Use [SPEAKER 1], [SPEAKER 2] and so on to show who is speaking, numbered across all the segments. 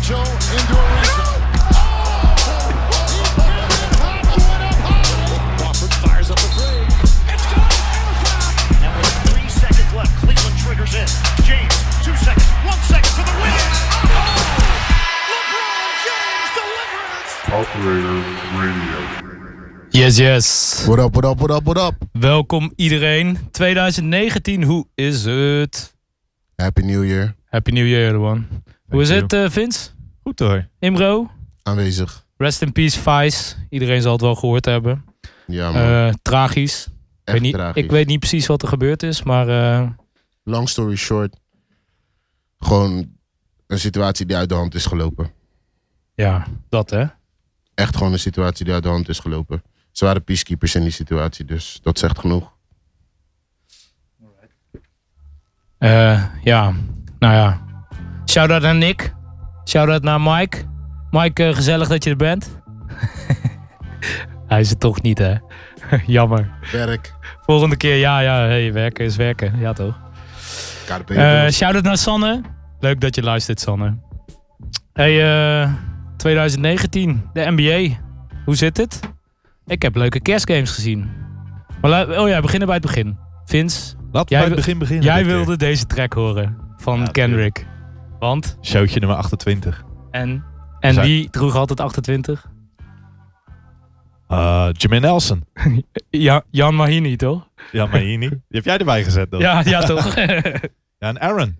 [SPEAKER 1] Into a red zone. Wofford fires up a three.
[SPEAKER 2] And with three seconds left, Cleveland triggers in. James, two seconds, one second to the win.
[SPEAKER 3] Operator Radio.
[SPEAKER 4] Yes, yes.
[SPEAKER 5] What up, what up, what up, what up?
[SPEAKER 4] Welkom iedereen. 2019, hoe is het?
[SPEAKER 5] Happy New Year.
[SPEAKER 4] Happy New Year, everyone. hoe is
[SPEAKER 6] you.
[SPEAKER 4] het, eh, Vince?
[SPEAKER 6] Goed hoor.
[SPEAKER 4] Imro?
[SPEAKER 5] Aanwezig.
[SPEAKER 4] Rest in peace, Vice. Iedereen zal het wel gehoord hebben.
[SPEAKER 5] Ja, man.
[SPEAKER 4] Eh, tragisch. Ik
[SPEAKER 5] Echt
[SPEAKER 4] weet niet,
[SPEAKER 5] tragisch.
[SPEAKER 4] Ik weet niet precies wat er gebeurd is, maar eh,
[SPEAKER 5] Long story short. Gewoon een situatie die uit de hand is gelopen.
[SPEAKER 4] ja, dat hè.
[SPEAKER 5] Echt gewoon een situatie die uit de hand is gelopen. Ze waren peacekeepers in die situatie, dus dat zegt genoeg.
[SPEAKER 4] Eh, ja, nou ja. Shout-out naar Nick. Shout-out naar Mike. Mike, eh, gezellig dat je er bent. Hij is het toch niet, hè? Jammer.
[SPEAKER 5] Werk.
[SPEAKER 4] Volgende keer, ja, ja. Hey, werken is werken. Ja, toch?
[SPEAKER 5] KDP.
[SPEAKER 4] Eh Shout-out naar Sanne. Leuk dat je luistert, Sanne. Hey, eh 2019, de NBA. Hoe zit het? Ik heb leuke kerstgames gezien. Maar lu- oh ja, beginnen bij het begin. Vince,
[SPEAKER 6] Laten we
[SPEAKER 4] Jij
[SPEAKER 6] bij het
[SPEAKER 4] wil-
[SPEAKER 6] begin beginnen.
[SPEAKER 4] jij
[SPEAKER 6] dit keer.
[SPEAKER 4] wilde deze track horen van
[SPEAKER 6] Ja,
[SPEAKER 4] Kendrick. Want,
[SPEAKER 6] Showtje nummer 28.
[SPEAKER 4] en, en
[SPEAKER 6] Zij-
[SPEAKER 4] die droeg altijd 28.
[SPEAKER 6] Eh Jermaine Nelson.
[SPEAKER 4] Ja, Jan Mahini, toch?
[SPEAKER 6] Ja, maar hier niet. Die heb jij erbij gezet dan.
[SPEAKER 4] Ja, ja toch?
[SPEAKER 6] Ja, en Aaron.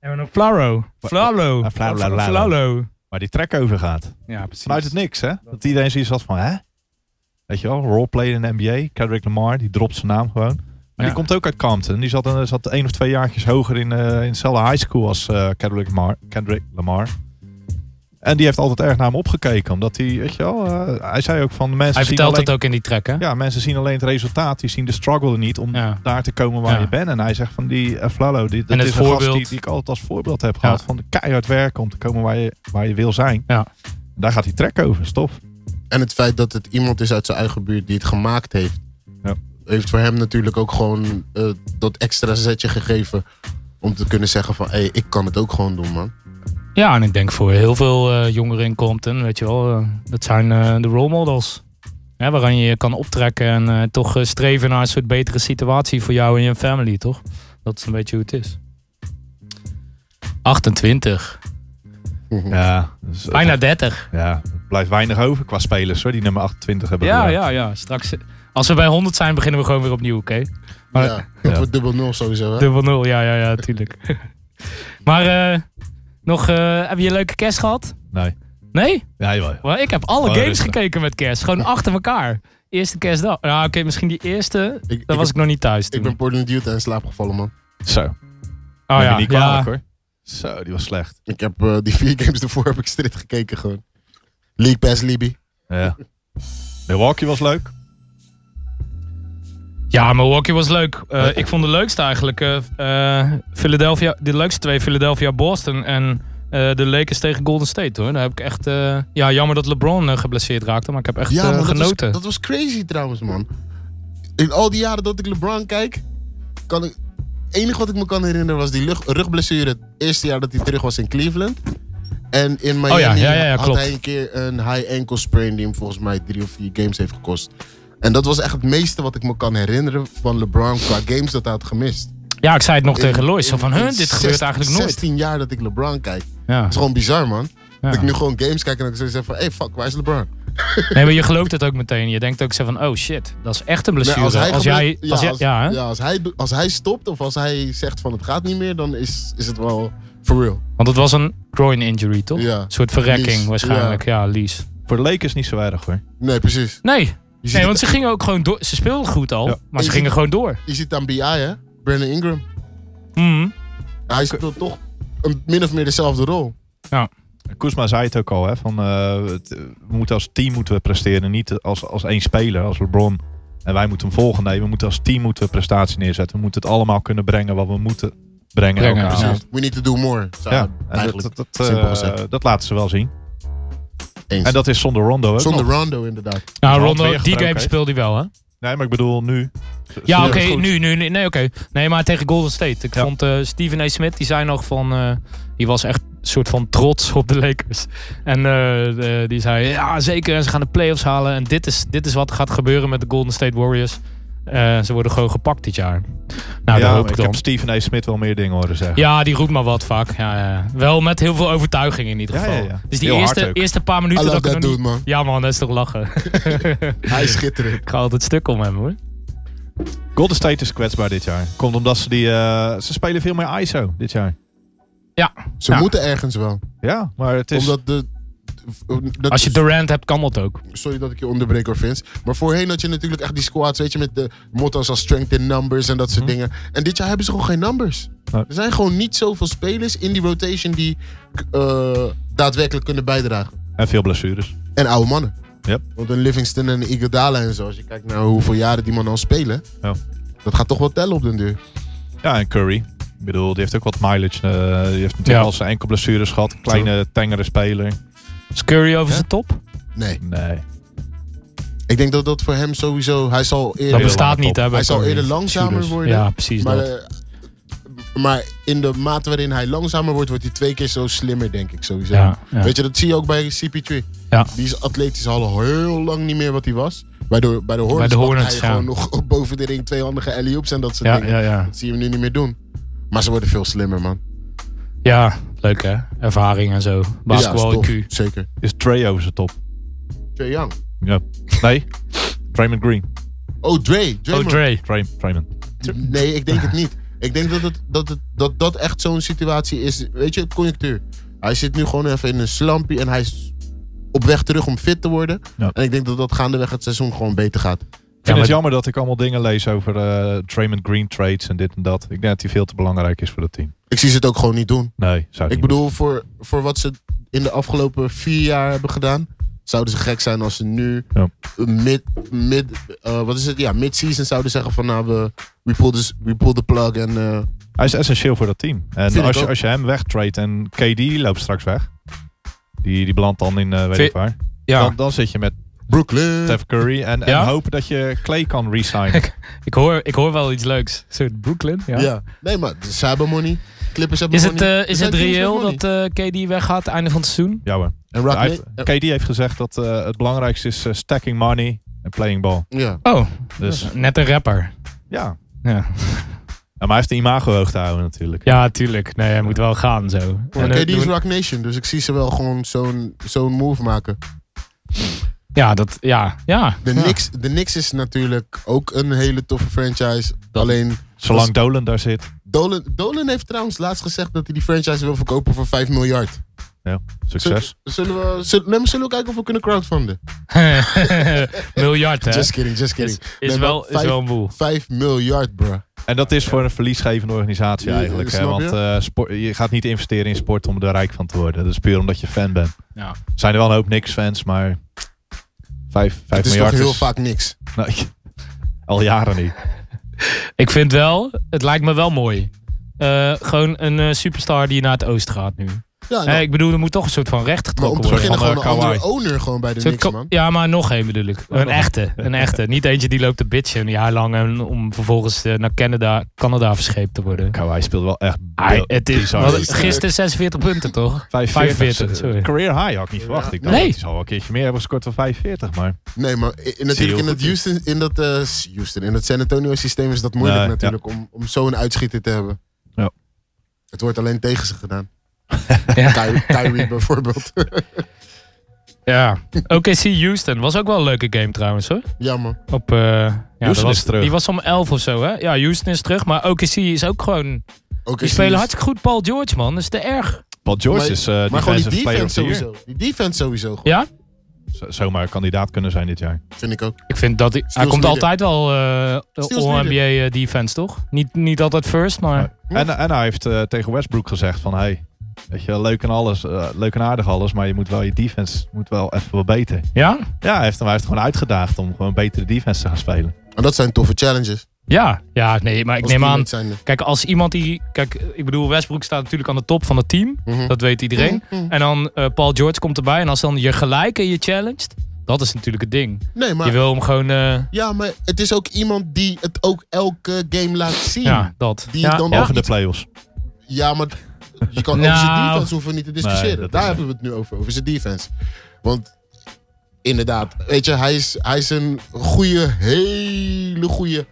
[SPEAKER 4] en een Flaro. Flaro.
[SPEAKER 6] Ah, Flaro, Flaro.
[SPEAKER 4] Flaro.
[SPEAKER 6] Waar die track over gaat.
[SPEAKER 4] Ja, precies.
[SPEAKER 6] Vanuit het niks, hè? Dat iedereen zoiets had van, hè? Weet je wel, roleplay in de NBA. Kendrick Lamar, die dropt zijn naam gewoon. Maar
[SPEAKER 4] Ja.
[SPEAKER 6] die komt ook uit Compton. Die zat, eh, zat één of twee jaartjes hoger in, eh, in dezelfde high school als eh, Kendrick, Lamar, Kendrick Lamar. En die heeft altijd erg naar hem opgekeken. Omdat hij, weet je wel, eh, hij zei ook van de mensen
[SPEAKER 4] Hij
[SPEAKER 6] zien
[SPEAKER 4] vertelt
[SPEAKER 6] alleen-
[SPEAKER 4] het ook in die track, hè?
[SPEAKER 6] Ja, mensen zien alleen het resultaat. Die zien de struggle er niet om
[SPEAKER 4] Ja.
[SPEAKER 6] daar te komen waar
[SPEAKER 4] Ja.
[SPEAKER 6] je bent. En hij zegt van die eh, Flalo, die, dat
[SPEAKER 4] het
[SPEAKER 6] is een
[SPEAKER 4] voorbeeld.
[SPEAKER 6] gast die, die ik altijd als voorbeeld heb gehad. Van de keihard werken om te komen waar je, waar je wil zijn.
[SPEAKER 4] Ja.
[SPEAKER 6] Daar gaat die track over, stof.
[SPEAKER 5] En het feit dat het iemand is uit zijn eigen buurt die het gemaakt heeft.
[SPEAKER 6] Ja.
[SPEAKER 5] Heeft voor hem natuurlijk ook gewoon eh, dat extra zetje gegeven. Om te kunnen zeggen van, hé, hey, ik kan het ook gewoon doen, man.
[SPEAKER 4] Ja, en ik denk voor heel veel eh, jongeren in Compton, weet je wel, eh, dat zijn eh, de role models. Hè, waaraan je je kan optrekken en eh, toch eh, streven naar een soort betere situatie voor jou en je family, toch? Dat is een beetje hoe het is. 28.
[SPEAKER 6] Ja, dus, eh,
[SPEAKER 4] Bijna 30.
[SPEAKER 6] ja, er blijft weinig over qua spelers hoor, die nummer 28 hebben.
[SPEAKER 4] Ja,
[SPEAKER 6] gebruikt.
[SPEAKER 4] ja, ja. Straks. eh, Als we bij 100 zijn, beginnen we gewoon weer opnieuw, oké? Maar-
[SPEAKER 5] ja, dat
[SPEAKER 6] Ja.
[SPEAKER 5] wordt dubbel nul sowieso, hè?
[SPEAKER 4] Dubbel nul, ja, ja, ja, tuurlijk. maar eh, nog, eh, heb je een leuke kerst gehad?
[SPEAKER 6] Nee.
[SPEAKER 4] Nee?
[SPEAKER 6] Ja, jawel.
[SPEAKER 4] Wel, ik heb alle
[SPEAKER 6] Oh,
[SPEAKER 4] games
[SPEAKER 6] rustig.
[SPEAKER 4] gekeken met kerst. Gewoon achter elkaar. Eerste kerstdag. Nou, oké, misschien die eerste.
[SPEAKER 5] Ik,
[SPEAKER 4] Daar
[SPEAKER 5] ik,
[SPEAKER 4] was ik nog niet thuis toen.
[SPEAKER 5] ik ben Portland Youth en slaap gevallen, man.
[SPEAKER 6] Zo,
[SPEAKER 4] oh
[SPEAKER 6] neem je
[SPEAKER 4] ja,
[SPEAKER 6] niet
[SPEAKER 4] ja.
[SPEAKER 6] kwalijk hoor. Zo, die was slecht.
[SPEAKER 5] Ik heb eh, die vier games ervoor heb ik strikt gekeken gewoon. League Pass Libby.
[SPEAKER 6] Ja. Milwaukee was leuk.
[SPEAKER 4] ja, Milwaukee was leuk. Eh, ik vond de leukste eigenlijk eh, eh, Philadelphia, de leukste twee Philadelphia-Boston en eh, de Lakers tegen Golden State hoor. Daar heb ik echt, eh, ja jammer dat LeBron eh, geblesseerd raakte, maar ik heb echt eh,
[SPEAKER 5] maar dat was,
[SPEAKER 4] genoten.
[SPEAKER 5] dat was crazy trouwens, man. In al die jaren dat ik LeBron kijk, kan ik... Het enige wat ik me kan herinneren was die lucht- rugblessure het eerste jaar dat hij terug was in Cleveland. En in Miami
[SPEAKER 4] Oh ja, ja, ja,
[SPEAKER 5] had
[SPEAKER 4] klopt.
[SPEAKER 5] hij een keer een high ankle sprain die hem volgens mij drie of vier games heeft gekost. En dat was echt het meeste wat ik me kan herinneren van LeBron qua games dat hij had gemist.
[SPEAKER 4] ja, ik zei het nog
[SPEAKER 5] In-
[SPEAKER 4] tegen Lois, zo
[SPEAKER 5] in-
[SPEAKER 4] van
[SPEAKER 5] in
[SPEAKER 4] huh, dit gebeurt
[SPEAKER 5] zest-
[SPEAKER 4] eigenlijk nooit.
[SPEAKER 5] 16 jaar dat ik LeBron kijk. Het
[SPEAKER 4] Ja,
[SPEAKER 5] is gewoon bizar, man. Dat
[SPEAKER 4] ja.
[SPEAKER 5] ik nu gewoon games kijk en dat ik zo zeg van, hey fuck, waar is LeBron?
[SPEAKER 4] Nee, maar je gelooft het ook meteen. Je denkt ook zo van, oh shit, dat is echt een blessure. als, jij,
[SPEAKER 5] geblesseerd-
[SPEAKER 4] als jij, ja, hè?
[SPEAKER 5] ja, als, hij, do- als hij stopt of als hij zegt van het gaat niet meer, dan is, is het wel for real.
[SPEAKER 4] Want het was een groin injury, toch?
[SPEAKER 5] Ja.
[SPEAKER 4] Een soort verrekking
[SPEAKER 5] Lies,
[SPEAKER 4] waarschijnlijk. Ja, Lies.
[SPEAKER 6] Voor de Lakers niet zo weinig hoor.
[SPEAKER 5] Nee, precies.
[SPEAKER 4] Nee.
[SPEAKER 5] Je ziet,
[SPEAKER 4] nee,
[SPEAKER 5] het-
[SPEAKER 4] want ze gingen ook gewoon door. Ze speelden goed al,
[SPEAKER 6] Ja.
[SPEAKER 4] maar ze
[SPEAKER 5] Je
[SPEAKER 4] gingen
[SPEAKER 5] ziet-
[SPEAKER 4] gewoon door.
[SPEAKER 5] je ziet aan BI, hè? Brandon Ingram.
[SPEAKER 4] Mhm.
[SPEAKER 5] Hij speelt toch een, min of meer dezelfde rol.
[SPEAKER 6] Koesma zei het ook al, hè, van, eh, het, eh, we moeten als team moeten we presteren, niet als, als één speler, als LeBron. En wij moeten hem volgen. Nee, we moeten als team moeten we prestatie neerzetten. We moeten het allemaal kunnen brengen wat we moeten brengen.
[SPEAKER 4] Brengen,
[SPEAKER 6] elke
[SPEAKER 4] precies.
[SPEAKER 6] avond.
[SPEAKER 5] We need to do more. zou
[SPEAKER 6] Ja, en dat,
[SPEAKER 5] eigenlijk.
[SPEAKER 6] dat, dat,
[SPEAKER 5] simpel
[SPEAKER 6] eh,
[SPEAKER 5] gezegd.
[SPEAKER 6] dat laten ze wel zien.
[SPEAKER 5] Eens.
[SPEAKER 6] En dat is zonder Rondo ook
[SPEAKER 5] Zonder
[SPEAKER 6] nog.
[SPEAKER 5] Rondo, inderdaad.
[SPEAKER 4] Nou,
[SPEAKER 6] hand
[SPEAKER 4] Rondo,
[SPEAKER 6] weer
[SPEAKER 4] die
[SPEAKER 6] gebroken
[SPEAKER 4] game
[SPEAKER 6] heeft.
[SPEAKER 4] speelde hij wel, hè?
[SPEAKER 6] Nee, maar ik bedoel nu.
[SPEAKER 4] Ja,
[SPEAKER 6] Ze-
[SPEAKER 4] oké,
[SPEAKER 6] is goed.
[SPEAKER 4] nu, nu, nu- nee, oké. Nee, maar tegen Golden State. Ik
[SPEAKER 6] Ja.
[SPEAKER 4] vond eh Steven A. Smith, die zei nog van, eh, die was echt soort van trots op de Lakers. En eh, de- die zei, ja zeker, en ze gaan de playoffs halen. En dit is, dit is wat gaat gebeuren met de Golden State Warriors. Eh, ze worden gewoon gepakt dit jaar. Nou, daar
[SPEAKER 6] ja,
[SPEAKER 4] hoop
[SPEAKER 6] ik
[SPEAKER 4] ik dan.
[SPEAKER 6] heb Steven A. Smith wel meer dingen horen zeggen.
[SPEAKER 4] Ja, die roept maar wat vaak. Ja, ja, ja. Wel met heel veel overtuiging in ieder
[SPEAKER 6] Ja,
[SPEAKER 4] geval.
[SPEAKER 6] ja, ja.
[SPEAKER 4] Dus die
[SPEAKER 6] Heel hard
[SPEAKER 4] eerste,
[SPEAKER 6] ook.
[SPEAKER 4] eerste paar
[SPEAKER 5] I
[SPEAKER 4] minuten...
[SPEAKER 5] love
[SPEAKER 4] dat ik
[SPEAKER 5] that
[SPEAKER 4] nog
[SPEAKER 5] dude,
[SPEAKER 4] niet-
[SPEAKER 5] man.
[SPEAKER 4] Ja man, dat is toch lachen.
[SPEAKER 5] Hij is schitterend.
[SPEAKER 4] ik ga altijd stuk om hem hoor.
[SPEAKER 6] Golden State is kwetsbaar dit jaar. Komt omdat ze die... eh, ze spelen veel meer ISO dit jaar.
[SPEAKER 5] Ze
[SPEAKER 4] Ja.
[SPEAKER 5] moeten ergens wel.
[SPEAKER 6] Ja, maar het is...
[SPEAKER 5] Omdat de... eh, dat-
[SPEAKER 4] Als je Durant hebt, kan dat ook.
[SPEAKER 5] sorry dat ik je onderbreek hoor, Vince. Maar voorheen had je natuurlijk echt die squads, weet je, met de motto's als strength in numbers en dat soort dingen. En dit jaar hebben ze gewoon geen numbers.
[SPEAKER 6] Nee.
[SPEAKER 5] Er zijn gewoon niet zoveel spelers in die rotation die eh, daadwerkelijk kunnen bijdragen.
[SPEAKER 6] En veel blessures.
[SPEAKER 5] En oude mannen.
[SPEAKER 6] Yep.
[SPEAKER 5] Want een Livingston en een Iguodala en zo, als je kijkt naar hoeveel jaren die mannen al spelen,
[SPEAKER 6] Ja.
[SPEAKER 5] dat gaat toch wel tellen op den duur.
[SPEAKER 6] Ja, en Curry. Ik bedoel, die heeft ook wat mileage. eh, die heeft natuurlijk
[SPEAKER 4] Ja.
[SPEAKER 6] al zijn enkel blessures gehad. Kleine, tengere speler.
[SPEAKER 4] Is Curry over
[SPEAKER 6] Ja.
[SPEAKER 4] zijn top?
[SPEAKER 5] Nee,
[SPEAKER 6] Nee.
[SPEAKER 5] ik denk dat dat voor hem sowieso, hij zal
[SPEAKER 4] Dat
[SPEAKER 5] eerder,
[SPEAKER 4] bestaat
[SPEAKER 6] lange
[SPEAKER 4] niet
[SPEAKER 6] top.
[SPEAKER 4] hè, bij
[SPEAKER 5] hij zal
[SPEAKER 4] Curry.
[SPEAKER 5] eerder langzamer
[SPEAKER 6] Shooters.
[SPEAKER 5] worden.
[SPEAKER 4] Ja, precies
[SPEAKER 5] Maar,
[SPEAKER 4] dat.
[SPEAKER 5] eh, maar in de mate waarin hij langzamer wordt, wordt hij twee keer zo slimmer, denk ik sowieso.
[SPEAKER 4] Ja, ja.
[SPEAKER 5] Weet je, dat zie je ook bij CP3.
[SPEAKER 4] Ja.
[SPEAKER 5] Die is atletisch al heel lang niet meer wat hij was. Bij de, bij de Hornets,
[SPEAKER 4] Bij de
[SPEAKER 5] pakt
[SPEAKER 4] Hornets,
[SPEAKER 5] hij
[SPEAKER 4] ja.
[SPEAKER 5] gewoon nog boven de ring tweehandige alley-oops en dat soort
[SPEAKER 4] Ja,
[SPEAKER 5] dingen.
[SPEAKER 4] ja, ja.
[SPEAKER 5] Dat zie je hem nu niet meer doen. Maar ze worden veel slimmer, man.
[SPEAKER 4] Ja, leuk hè. Ervaring en zo.
[SPEAKER 5] Ja,
[SPEAKER 4] Basketbal
[SPEAKER 5] is
[SPEAKER 4] IQ.
[SPEAKER 5] tof. Zeker.
[SPEAKER 6] Is Trey over zijn top?
[SPEAKER 5] Trae Young.
[SPEAKER 6] Ja. Nee? Draymond Green.
[SPEAKER 5] Oh, Dre. Dre,
[SPEAKER 4] Oh,
[SPEAKER 5] man.
[SPEAKER 4] Dre.
[SPEAKER 6] Dray- Draymond.
[SPEAKER 5] Nee, ik denk het niet. Ik denk dat het, dat, het, dat, dat echt zo'n situatie is. Weet je, conjunctuur. Hij zit nu gewoon even in een slampie en hij is op weg terug om fit te worden.
[SPEAKER 6] Ja.
[SPEAKER 5] En ik denk dat dat gaandeweg het seizoen gewoon beter gaat.
[SPEAKER 6] Ik vind
[SPEAKER 4] maar-
[SPEAKER 6] het jammer dat ik allemaal dingen lees over eh Draymond Green trades en dit en dat. Ik denk dat hij veel te belangrijk is voor dat team.
[SPEAKER 5] Ik zie ze het ook gewoon niet doen.
[SPEAKER 6] Nee, zou het
[SPEAKER 5] Ik
[SPEAKER 6] niet
[SPEAKER 5] bedoel, voor, voor wat ze in de afgelopen vier jaar hebben gedaan, zouden ze gek zijn als ze nu
[SPEAKER 6] Ja.
[SPEAKER 5] mid, mid, eh, wat is het? Ja, mid-season zouden zeggen van nou, we, we, pull, this, we pull the plug en eh,
[SPEAKER 6] doen. Hij is essentieel voor dat team. En
[SPEAKER 5] Vind
[SPEAKER 6] als
[SPEAKER 5] ik
[SPEAKER 6] je,
[SPEAKER 5] ook.
[SPEAKER 6] als je hem wegtrade en KD die loopt straks weg. Die, die belandt dan in eh, weet
[SPEAKER 4] Vind-
[SPEAKER 6] ik waar.
[SPEAKER 4] Ja,
[SPEAKER 6] Dan, dan zit je met
[SPEAKER 5] Brooklyn.
[SPEAKER 6] Steph Curry en, en
[SPEAKER 4] Ja?
[SPEAKER 6] hopen dat je Clay kan resignen.
[SPEAKER 4] ik hoor, ik hoor wel iets leuks. Een soort Brooklyn. Ja.
[SPEAKER 5] Ja. nee, maar ze hebben money. Clippers hebben
[SPEAKER 4] Is het,
[SPEAKER 5] money.
[SPEAKER 4] eh,
[SPEAKER 5] Er
[SPEAKER 4] is
[SPEAKER 5] zijn
[SPEAKER 4] het
[SPEAKER 5] teams met
[SPEAKER 4] reëel
[SPEAKER 5] money.
[SPEAKER 4] dat eh, KD weggaat einde van het seizoen?
[SPEAKER 6] ja hoor.
[SPEAKER 5] En Rock
[SPEAKER 6] Hij heeft-
[SPEAKER 5] Na-
[SPEAKER 6] KD heeft gezegd dat eh, het belangrijkste is eh, stacking money en playing ball.
[SPEAKER 5] Ja.
[SPEAKER 4] Oh,
[SPEAKER 6] Dus ja.
[SPEAKER 4] net een rapper. Ja,
[SPEAKER 6] Ja, Maar hij heeft de imago hoog te houden natuurlijk.
[SPEAKER 4] ja tuurlijk. Nee, hij moet wel gaan zo. En,
[SPEAKER 5] Oké,
[SPEAKER 4] eh,
[SPEAKER 5] die is
[SPEAKER 4] doen-
[SPEAKER 5] Rock Nation, dus ik zie ze wel gewoon zo'n zo'n move maken.
[SPEAKER 4] ja, dat, ja, ja.
[SPEAKER 5] De
[SPEAKER 4] ja.
[SPEAKER 5] Knicks, de Knicks is natuurlijk ook een hele toffe franchise. Alleen
[SPEAKER 6] Zolang Dolan daar zit,
[SPEAKER 5] Dolan, Dolan heeft trouwens laatst gezegd dat hij die franchise wil verkopen voor 5 miljard.
[SPEAKER 6] succes.
[SPEAKER 5] Zullen we, zullen, nee, maar zullen we kijken of we kunnen crowdfunden?
[SPEAKER 4] Miljard, hè?
[SPEAKER 5] Just kidding, just kidding.
[SPEAKER 4] is, is,
[SPEAKER 5] Nee,
[SPEAKER 4] wel,
[SPEAKER 5] maar
[SPEAKER 4] is
[SPEAKER 5] vijf-
[SPEAKER 4] wel een boel.
[SPEAKER 5] 5 miljard, bruh.
[SPEAKER 6] En dat is voor een verliesgevende organisatie
[SPEAKER 5] Ja,
[SPEAKER 6] eigenlijk. hè,
[SPEAKER 5] snap
[SPEAKER 6] want
[SPEAKER 5] je?
[SPEAKER 6] eh, sport, je gaat niet investeren in sport om er rijk van te worden. Dat is puur omdat je fan bent.
[SPEAKER 4] Ja.
[SPEAKER 6] Er zijn er wel een hoop niks fans, maar 5, 5
[SPEAKER 5] Het is toch
[SPEAKER 6] miljard
[SPEAKER 5] heel vaak niks.
[SPEAKER 6] Nee, al jaren niet.
[SPEAKER 4] Ik vind wel, het lijkt me wel mooi. Eh, gewoon een eh, superstar die naar het oosten gaat nu.
[SPEAKER 5] Ja, nou,
[SPEAKER 4] Hè, ik bedoel, er moet toch een soort van recht
[SPEAKER 5] maar om
[SPEAKER 4] getrokken
[SPEAKER 5] te
[SPEAKER 4] worden.
[SPEAKER 5] beginnen
[SPEAKER 6] van,
[SPEAKER 5] gewoon een
[SPEAKER 6] eh, Kawhi.
[SPEAKER 5] andere owner gewoon bij de
[SPEAKER 4] Een soort
[SPEAKER 5] Knicks,
[SPEAKER 4] ko-
[SPEAKER 5] man.
[SPEAKER 4] Ja, maar nog één bedoel ik. Een echte. Een echte. Niet eentje die loopt te bitchen een jaar lang en om vervolgens eh, naar Canada, Canada verscheept te worden.
[SPEAKER 6] Kawhi speelt wel echt
[SPEAKER 4] Ai,
[SPEAKER 6] bil-
[SPEAKER 4] het is,
[SPEAKER 6] bizar.
[SPEAKER 4] wat- gisteren 46 punten, toch? 45, sorry.
[SPEAKER 6] Career high had ik niet verwacht. Ik dacht,
[SPEAKER 4] Nee.
[SPEAKER 6] nee. hij zal wel een keertje meer hebben gescoord dan 45. Maar
[SPEAKER 5] Nee, maar i- in,
[SPEAKER 6] heel
[SPEAKER 5] natuurlijk in
[SPEAKER 6] goed
[SPEAKER 5] dat
[SPEAKER 6] in.
[SPEAKER 5] Houston, in dat, eh, Houston, in dat San Antonio systeem is dat moeilijk
[SPEAKER 6] Nee,
[SPEAKER 5] natuurlijk om, om zo'n uitschieter te hebben.
[SPEAKER 6] Ja.
[SPEAKER 5] Het wordt alleen tegen ze gedaan.
[SPEAKER 4] Ja.
[SPEAKER 5] Kyrie, Kyrie bijvoorbeeld.
[SPEAKER 4] Ja. OKC Houston was ook wel een leuke game trouwens, hoor.
[SPEAKER 5] ja, man.
[SPEAKER 4] Op, eh, ja, dat was,
[SPEAKER 6] is terug.
[SPEAKER 4] Die was om 11 of zo, hè? Ja, Houston is terug. Maar OKC is ook gewoon...
[SPEAKER 5] Ook
[SPEAKER 4] Die
[SPEAKER 5] is-
[SPEAKER 4] spelen hartstikke goed. Paul George, man. Dat is te erg.
[SPEAKER 6] Paul George
[SPEAKER 5] Maar-
[SPEAKER 6] is eh
[SPEAKER 5] Maar gewoon die
[SPEAKER 6] defensive player
[SPEAKER 5] defense
[SPEAKER 6] of the year.
[SPEAKER 5] sowieso. Die defense sowieso,
[SPEAKER 4] Ja.
[SPEAKER 6] Z- zomaar een kandidaat kunnen zijn dit jaar.
[SPEAKER 5] vind ik ook.
[SPEAKER 4] Ik vind dat... Hij, hij
[SPEAKER 5] Steals
[SPEAKER 4] komt
[SPEAKER 5] leader.
[SPEAKER 4] altijd wel eh
[SPEAKER 5] Steals
[SPEAKER 4] all-NBA eh, defense, toch? Niet, niet altijd first, maar...
[SPEAKER 6] En, en hij heeft eh, tegen Westbrook gezegd van... Hey, weet je, leuk en alles, eh, leuk en aardig alles, maar je moet wel je defense moet wel even wat beter.
[SPEAKER 4] Ja?
[SPEAKER 6] Ja, hij heeft, hem- hij heeft hem gewoon uitgedaagd om gewoon betere defense te gaan spelen.
[SPEAKER 5] En dat zijn toffe challenges.
[SPEAKER 4] Ja. Ja, nee, maar ik
[SPEAKER 5] als
[SPEAKER 4] neem aan...
[SPEAKER 5] teammates zijnde.
[SPEAKER 4] Kijk, als iemand die... Kijk, ik bedoel, Westbrook staat natuurlijk aan de top van het team.
[SPEAKER 5] Mhm.
[SPEAKER 4] Dat weet iedereen. En dan eh, Paul George komt erbij. En als dan je gelijk en je challenged... Dat is natuurlijk het ding.
[SPEAKER 5] Nee,
[SPEAKER 4] Je
[SPEAKER 5] maar,
[SPEAKER 4] wil hem gewoon... eh,
[SPEAKER 5] ja, maar het is ook iemand die het ook elke game laat zien.
[SPEAKER 4] ja, dat.
[SPEAKER 5] Die
[SPEAKER 4] ja,
[SPEAKER 5] dan
[SPEAKER 6] Behalve
[SPEAKER 5] nog
[SPEAKER 6] in de playoffs.
[SPEAKER 5] Ja, maar je kan
[SPEAKER 4] Nou.
[SPEAKER 5] over zijn defense hoeven we niet te discussiëren.
[SPEAKER 6] dat
[SPEAKER 5] Daar
[SPEAKER 6] is-
[SPEAKER 5] hebben we het nu over, over zijn defense. Want inderdaad, weet je, hij is, hij is een goede, hele goede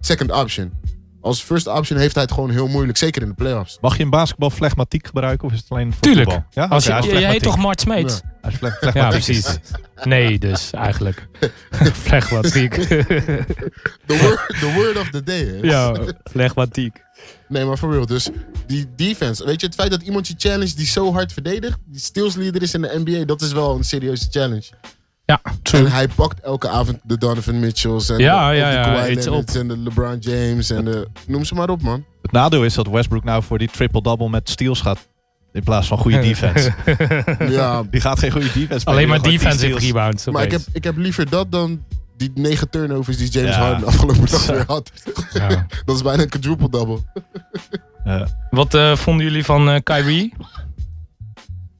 [SPEAKER 5] second option. Als first option heeft hij het gewoon heel moeilijk, zeker in de playoffs.
[SPEAKER 6] Mag je in basketbal flegmatiek gebruiken of is het alleen voor
[SPEAKER 4] Tuurlijk.
[SPEAKER 6] voetbal? Ja,
[SPEAKER 4] Als
[SPEAKER 6] Oké, hij is
[SPEAKER 4] je, je heet
[SPEAKER 6] flegmatiek.
[SPEAKER 4] toch Mart Smeets?
[SPEAKER 6] Hij is fle-
[SPEAKER 4] Ja,
[SPEAKER 6] flegmatiek.
[SPEAKER 4] precies. Nee, dus eigenlijk. Flegmatiek.
[SPEAKER 5] The word, the word of the day. hè.
[SPEAKER 4] ja, flegmatiek.
[SPEAKER 5] Nee, maar voor real. Dus die defense. Weet je, het feit dat iemand je challenge die zo hard verdedigt. Die steals leader is in de NBA. Dat is wel een serieuze challenge.
[SPEAKER 4] Ja,
[SPEAKER 5] En hij pakt elke avond de Donovan Mitchells. En
[SPEAKER 4] Ja,
[SPEAKER 5] de,
[SPEAKER 4] ja,
[SPEAKER 5] en de
[SPEAKER 4] ja,
[SPEAKER 5] Kawhi
[SPEAKER 4] eet ze
[SPEAKER 5] Leonards En de LeBron James. En de, noem ze maar op, man.
[SPEAKER 6] Het nadeel is dat Westbrook nou voor die triple-double met steals gaat. In plaats van goede defense.
[SPEAKER 5] Ja,
[SPEAKER 6] Die gaat geen goede defense spelen,
[SPEAKER 4] Alleen maar
[SPEAKER 6] gewoon tien
[SPEAKER 4] defensive
[SPEAKER 6] steals.
[SPEAKER 4] rebounds.
[SPEAKER 5] maar ik heb,
[SPEAKER 4] opeens.
[SPEAKER 5] ik heb liever dat dan die negen turnovers die James
[SPEAKER 6] Ja.
[SPEAKER 5] Harden afgelopen dag
[SPEAKER 6] Zo.
[SPEAKER 5] weer had.
[SPEAKER 4] Ja.
[SPEAKER 5] Dat is bijna een quadruple-double.
[SPEAKER 6] Ja.
[SPEAKER 4] Wat eh, vonden jullie van eh, Kyrie?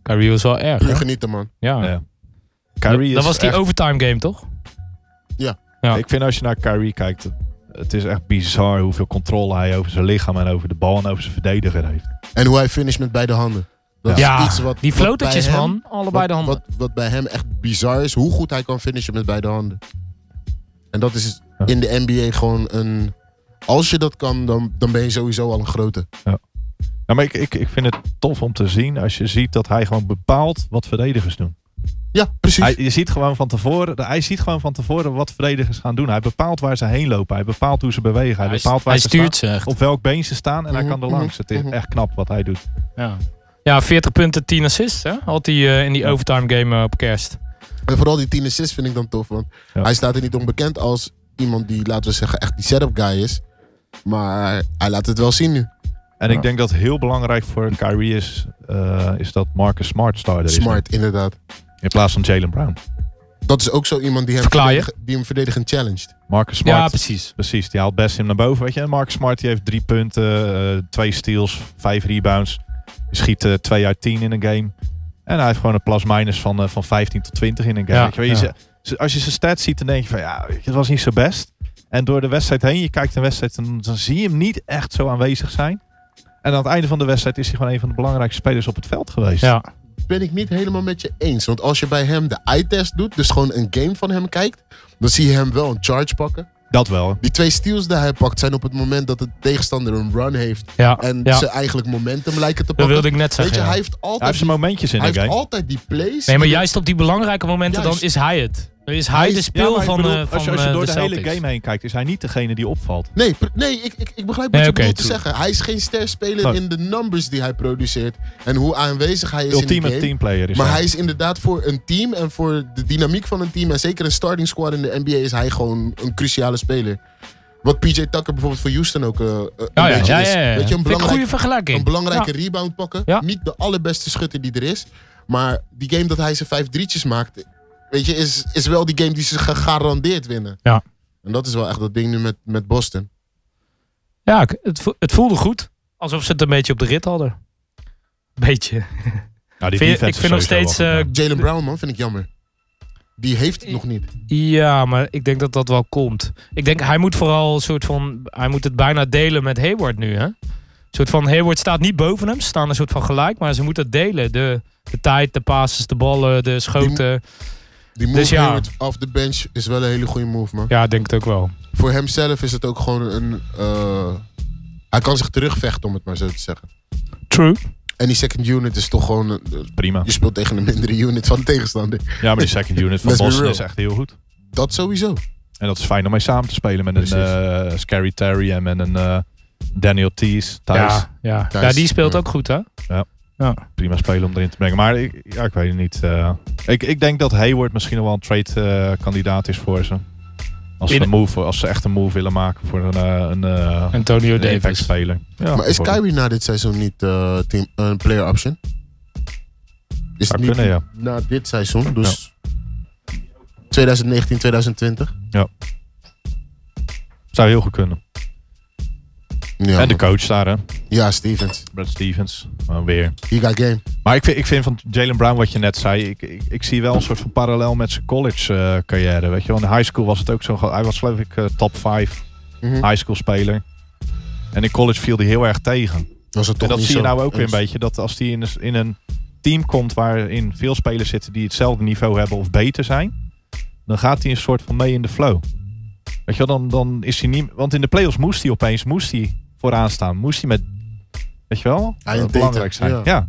[SPEAKER 4] Kyrie was wel erg,
[SPEAKER 5] Nu
[SPEAKER 4] hè?
[SPEAKER 5] genieten, man.
[SPEAKER 4] Ja.
[SPEAKER 6] Ja. Kyrie
[SPEAKER 4] dat
[SPEAKER 6] is
[SPEAKER 4] was die
[SPEAKER 6] echt-
[SPEAKER 4] overtime game, toch? Ja.
[SPEAKER 6] Ik vind als je naar Kyrie kijkt, het- het is echt bizar hoeveel controle hij over zijn lichaam en over de bal en over zijn verdediger heeft.
[SPEAKER 5] En hoe hij finisht met beide handen. Dat
[SPEAKER 4] Ja,
[SPEAKER 5] is iets wat,
[SPEAKER 4] die
[SPEAKER 5] wat bij
[SPEAKER 4] flotertjes,
[SPEAKER 5] hem-
[SPEAKER 4] man. Allebei de handen.
[SPEAKER 5] Wat, wat bij hem echt bizar is, hoe goed hij kan finishen met beide handen. En dat is
[SPEAKER 6] Ja.
[SPEAKER 5] in de NBA gewoon een. Als je dat kan, dan, dan ben je sowieso al een grote.
[SPEAKER 6] Ja, maar ik, ik, ik vind het tof om te zien als je ziet dat hij gewoon bepaalt wat verdedigers doen.
[SPEAKER 5] Ja, precies.
[SPEAKER 6] Hij, je ziet gewoon van tevoren, hij ziet gewoon van tevoren wat verdedigers gaan doen. Hij bepaalt waar ze heen lopen. Hij bepaalt hoe ze bewegen. Hij,
[SPEAKER 4] Hij,
[SPEAKER 6] bepaalt waar
[SPEAKER 4] hij
[SPEAKER 6] ze
[SPEAKER 4] stuurt
[SPEAKER 6] staan,
[SPEAKER 4] ze echt.
[SPEAKER 6] op welk been ze staan en hij kan er
[SPEAKER 5] Mhm,
[SPEAKER 6] langs. Het is
[SPEAKER 5] mhm.
[SPEAKER 6] echt knap wat hij doet.
[SPEAKER 4] Ja. ja, 40 punten, 10 assists. Hè? Had hij eh, in die overtime game eh, op kerst.
[SPEAKER 5] En vooral die 10 assists vind ik dan tof. Want
[SPEAKER 6] Ja.
[SPEAKER 5] hij staat er niet onbekend als iemand die, laten we zeggen, echt die setup guy is. Maar hij laat het wel zien nu.
[SPEAKER 6] En
[SPEAKER 5] Ja.
[SPEAKER 6] ik denk dat heel belangrijk voor Kyrie is, eh, is dat Marcus Smart starter is.
[SPEAKER 5] Smart, inderdaad.
[SPEAKER 6] In plaats van Jalen Brown.
[SPEAKER 5] Dat is ook zo iemand die hem,
[SPEAKER 4] Verklaar je?
[SPEAKER 5] verdedigen- die hem verdedigend challenged.
[SPEAKER 6] Marcus Smart.
[SPEAKER 4] Ja, precies.
[SPEAKER 6] Precies, die haalt best hem naar boven. Weet je. En Mark Smart die heeft drie punten, eh, twee steals, vijf rebounds. Je schiet eh, twee uit tien in een game. En hij heeft gewoon een plus-minus van, eh, van 15 tot 20 in een game.
[SPEAKER 4] Ja,
[SPEAKER 6] weet je. wel. Je
[SPEAKER 4] ja.
[SPEAKER 6] ze- ze- als je zijn stats ziet, dan denk je van ja, weet je, het was niet zo best. En door de wedstrijd heen, je kijkt de wedstrijd, dan, dan zie je hem niet echt zo aanwezig zijn. En aan het einde van de wedstrijd is hij gewoon een van de belangrijkste spelers op het veld geweest.
[SPEAKER 4] Ja.
[SPEAKER 5] ben ik niet helemaal met je eens. Want als je bij hem de eye-test doet, dus gewoon een game van hem kijkt, dan zie je hem wel een charge pakken.
[SPEAKER 6] Dat wel.
[SPEAKER 5] Die twee steals die hij pakt zijn op het moment dat de tegenstander een run heeft.
[SPEAKER 4] Ja,
[SPEAKER 5] En
[SPEAKER 4] ja.
[SPEAKER 5] ze eigenlijk momentum lijken te
[SPEAKER 4] dat
[SPEAKER 5] pakken.
[SPEAKER 4] wilde ik net
[SPEAKER 5] Weet
[SPEAKER 4] zeggen.
[SPEAKER 5] je,
[SPEAKER 4] ja.
[SPEAKER 5] hij heeft
[SPEAKER 6] Hij
[SPEAKER 5] altijd,
[SPEAKER 6] heeft zijn momentjes in
[SPEAKER 5] hij
[SPEAKER 6] de
[SPEAKER 5] heeft
[SPEAKER 6] game.
[SPEAKER 5] altijd die plays.
[SPEAKER 4] Nee, maar
[SPEAKER 5] die-
[SPEAKER 4] juist op die belangrijke momenten
[SPEAKER 5] Juist.
[SPEAKER 4] dan is hij het. Dan is hij
[SPEAKER 5] Hij is-
[SPEAKER 4] de
[SPEAKER 6] Ja,
[SPEAKER 4] speel
[SPEAKER 6] maar ik
[SPEAKER 4] van,
[SPEAKER 6] bedoel,
[SPEAKER 4] eh,
[SPEAKER 6] als je,
[SPEAKER 4] van
[SPEAKER 6] als je
[SPEAKER 4] eh,
[SPEAKER 6] door
[SPEAKER 4] de,
[SPEAKER 6] de, hele
[SPEAKER 4] Celtics.
[SPEAKER 6] game heen kijkt, is hij niet degene die opvalt.
[SPEAKER 5] Nee, pr- nee ik, ik, ik begrijp wat
[SPEAKER 4] Nee,
[SPEAKER 5] je
[SPEAKER 4] oké,
[SPEAKER 5] bedoelt te
[SPEAKER 4] true. Oh.
[SPEAKER 5] zeggen. Hij is geen sterspeler
[SPEAKER 6] Nee.
[SPEAKER 5] in de numbers die hij produceert. En hoe aanwezig hij is in de
[SPEAKER 6] Ultieme
[SPEAKER 5] game.
[SPEAKER 6] teamplayer is
[SPEAKER 5] Maar
[SPEAKER 6] hij.
[SPEAKER 5] hij is inderdaad voor een team en voor de dynamiek van een team. En zeker een starting squad in de NBA is hij gewoon een cruciale speler. Wat PJ Tucker bijvoorbeeld voor Houston ook eh, een
[SPEAKER 4] Ja, ja,
[SPEAKER 5] beetje
[SPEAKER 4] ja,
[SPEAKER 5] is.
[SPEAKER 4] ja, ja.
[SPEAKER 5] Weet je, een
[SPEAKER 4] Vind ik een goede
[SPEAKER 5] belangrijke,
[SPEAKER 4] vergelijking.
[SPEAKER 5] een belangrijke
[SPEAKER 4] Ja.
[SPEAKER 5] rebound pakken.
[SPEAKER 4] Ja.
[SPEAKER 5] Niet de allerbeste schutter die er is. Maar die game dat hij zijn vijf drietjes maakt, weet je, is, is wel die game die ze gegarandeerd winnen.
[SPEAKER 4] Ja.
[SPEAKER 5] En dat is wel echt dat ding nu met, met Boston.
[SPEAKER 4] Ja, ik- het, vo- het voelde goed. Alsof ze het een beetje op de rit hadden. Beetje.
[SPEAKER 6] Nou,
[SPEAKER 4] Vind je-
[SPEAKER 6] die defense
[SPEAKER 4] ik
[SPEAKER 6] is
[SPEAKER 4] vind nog
[SPEAKER 6] sowieso
[SPEAKER 4] steeds...
[SPEAKER 6] wel goed,
[SPEAKER 4] eh,
[SPEAKER 6] ja.
[SPEAKER 5] Jalen Brown, man, vind ik jammer. Die heeft het nog niet.
[SPEAKER 4] ja, maar ik denk dat dat wel komt. Ik denk, hij moet vooral een soort van... Hij moet het bijna delen met Hayward nu, hè? Een soort van, Hayward staat niet boven hem. Ze staan een soort van gelijk, maar ze moeten het delen. De, de tijd, de passes, de ballen, de schoten.
[SPEAKER 5] Die move
[SPEAKER 4] Dus ja.
[SPEAKER 5] Hayward off the bench is wel een hele goede move, man.
[SPEAKER 4] Ja, ik denk het ook wel.
[SPEAKER 5] voor hemzelf is het ook gewoon een. eh, hij kan zich terugvechten, om het maar zo te zeggen.
[SPEAKER 4] True.
[SPEAKER 5] En die second unit is toch gewoon. eh,
[SPEAKER 6] Prima.
[SPEAKER 5] je speelt tegen een mindere unit van de tegenstander.
[SPEAKER 6] Ja, maar die second unit van
[SPEAKER 5] Let's be
[SPEAKER 6] Boston
[SPEAKER 5] real.
[SPEAKER 6] is echt heel goed.
[SPEAKER 5] Dat sowieso.
[SPEAKER 6] En dat is fijn om mee samen te spelen met een eh Scary Terry en met een eh, Daniel Tees. Thijs,
[SPEAKER 4] Ja, ja.
[SPEAKER 5] Thijs,
[SPEAKER 4] ja, die speelt
[SPEAKER 5] ja.
[SPEAKER 4] ook goed, hè?
[SPEAKER 6] prima spelen om erin te brengen. Maar ik, ja, ik weet het niet. eh. ik, ik denk dat Hayward misschien nog wel een trade-kandidaat is voor ze. Als ze,
[SPEAKER 4] In-
[SPEAKER 6] een move, als ze echt een move willen maken voor een, eh, een, eh,
[SPEAKER 4] Antonio
[SPEAKER 6] een
[SPEAKER 4] Davis.
[SPEAKER 6] impact-speler. Ja,
[SPEAKER 5] maar is
[SPEAKER 6] bijvoorbeeld.
[SPEAKER 5] Kyrie na dit seizoen niet eh, team, een player option? Is
[SPEAKER 6] Zou
[SPEAKER 5] het niet
[SPEAKER 6] kunnen, ja.
[SPEAKER 5] na dit seizoen? Dus 2019, 2020?
[SPEAKER 6] Zou heel goed kunnen.
[SPEAKER 5] Ja,
[SPEAKER 6] en de
[SPEAKER 5] man.
[SPEAKER 6] coach daar, hè.
[SPEAKER 5] ja Stevens.
[SPEAKER 6] Brad Stevens. Maar weer.
[SPEAKER 5] He got game.
[SPEAKER 6] Maar ik vind, ik vind van Jalen Brown, wat je net zei, ik, ik, ik zie wel een soort van parallel met zijn college eh, carrière. Weet je wel, in de high school was het ook zo. ge- Hij was geloof ik eh, top 5
[SPEAKER 5] Mhm.
[SPEAKER 6] high school speler. En in college viel hij heel erg tegen.
[SPEAKER 5] Was het toch
[SPEAKER 6] en dat
[SPEAKER 5] niet
[SPEAKER 6] zie je
[SPEAKER 5] zo.
[SPEAKER 6] nou ook weer een
[SPEAKER 5] Dus-
[SPEAKER 6] beetje. Dat als die in een, in een team komt waarin veel spelers zitten die hetzelfde niveau hebben of beter zijn. Dan gaat hij een soort van mee in de flow. Weet je wel, dan, dan is hij niet... Want in de playoffs moest hij opeens moest hij vooraan staan. Moest hij met... Weet je wel?
[SPEAKER 5] Hij en
[SPEAKER 6] eh, belangrijk
[SPEAKER 5] Tatum,
[SPEAKER 6] zijn. Ja.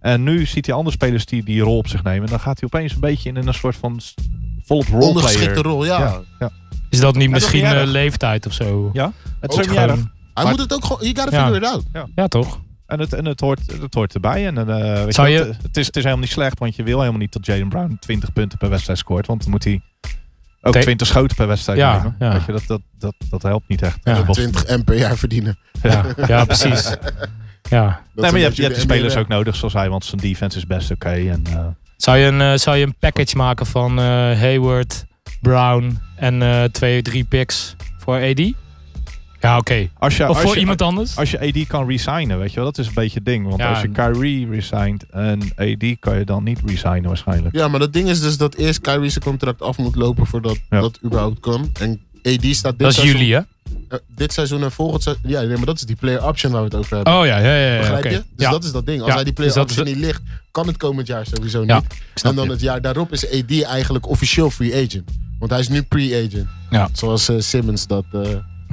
[SPEAKER 6] En nu ziet hij andere spelers die die rol op zich nemen. Dan gaat hij opeens een beetje in een soort van s- volop
[SPEAKER 5] Ondergeschikte
[SPEAKER 6] roleplayer.
[SPEAKER 5] rol, ja.
[SPEAKER 6] Ja. ja.
[SPEAKER 4] Is dat niet
[SPEAKER 6] is toch
[SPEAKER 4] misschien
[SPEAKER 6] niet
[SPEAKER 4] eh,
[SPEAKER 6] erg?
[SPEAKER 4] leeftijd of zo?
[SPEAKER 6] Ja, het is
[SPEAKER 5] Ook
[SPEAKER 6] ook niet erg.
[SPEAKER 5] Hij
[SPEAKER 6] Maar-
[SPEAKER 5] moet het ook gewoon... You gotta
[SPEAKER 4] Ja.
[SPEAKER 5] figure it out.
[SPEAKER 4] Ja, toch?
[SPEAKER 6] En het, en het, hoort, het hoort erbij. En, eh, weet
[SPEAKER 4] Zou
[SPEAKER 6] je,
[SPEAKER 4] je-
[SPEAKER 6] wat, het, is, het is helemaal niet slecht, want je wil helemaal niet dat Jaden Brown 20 punten per wedstrijd scoort. Want dan moet hij ook
[SPEAKER 4] Te-
[SPEAKER 6] 20 schoten per wedstrijd
[SPEAKER 4] Ja,
[SPEAKER 6] nemen.
[SPEAKER 4] ja.
[SPEAKER 6] Weet je, dat, dat, dat, dat helpt niet echt.
[SPEAKER 4] Ja.
[SPEAKER 6] Dat was-
[SPEAKER 5] 20 M per jaar verdienen. Dat
[SPEAKER 4] Ja, ja precies. Ja.
[SPEAKER 6] nee,
[SPEAKER 5] is
[SPEAKER 6] maar
[SPEAKER 5] een
[SPEAKER 6] je hebt,
[SPEAKER 5] beetje
[SPEAKER 6] je hebt
[SPEAKER 5] de
[SPEAKER 6] die spelers
[SPEAKER 5] NBA.
[SPEAKER 6] ook nodig zoals hij, want zijn defense is best oké. en, eh,
[SPEAKER 4] Zou je een, eh, zou je een package maken van eh, Hayward, Brown en eh, twee, drie picks voor AD? Ja, oké.
[SPEAKER 6] als je,
[SPEAKER 4] Of
[SPEAKER 6] als
[SPEAKER 4] voor
[SPEAKER 6] je,
[SPEAKER 4] iemand anders?
[SPEAKER 6] Als je AD kan resignen, weet je wel, dat is een beetje het ding. Want
[SPEAKER 4] Ja,
[SPEAKER 6] als je
[SPEAKER 4] en-
[SPEAKER 6] Kyrie resignt en AD kan je dan niet resignen waarschijnlijk.
[SPEAKER 5] Ja, maar dat ding is dus dat eerst Kyrie zijn contract af moet lopen voordat
[SPEAKER 6] Ja.
[SPEAKER 5] dat überhaupt kan. En AD staat dit
[SPEAKER 4] Dat is
[SPEAKER 5] seizoen...
[SPEAKER 4] jullie, hè?
[SPEAKER 5] eh, dit seizoen en volgend seizoen... Ja, nee, maar dat is die player option waar we het over hebben.
[SPEAKER 4] Oh ja, ja, ja. ja
[SPEAKER 5] Begrijp
[SPEAKER 4] oké.
[SPEAKER 5] je? Dus
[SPEAKER 4] ja.
[SPEAKER 5] dat is dat ding. Als
[SPEAKER 4] Ja,
[SPEAKER 5] hij die
[SPEAKER 4] dus
[SPEAKER 5] player
[SPEAKER 4] dat
[SPEAKER 5] option
[SPEAKER 4] is-
[SPEAKER 5] niet ligt, kan het komend jaar sowieso
[SPEAKER 4] Ja,
[SPEAKER 5] niet.
[SPEAKER 4] ik snap
[SPEAKER 5] En dan
[SPEAKER 4] je.
[SPEAKER 5] het jaar daarop is AD eigenlijk officieel free agent. Want hij is nu pre-agent.
[SPEAKER 4] Ja.
[SPEAKER 5] Zoals eh, Simmons dat eh,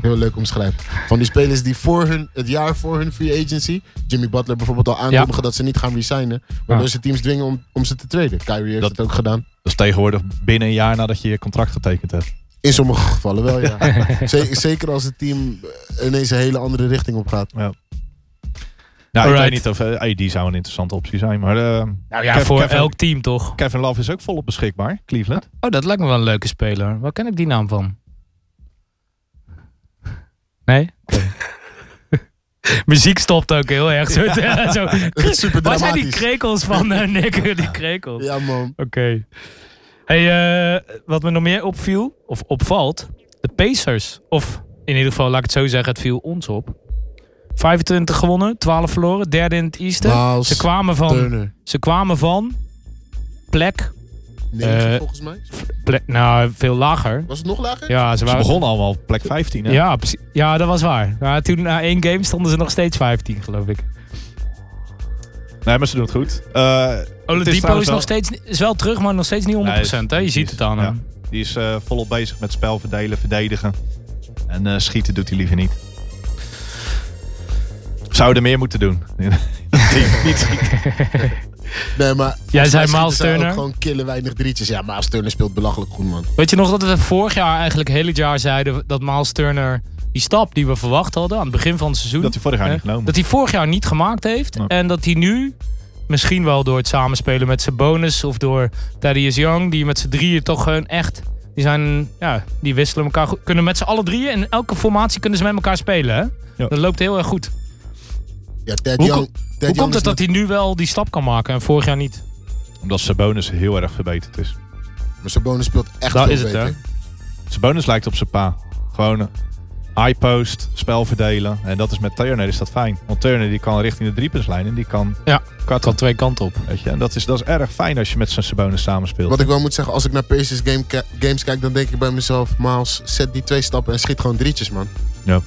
[SPEAKER 5] heel leuk omschrijft. Van die spelers die voor hun, het jaar voor hun free agency, Jimmy Butler bijvoorbeeld al aankondigen dat ze niet gaan resignen. Waardoor
[SPEAKER 4] Ja.
[SPEAKER 5] ze teams dwingen om, om ze te traden. Kyrie heeft
[SPEAKER 6] Dat-
[SPEAKER 5] het ook gedaan.
[SPEAKER 6] Dat is tegenwoordig binnen een jaar nadat je je contract getekend hebt.
[SPEAKER 5] In sommige gevallen wel, ja. Ze- Zeker als het team eh, ineens een hele andere richting op gaat.
[SPEAKER 6] Nou, ik
[SPEAKER 4] Alright.
[SPEAKER 6] weet niet of eh, AD zou een interessante optie zijn, maar... eh,
[SPEAKER 4] Nou ja,
[SPEAKER 6] Kev-
[SPEAKER 4] voor
[SPEAKER 6] Kevin-
[SPEAKER 4] elk team toch?
[SPEAKER 6] Kevin Love is ook volop beschikbaar, Cleveland.
[SPEAKER 4] Oh, dat lijkt me wel een leuke speler. Waar ken ik die naam van? Nee? Muziek stopt ook heel erg. Zo, zo,
[SPEAKER 5] Super
[SPEAKER 4] waar zijn die
[SPEAKER 5] dramatisch.
[SPEAKER 4] krekels van, eh, Nick? Die krekels.
[SPEAKER 5] Ja, man.
[SPEAKER 4] Oké. Hey, eh, wat me nog meer opviel, of opvalt, de Pacers. Of in ieder geval, laat ik het zo zeggen, het viel ons op. 25 gewonnen, 12 verloren, derde in het Easter.
[SPEAKER 5] Miles
[SPEAKER 4] Ze kwamen van,
[SPEAKER 5] Turner.
[SPEAKER 4] ze kwamen van plek,
[SPEAKER 5] Negen,
[SPEAKER 4] Eh,
[SPEAKER 5] volgens mij.
[SPEAKER 4] plek, nou veel lager.
[SPEAKER 5] Was het nog lager?
[SPEAKER 4] Ja, ze
[SPEAKER 6] Ze
[SPEAKER 4] waren,
[SPEAKER 6] begonnen allemaal op plek 15. Hè?
[SPEAKER 4] ja, precies. ja, dat was waar. Maar toen na één game stonden ze nog steeds 15, geloof ik.
[SPEAKER 6] Nee, maar ze doen het goed. Eh, het
[SPEAKER 4] Oladipo is,
[SPEAKER 6] trouwens wel-
[SPEAKER 4] nog steeds, ni- is wel terug, maar nog steeds niet 100%. hè? Je
[SPEAKER 6] die
[SPEAKER 4] ziet
[SPEAKER 6] is-
[SPEAKER 4] het aan
[SPEAKER 6] ja.
[SPEAKER 4] hem.
[SPEAKER 6] Die is eh, volop bezig met spel verdelen, verdedigen. En eh, schieten doet hij liever niet. Zouden meer moeten doen. niet schieten.
[SPEAKER 5] Nee, maar volgens
[SPEAKER 4] Jij
[SPEAKER 5] mij
[SPEAKER 4] zei
[SPEAKER 5] schieten
[SPEAKER 4] Miles
[SPEAKER 5] zij ook
[SPEAKER 4] Turner?
[SPEAKER 5] gewoon killen weinig drietjes. Ja, Miles Turner speelt belachelijk goed, man.
[SPEAKER 4] Weet je nog dat we vorig jaar eigenlijk heel het jaar zeiden dat Miles Turner die stap die we verwacht hadden aan het begin van het seizoen,
[SPEAKER 6] Dat hij vorig jaar
[SPEAKER 4] hè,
[SPEAKER 6] niet genomen.
[SPEAKER 4] dat hij vorig jaar niet gemaakt heeft
[SPEAKER 6] Nee.
[SPEAKER 4] en dat hij nu misschien wel door het samenspelen met zijn bonus of door Thaddeus Young, die met z'n drieën toch gewoon echt, die zijn, ja, die wisselen elkaar goed, kunnen met z'n allen drieën in elke formatie kunnen ze met elkaar spelen. Hè?
[SPEAKER 6] Ja.
[SPEAKER 4] Dat loopt heel erg goed.
[SPEAKER 5] Ja, Ted
[SPEAKER 4] Hoe
[SPEAKER 5] Young.
[SPEAKER 4] kom-
[SPEAKER 5] Ted
[SPEAKER 4] Hoe
[SPEAKER 5] Young
[SPEAKER 4] komt
[SPEAKER 5] is
[SPEAKER 4] het dat hij nu wel die stap kan maken en vorig jaar niet?
[SPEAKER 6] Omdat zijn bonus heel erg verbeterd is.
[SPEAKER 5] nog- Maar Sabonis speelt echt
[SPEAKER 4] Daar
[SPEAKER 5] veel
[SPEAKER 4] Nou is het,
[SPEAKER 5] beter.
[SPEAKER 4] hè?
[SPEAKER 6] Zijn bonus lijkt op zijn pa. Gewoon eh, high post, spel verdelen. En dat is met Turner is dat fijn. Want Turner die kan richting de driepuntslijn en die kan
[SPEAKER 4] Ja,
[SPEAKER 6] katten.
[SPEAKER 4] kan twee kanten op.
[SPEAKER 6] Weet je, en dat is, dat is erg fijn als je met zijn Sabonis samenspeelt.
[SPEAKER 5] Wat ik wel moet zeggen, als ik naar Pacers game ki- games kijk, dan denk ik bij mezelf... Miles, zet die twee stappen en schiet gewoon drietjes, man.
[SPEAKER 6] Ja.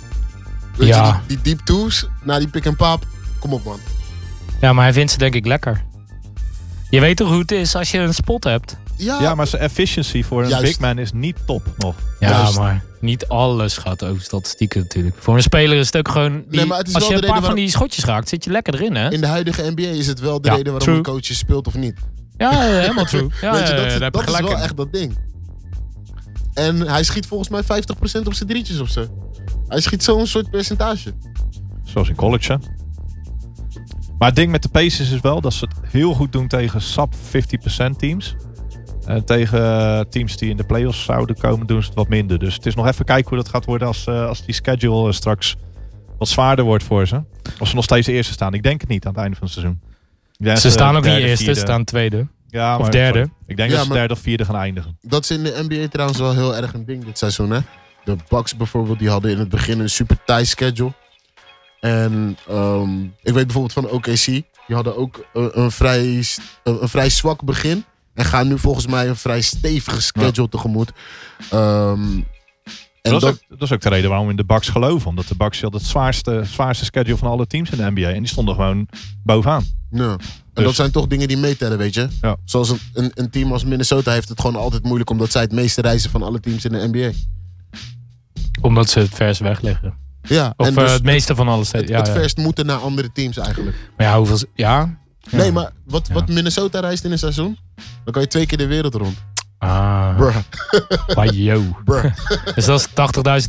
[SPEAKER 5] Weet
[SPEAKER 4] Ja.
[SPEAKER 5] je, die, die deep twos, na die pick and pop. Kom op, man.
[SPEAKER 4] Ja, maar hij vindt ze denk ik lekker. Je weet toch hoe het is als je een spot hebt?
[SPEAKER 5] Ja,
[SPEAKER 6] Ja, maar zijn efficiency voor een
[SPEAKER 5] Juist.
[SPEAKER 6] big man is niet top nog.
[SPEAKER 4] Ja,
[SPEAKER 5] Juist.
[SPEAKER 4] maar niet alles gaat over statistieken natuurlijk. Voor een speler is het ook gewoon... Die,
[SPEAKER 5] Nee, maar het is
[SPEAKER 4] als
[SPEAKER 5] wel
[SPEAKER 4] je een
[SPEAKER 5] de
[SPEAKER 4] paar
[SPEAKER 5] reden
[SPEAKER 4] van die schotjes raakt, zit je lekker erin, hè?
[SPEAKER 5] in de huidige NBA is het wel de
[SPEAKER 4] Ja,
[SPEAKER 5] reden waarom
[SPEAKER 4] true.
[SPEAKER 5] een coach je speelt of niet.
[SPEAKER 4] Ja, ja, helemaal true. Ja,
[SPEAKER 5] Weet je, dat,
[SPEAKER 4] ja, ja,
[SPEAKER 5] is-
[SPEAKER 4] daar heb je
[SPEAKER 5] dat is
[SPEAKER 4] gelijk
[SPEAKER 5] wel
[SPEAKER 4] in.
[SPEAKER 5] echt dat ding. En hij schiet volgens mij 50% op zijn drietjes of zo. Hij schiet zo'n soort percentage.
[SPEAKER 6] Zoals in college. hè. Maar het ding met de Pacers is wel dat ze het heel goed doen tegen sub 50% teams. Eh, tegen eh, teams die in de playoffs zouden komen doen ze het wat minder. Dus het is nog even kijken hoe dat gaat worden als, eh, als die schedule eh, straks wat zwaarder wordt voor ze. Of ze nog steeds eerste staan. Ik denk het niet aan het einde van het seizoen. Ik denk dat
[SPEAKER 4] Ze staan ook niet
[SPEAKER 6] derde,
[SPEAKER 4] eerst, ze
[SPEAKER 6] vierde-
[SPEAKER 4] staan tweede.
[SPEAKER 6] ja, maar,
[SPEAKER 4] derde.
[SPEAKER 6] sorry. Ik denk
[SPEAKER 5] Ja,
[SPEAKER 6] dat ze
[SPEAKER 5] maar-
[SPEAKER 6] derde of vierde gaan eindigen.
[SPEAKER 5] Dat is in de NBA trouwens wel heel erg een ding dit seizoen. Hè? De Bucks bijvoorbeeld, die hadden in het begin een super tight schedule. En ehm, ik weet bijvoorbeeld van OKC, die hadden ook eh, een, vrij, s- eh, een, een vrij zwak begin. En gaan nu volgens mij een vrij stevige schedule tegemoet. Ehm, En
[SPEAKER 6] dat, is
[SPEAKER 5] dat,
[SPEAKER 6] ook, dat is ook de reden waarom we in de Bucks geloven. Omdat de Bucks hadden het zwaarste, zwaarste schedule van alle teams in de NBA. En die stonden gewoon bovenaan.
[SPEAKER 5] ja. en dat
[SPEAKER 6] Dus-
[SPEAKER 5] zijn toch dingen die meetellen, weet je?
[SPEAKER 6] Ja.
[SPEAKER 5] Zoals een, een, een team als Minnesota heeft het gewoon altijd moeilijk... omdat zij het meeste reizen van alle teams in de NBA.
[SPEAKER 4] Omdat ze het vers wegleggen.
[SPEAKER 5] Ja,
[SPEAKER 4] Of
[SPEAKER 5] en
[SPEAKER 4] eh,
[SPEAKER 5] dus
[SPEAKER 4] het meeste van alles.
[SPEAKER 5] het,
[SPEAKER 4] ja,
[SPEAKER 5] het
[SPEAKER 4] ja.
[SPEAKER 5] verst moeten naar andere teams eigenlijk.
[SPEAKER 4] Maar ja, hoeveel... Ja?
[SPEAKER 5] Nee, maar wat,
[SPEAKER 4] Ja.
[SPEAKER 5] wat Minnesota reist in een seizoen... dan kan je twee keer de wereld rond.
[SPEAKER 4] Ah,
[SPEAKER 5] Bruh,
[SPEAKER 4] maar yo.
[SPEAKER 5] bruh.
[SPEAKER 4] Dus dat is 80.000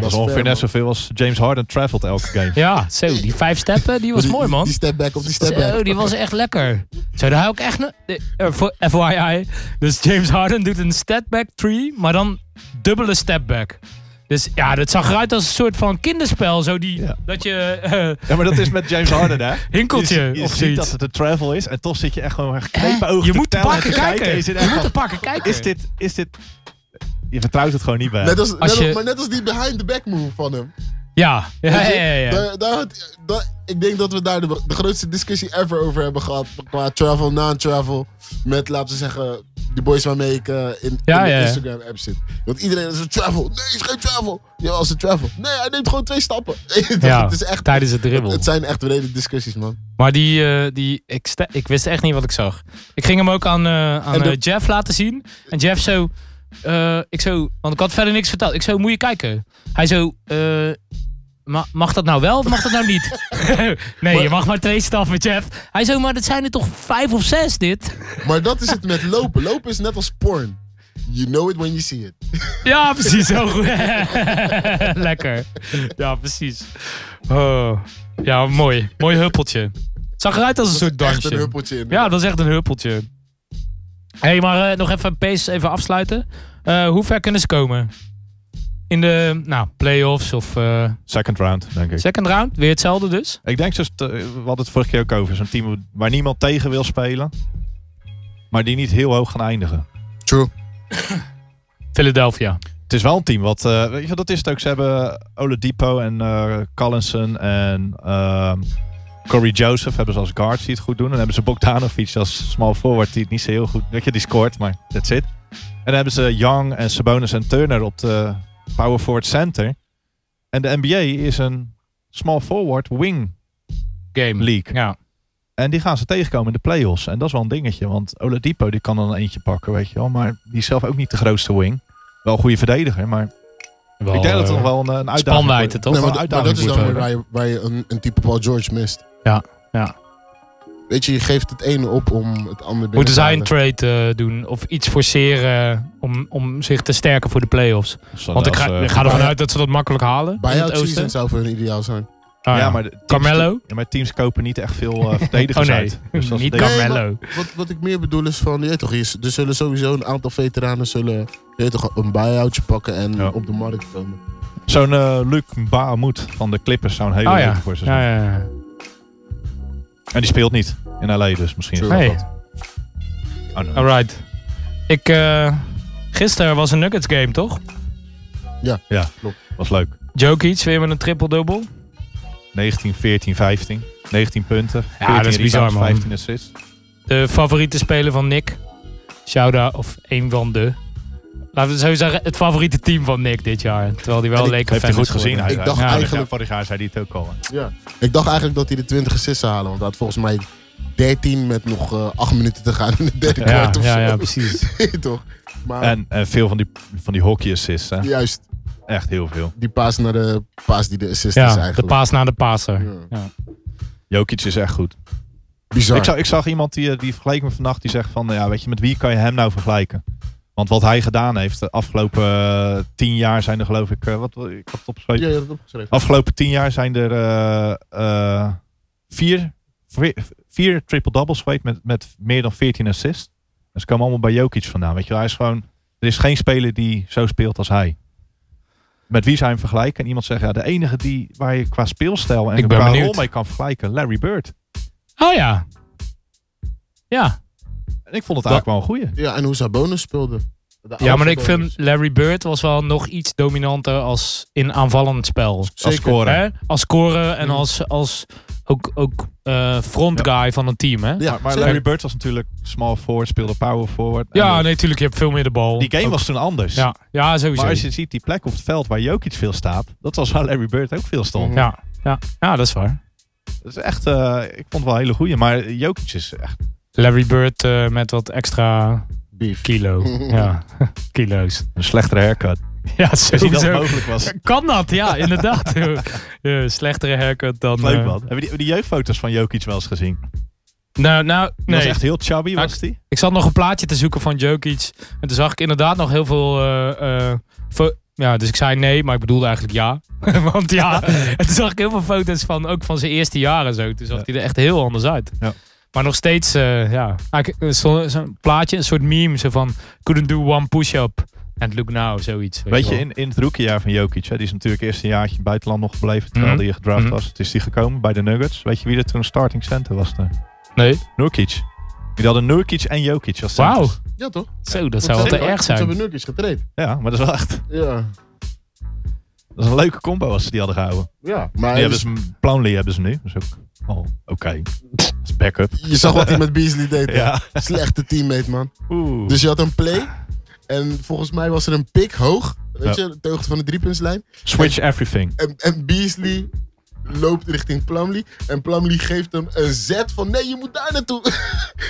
[SPEAKER 5] Dat
[SPEAKER 6] Dat
[SPEAKER 5] is
[SPEAKER 6] is
[SPEAKER 5] ver,
[SPEAKER 6] ongeveer
[SPEAKER 5] man.
[SPEAKER 6] net zoveel als James Harden travelt elke game.
[SPEAKER 4] Ja, zo, die vijf steppen, die was
[SPEAKER 5] Die-
[SPEAKER 4] mooi man.
[SPEAKER 5] Die step back op die step back.
[SPEAKER 4] Zo, die was echt lekker. Zo, daar hou ik echt... ne- de- eh, voor FYI, dus James Harden doet een stepback three, maar dan dubbele stepback. Dus ja, dat zag eruit als een soort van kinderspel. Zo die,
[SPEAKER 6] Ja.
[SPEAKER 4] dat je... eh,
[SPEAKER 6] Ja, maar dat is met James Harden, hè?
[SPEAKER 4] Hinkeltje,
[SPEAKER 6] Je, je
[SPEAKER 4] of
[SPEAKER 6] ziet
[SPEAKER 4] zoiets.
[SPEAKER 6] dat het een travel is en toch zit je echt gewoon met geknepen ogen
[SPEAKER 4] je
[SPEAKER 6] te
[SPEAKER 4] moet te
[SPEAKER 6] tellen en
[SPEAKER 4] pakken
[SPEAKER 6] te
[SPEAKER 4] kijken.
[SPEAKER 6] en je zit
[SPEAKER 4] Je
[SPEAKER 6] echt
[SPEAKER 4] moet
[SPEAKER 6] van,
[SPEAKER 4] te pakken kijken.
[SPEAKER 6] Is dit, is dit... Je vertrouwt het gewoon niet bij.
[SPEAKER 5] Net als, net als-
[SPEAKER 4] je-
[SPEAKER 5] maar net als die behind the back move van hem.
[SPEAKER 4] Ja, ja,
[SPEAKER 5] Weet je,
[SPEAKER 4] ja, ja, ja.
[SPEAKER 5] daar- daar had- daar- ik denk dat we daar de, de grootste discussie ever over hebben gehad. Qua travel, non-travel. Met, laten we zeggen, de boys waarmee ik eh, in,
[SPEAKER 4] Ja,
[SPEAKER 5] in de
[SPEAKER 4] ja, ja.
[SPEAKER 5] Instagram-app zit. Want iedereen is een travel. Nee, is geen travel. Ja, als een travel. Nee, hij neemt gewoon twee stappen.
[SPEAKER 4] Ja,
[SPEAKER 5] het, is echt,
[SPEAKER 4] tijdens het dribbel.
[SPEAKER 5] het zijn echt brede discussies, man.
[SPEAKER 4] Maar die, eh, die ik, sta- ik wist echt niet wat ik zag. Ik ging hem ook aan, eh, aan
[SPEAKER 5] En de-
[SPEAKER 4] eh, Jeff laten zien. En Jeff zo, eh, ik zo, want ik had verder niks verteld. Ik zo, moet je kijken. Hij zo, eh, ma- mag dat nou wel of mag dat nou niet? nee, je mag maar twee stappen, Jeff. Hij zo, maar dat zijn er toch vijf of zes dit?
[SPEAKER 5] Maar dat is het met lopen. Lopen is net als porn. You know it when you see it.
[SPEAKER 4] ja, precies. Heel goed. Lekker. Ja, precies. Oh. Ja, mooi. Mooi huppeltje. Zag eruit als een soort dansje.
[SPEAKER 5] Echt een huppeltje in.
[SPEAKER 4] Ja, dat is echt een huppeltje. Hé, hey, maar eh, nog even Pace even afsluiten. Eh, hoe ver kunnen ze komen? In de nou, playoffs of eh,
[SPEAKER 6] Second round, denk ik.
[SPEAKER 4] second round? Weer hetzelfde dus?
[SPEAKER 6] Ik denk, dus, te- we hadden het vorige keer ook over, zo'n team waar niemand tegen wil spelen. Maar die niet heel hoog gaan eindigen.
[SPEAKER 5] True.
[SPEAKER 4] Philadelphia.
[SPEAKER 6] Het is wel een team wat, eh, weet je, wat, dat is het ook. Ze hebben Oladipo en eh Collinson en ehm, Corey Joseph hebben ze als guards die het goed doen. En dan hebben ze Bogdanovic als small forward die het niet zo heel goed, weet je, die scoort, maar that's it. En dan hebben ze Young en Sabonis en Turner op de power forward center. En de NBA is een small forward wing
[SPEAKER 4] Game.
[SPEAKER 6] league.
[SPEAKER 4] Ja.
[SPEAKER 6] En die gaan ze tegenkomen in de playoffs. En dat is wel een dingetje, want Oladipo die kan dan eentje pakken, weet je wel. Maar die is zelf ook niet de grootste wing. Wel een goede verdediger, maar
[SPEAKER 4] Wel,
[SPEAKER 6] ik denk dat het
[SPEAKER 4] eh,
[SPEAKER 6] nog wel een, een uitdaging
[SPEAKER 4] Spanwijdte,
[SPEAKER 6] wordt.
[SPEAKER 4] toch?
[SPEAKER 5] Nee, maar,
[SPEAKER 6] een
[SPEAKER 5] dat- maar dat is
[SPEAKER 6] uitdaging
[SPEAKER 5] dan
[SPEAKER 6] moet
[SPEAKER 5] weer
[SPEAKER 6] worden.
[SPEAKER 5] waar je, waar je een, een type Paul George mist.
[SPEAKER 4] Ja, ja.
[SPEAKER 5] Weet je, je geeft het ene op om het andere binnen
[SPEAKER 4] Moeten
[SPEAKER 5] te
[SPEAKER 4] zij een
[SPEAKER 5] halen.
[SPEAKER 4] trade eh, doen of iets forceren om, om zich te sterken voor de playoffs?
[SPEAKER 6] Zodat
[SPEAKER 4] Want ik
[SPEAKER 6] als,
[SPEAKER 4] ga,
[SPEAKER 6] eh,
[SPEAKER 4] ik ga ervan
[SPEAKER 5] buy-
[SPEAKER 4] uit dat ze dat makkelijk halen. in
[SPEAKER 5] Buyout
[SPEAKER 4] het oosten.
[SPEAKER 5] season zou voor hun ideaal zijn.
[SPEAKER 4] Ah,
[SPEAKER 6] ja, maar de teams,
[SPEAKER 4] Carmelo?
[SPEAKER 6] Ja, maar teams kopen niet echt veel eh, verdedigers
[SPEAKER 4] Oh, nee.
[SPEAKER 6] uit. Dus dat is
[SPEAKER 4] Niet
[SPEAKER 6] het ding.
[SPEAKER 5] Nee,
[SPEAKER 4] Carmelo.
[SPEAKER 5] maar wat, wat ik meer bedoel is van, je weet toch, je- er zullen sowieso een aantal veteranen zullen, je weet toch, een buyoutje pakken en
[SPEAKER 6] Ja.
[SPEAKER 5] op de markt komen.
[SPEAKER 6] Zo'n eh, Luc Baamut van de Clippers zou een hele
[SPEAKER 4] Oh,
[SPEAKER 6] leuke
[SPEAKER 4] ja.
[SPEAKER 6] voor ze zijn.
[SPEAKER 4] Ja, ja, ja.
[SPEAKER 6] En die speelt niet in LA, dus misschien is dat
[SPEAKER 4] Hey.
[SPEAKER 6] wat. Oh, no.
[SPEAKER 4] Alright. Ik, eh, gisteren was een Nuggets game, toch?
[SPEAKER 6] was leuk.
[SPEAKER 4] Jokic weer met een triple-double.
[SPEAKER 6] 19, 14, 15. 19 punten. 14
[SPEAKER 4] dat is bizar, man.
[SPEAKER 6] rebounds, 15 assists.
[SPEAKER 4] De favoriete speler van Nick. Shouda, of een van de. Laten we zo zeggen, het favoriete team van Nick dit jaar. Terwijl hij wel
[SPEAKER 5] En ik-
[SPEAKER 4] leek
[SPEAKER 6] Heeft hij goed gezien.
[SPEAKER 5] Ik
[SPEAKER 6] hij-
[SPEAKER 5] dacht
[SPEAKER 6] hij-
[SPEAKER 5] eigenlijk-
[SPEAKER 6] Vorig jaar zei hij het ook al. hè.
[SPEAKER 5] Ja. Ik dacht eigenlijk dat hij de 20 assists zou halen, want hij had volgens mij 13 met nog eh 8 minuten te gaan in de derde
[SPEAKER 4] Ja,
[SPEAKER 5] kwart of
[SPEAKER 4] ja,
[SPEAKER 5] zo.
[SPEAKER 4] ja, precies.
[SPEAKER 5] Weet je toch? Maar
[SPEAKER 6] En, en veel van die, van die hockey assists. Hè.
[SPEAKER 5] juist,
[SPEAKER 6] Echt heel veel.
[SPEAKER 5] die paas naar de paas die de assist is
[SPEAKER 4] Ja,
[SPEAKER 5] eigenlijk.
[SPEAKER 4] de paas naar de paser.
[SPEAKER 5] Ja.
[SPEAKER 6] Jokic is echt goed.
[SPEAKER 5] Bizar.
[SPEAKER 6] Ik, zag, ik zag iemand die, eh, die vergeleek me vannacht. Die zegt van, ja, weet je, met wie kan je hem nou vergelijken? Want wat hij gedaan heeft, de afgelopen eh, tien jaar zijn er geloof ik... eh, wat, wat- ik had het opgeschreven.
[SPEAKER 5] Ja, je had het opgeschreven.
[SPEAKER 6] Afgelopen tien jaar zijn er eh, eh, vier, vier, vier triple-doubles geweest met, met meer dan 14 assists. En ze komen allemaal bij Jokic vandaan. Weet je, wel. hij is gewoon... Er is geen speler die zo speelt als hij. Met wie zijn hem vergelijken? En iemand zegt, ja, de enige die, waar je qua speelstijl en
[SPEAKER 4] Ik ben
[SPEAKER 6] qua
[SPEAKER 4] benieuwd.
[SPEAKER 6] rol mee kan vergelijken, Larry Bird.
[SPEAKER 4] Oh ja. Ja.
[SPEAKER 6] En ik vond het eigenlijk wel een goeie.
[SPEAKER 5] Ja, en hoe Sabonis speelde. De
[SPEAKER 4] ja, maar
[SPEAKER 5] oudste
[SPEAKER 4] ik
[SPEAKER 5] Sabonis.
[SPEAKER 4] vind Larry Bird was wel nog iets dominanter als in aanvallend spel.
[SPEAKER 5] Zeker.
[SPEAKER 6] Als scorer. Mhm.
[SPEAKER 4] Hè? Als scoren en
[SPEAKER 5] Mm.
[SPEAKER 4] als, als ook, ook eh, front guy van een team, hè?
[SPEAKER 5] Ja,
[SPEAKER 6] Maar, maar Larry Bird was natuurlijk small forward, speelde power forward. En,
[SPEAKER 4] Ja,
[SPEAKER 6] eh,
[SPEAKER 4] nee, natuurlijk. Je hebt veel meer de bal.
[SPEAKER 6] Die game
[SPEAKER 4] Ook-
[SPEAKER 6] was toen anders.
[SPEAKER 4] Ja, ja sowieso.
[SPEAKER 6] Maar als je ziet die plek op het veld waar Jokic veel staat, dat was waar Larry Bird ook veel stond.
[SPEAKER 4] ja, ja, ja, dat is waar.
[SPEAKER 6] Dat is echt, eh, ik vond het wel een hele goeie. Maar Jokic is echt
[SPEAKER 4] Larry Bird eh, met wat extra
[SPEAKER 5] Beef.
[SPEAKER 4] kilo. ja, kilo's.
[SPEAKER 6] een slechtere haircut.
[SPEAKER 4] Ja,
[SPEAKER 6] Als die dat
[SPEAKER 4] sowieso.
[SPEAKER 6] mogelijk was.
[SPEAKER 4] Kan dat? Ja, inderdaad. Eh, slechtere haircut dan...
[SPEAKER 6] Leuk
[SPEAKER 4] eh,
[SPEAKER 6] man. Hebben die, die jeugdfoto's van Jokic wel eens gezien? Die
[SPEAKER 4] Nou, nou,
[SPEAKER 6] was
[SPEAKER 4] nee.
[SPEAKER 6] echt heel chubby,
[SPEAKER 4] Nou,
[SPEAKER 6] was die?
[SPEAKER 4] Ik zat nog een plaatje te zoeken van Jokic. En toen zag ik inderdaad nog heel veel... eh, eh, fo- ja, dus ik zei nee, maar ik bedoelde eigenlijk ja. Want ja, en toen zag ik heel veel foto's van ook van zijn eerste jaren zo. Toen zag
[SPEAKER 6] Ja.
[SPEAKER 4] hij er echt heel anders uit.
[SPEAKER 6] Ja.
[SPEAKER 4] Maar nog steeds, eh, ja. Eigenlijk, eh, zo- Zo'n plaatje, een soort meme. Zo van, couldn't do one push-up. And look now, zoiets.
[SPEAKER 6] Weet je,
[SPEAKER 4] wel.
[SPEAKER 6] in, in het rookiejaar van Jokic, hè, die is natuurlijk eerst een jaartje in het buitenland nog gebleven, terwijl
[SPEAKER 4] Mhm.
[SPEAKER 6] hij gedraft
[SPEAKER 4] Mhm.
[SPEAKER 6] was. Het is die gekomen bij de Nuggets. Weet je wie er toen starting center was? De
[SPEAKER 4] Nee.
[SPEAKER 6] Nurkic. Die hadden Nurkic en Jokic als
[SPEAKER 4] Wauw.
[SPEAKER 6] centers.
[SPEAKER 5] Ja, toch?
[SPEAKER 4] Zo, dat zou wel te erg
[SPEAKER 5] Ze
[SPEAKER 4] zijn.
[SPEAKER 5] hebben nukjes getraind.
[SPEAKER 6] Ja, maar dat is wel echt
[SPEAKER 5] Ja.
[SPEAKER 6] dat is een leuke combo als ze die hadden gehouden.
[SPEAKER 5] ja. Maar
[SPEAKER 6] Die hebben ze, Plonley hebben ze nu. Dat is ook al oké. Dat is backup.
[SPEAKER 5] je zag wat hij met Beasley deed. hè?
[SPEAKER 6] Ja.
[SPEAKER 5] Slechte teammate, man.
[SPEAKER 6] Oeh.
[SPEAKER 5] Dus je had een play. En volgens mij was er een pick hoog. Weet
[SPEAKER 6] Ja.
[SPEAKER 5] je, de hoogte van de driepuntslijn.
[SPEAKER 6] Switch everything.
[SPEAKER 5] En, en Beasley loopt richting Plumlee. En Plumlee geeft hem een zet van nee, je moet daar naartoe.
[SPEAKER 6] Die,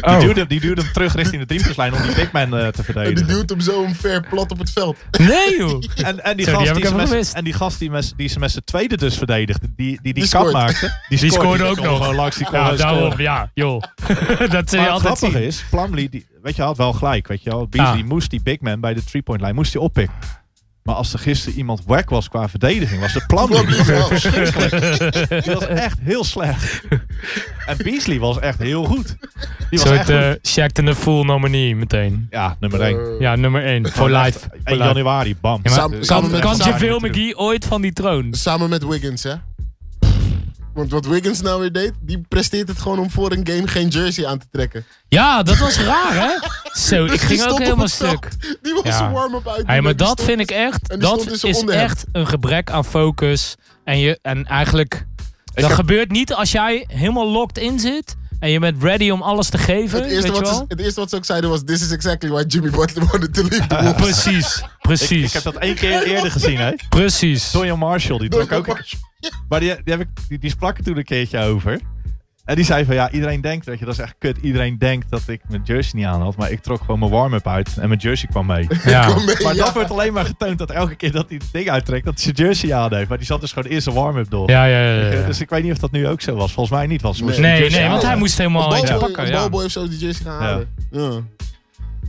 [SPEAKER 4] Oh.
[SPEAKER 6] duwde, hem- die duwde hem terug richting de driepuntslijn om die big man eh, te
[SPEAKER 5] En die
[SPEAKER 6] verdedigen.
[SPEAKER 5] duwt hem zo omver plat op het veld.
[SPEAKER 4] Nee, joh.
[SPEAKER 6] En, en die
[SPEAKER 4] Zo, die
[SPEAKER 6] gast
[SPEAKER 4] heb ik
[SPEAKER 6] die, ze
[SPEAKER 4] even
[SPEAKER 6] met-
[SPEAKER 4] gemist.
[SPEAKER 6] en die gast die, mes- die ze met z'n tweede dus verdedigde, die die, die,
[SPEAKER 5] Die
[SPEAKER 6] kap
[SPEAKER 5] scoort.
[SPEAKER 6] maakte, die,
[SPEAKER 4] Die scoorde
[SPEAKER 6] die
[SPEAKER 4] ook
[SPEAKER 6] kon
[SPEAKER 4] nog.
[SPEAKER 6] gewoon langs die kon
[SPEAKER 4] Ja,
[SPEAKER 6] gewoon
[SPEAKER 4] daarom.
[SPEAKER 6] scoren.
[SPEAKER 4] Ja, joh. dat zul je
[SPEAKER 6] Maar
[SPEAKER 4] altijd
[SPEAKER 6] het
[SPEAKER 4] zien.
[SPEAKER 6] grappige is, Plumlee, die, weet je, had wel gelijk, weet je wel. Beasley
[SPEAKER 4] Ah.
[SPEAKER 6] moest die big man bij de three-point lijn, moest die oppikken. Maar als er gisteren iemand wack was qua verdediging, was het Plumlee. Die was
[SPEAKER 5] Plumlee
[SPEAKER 6] echt
[SPEAKER 5] wel.
[SPEAKER 6] verschrikkelijk. Die was echt heel slecht. En Beasley was echt heel goed.
[SPEAKER 4] Een
[SPEAKER 6] Die was
[SPEAKER 4] soort
[SPEAKER 6] echt
[SPEAKER 4] eh
[SPEAKER 6] goed.
[SPEAKER 4] Shaq ten de full nominee meteen.
[SPEAKER 6] Ja, nummer 1.
[SPEAKER 5] Eh,
[SPEAKER 4] Ja, nummer 1. Voor life. Voor
[SPEAKER 6] 1
[SPEAKER 4] life.
[SPEAKER 6] januari, bam.
[SPEAKER 4] Ja, maar
[SPEAKER 5] Samen- samen
[SPEAKER 4] kan
[SPEAKER 5] met-
[SPEAKER 4] kan
[SPEAKER 5] samen
[SPEAKER 4] JaVale
[SPEAKER 6] met-
[SPEAKER 4] McGee ooit van die troon?
[SPEAKER 5] Samen met Wiggins, hè? Want wat Wiggins nou weer deed, die presteert het gewoon om voor een game geen jersey aan te trekken.
[SPEAKER 4] Ja, dat was raar, hè? Zo, ik
[SPEAKER 5] Die
[SPEAKER 4] ging
[SPEAKER 5] stond
[SPEAKER 4] ook
[SPEAKER 5] op
[SPEAKER 4] helemaal
[SPEAKER 5] het veld.
[SPEAKER 4] stuk.
[SPEAKER 5] Die was
[SPEAKER 4] Ja.
[SPEAKER 5] een warm-up uit.
[SPEAKER 4] Hey, maar
[SPEAKER 5] Die
[SPEAKER 4] dat
[SPEAKER 5] stond-
[SPEAKER 4] vind ik echt,
[SPEAKER 5] en die
[SPEAKER 4] dat
[SPEAKER 5] stond dus in zijn
[SPEAKER 4] is
[SPEAKER 5] onderhemd.
[SPEAKER 4] echt een gebrek aan focus. En, je, en eigenlijk, dat
[SPEAKER 6] heb-
[SPEAKER 4] gebeurt niet als jij helemaal locked in zit en je bent ready om alles te geven,
[SPEAKER 5] Het eerste,
[SPEAKER 4] weet je
[SPEAKER 5] wat ze,
[SPEAKER 4] wel?
[SPEAKER 5] het eerste wat ze ook zeiden was: This is exactly why Jimmy Butler wanted to leave the Wolves.
[SPEAKER 4] Precies,
[SPEAKER 6] Ik,
[SPEAKER 4] precies,
[SPEAKER 6] ik heb dat één keer eerder gezien, hè.
[SPEAKER 4] precies.
[SPEAKER 6] Doyle Marshall, die trok
[SPEAKER 5] Doyle
[SPEAKER 6] ook. Maar die, die, heb ik, die, die sprak er toen een keertje over. En die zei van ja, iedereen denkt dat je dat is echt kut. Iedereen denkt dat ik mijn jersey niet aan had. Maar ik trok gewoon mijn warm-up uit en mijn jersey kwam mee.
[SPEAKER 4] Ja.
[SPEAKER 5] Kom mee,
[SPEAKER 6] Maar
[SPEAKER 5] ja.
[SPEAKER 6] dat wordt alleen maar getoond dat elke keer dat hij het ding uittrekt, dat hij zijn jersey aan heeft. Maar die zat dus gewoon eerst een warm-up door.
[SPEAKER 4] Ja, ja, ja, ja, ja.
[SPEAKER 6] Dus ik weet niet of dat nu ook zo was. Volgens mij niet. Want ze moesten die
[SPEAKER 4] Nee,
[SPEAKER 6] jersey
[SPEAKER 4] nee, want
[SPEAKER 6] halen.
[SPEAKER 4] hij moest helemaal
[SPEAKER 5] Een
[SPEAKER 4] eentje
[SPEAKER 5] balboy-
[SPEAKER 4] pakken.
[SPEAKER 5] een
[SPEAKER 4] Ja.
[SPEAKER 5] balboy heeft zo die jersey gaan
[SPEAKER 6] Ja.
[SPEAKER 5] halen. Ja.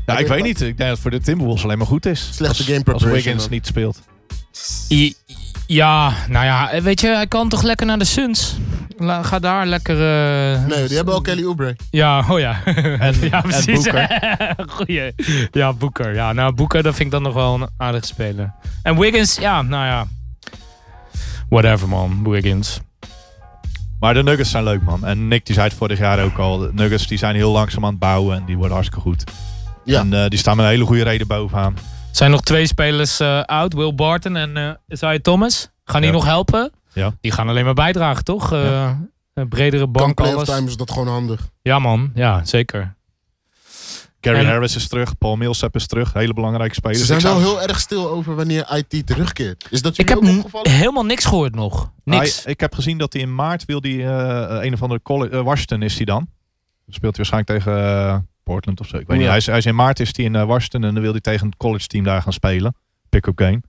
[SPEAKER 6] Ja, ik weet niet. Ik denk dat het voor de Timberwolves alleen maar goed is.
[SPEAKER 5] Slechte
[SPEAKER 6] Als-
[SPEAKER 5] game
[SPEAKER 6] Als
[SPEAKER 5] preparation
[SPEAKER 6] Wiggins
[SPEAKER 5] dan.
[SPEAKER 6] niet speelt.
[SPEAKER 4] I- Ja, nou ja, weet je, hij kan toch lekker naar de Suns? La- ga daar lekker... eh,
[SPEAKER 5] Nee, die hebben al Kelly Oubre.
[SPEAKER 4] Ja, oh ja. ja,
[SPEAKER 6] en
[SPEAKER 4] precies.
[SPEAKER 6] Booker.
[SPEAKER 4] Goeie. Ja, Boeker. Ja, nou, Boeker, dat vind ik dan nog wel een aardig speler. En Wiggins, ja, nou ja. Whatever, man. Wiggins.
[SPEAKER 6] Maar de Nuggets zijn leuk, man. En Nick die zei het vorig jaar ook al. De Nuggets die zijn heel langzaam aan het bouwen en die worden hartstikke goed.
[SPEAKER 5] Ja.
[SPEAKER 6] En eh, die staan met een hele goede reden bovenaan.
[SPEAKER 4] Er zijn nog twee spelers eh oud. Will Barton en eh Isaiah Thomas. Gaan die
[SPEAKER 6] Ja.
[SPEAKER 4] nog helpen?
[SPEAKER 6] Ja.
[SPEAKER 4] Die gaan alleen maar bijdragen, toch? Eh, een bredere
[SPEAKER 5] Kan
[SPEAKER 4] bank,
[SPEAKER 5] playoff
[SPEAKER 4] alles.
[SPEAKER 5] time is dat gewoon handig.
[SPEAKER 4] Ja, man. Ja, zeker.
[SPEAKER 6] Gary
[SPEAKER 4] En-
[SPEAKER 6] Harris is terug, Paul Millsap is terug. Hele belangrijke spelers.
[SPEAKER 5] Ze zijn
[SPEAKER 6] Ik
[SPEAKER 5] wel
[SPEAKER 6] zou-
[SPEAKER 5] heel erg stil over wanneer IT terugkeert. Is dat
[SPEAKER 4] Ik
[SPEAKER 5] jullie
[SPEAKER 4] heb
[SPEAKER 5] ook opgevallen?
[SPEAKER 4] helemaal niks gehoord nog. Niks.
[SPEAKER 6] Hij- ik heb gezien dat hij in maart wil die eh, een of andere college, eh, Washington is hij dan. Dan speelt hij waarschijnlijk tegen eh, Portland of zo. Ik weet
[SPEAKER 5] Ja.
[SPEAKER 6] niet. Hij is, hij is in maart is hij in eh, Washington en dan wil hij tegen het college team daar gaan spelen. Pick-up game.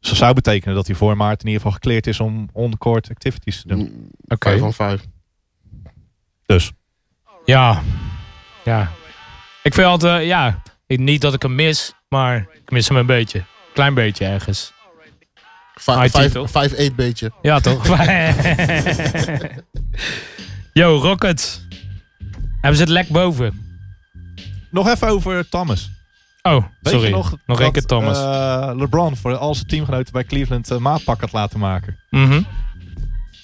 [SPEAKER 6] Dus dat zou betekenen dat hij voor maart in ieder geval gekleerd is om on-court activities te doen.
[SPEAKER 5] Mm.
[SPEAKER 4] Oké.
[SPEAKER 5] Vijf van vijf.
[SPEAKER 6] Dus.
[SPEAKER 4] Ja. Ja. Ik vind altijd, eh, ja, ik- niet dat ik hem mis, maar ik mis hem een beetje. Klein beetje ergens.
[SPEAKER 5] Vijf-
[SPEAKER 4] IT
[SPEAKER 5] vijf-
[SPEAKER 4] toch?
[SPEAKER 5] Vijf eet beetje.
[SPEAKER 4] Ja, toch? Yo, Rocket. Hebben ze het lek boven?
[SPEAKER 6] Nog even over Thomas.
[SPEAKER 4] Oh,
[SPEAKER 6] Weet
[SPEAKER 4] sorry.
[SPEAKER 6] je
[SPEAKER 4] Nog,
[SPEAKER 6] nog,
[SPEAKER 4] nog
[SPEAKER 6] dat,
[SPEAKER 4] één keer Thomas.
[SPEAKER 6] eh, LeBron voor al zijn teamgenoten bij Cleveland eh, maatpak had laten maken.
[SPEAKER 4] Mhm. Hij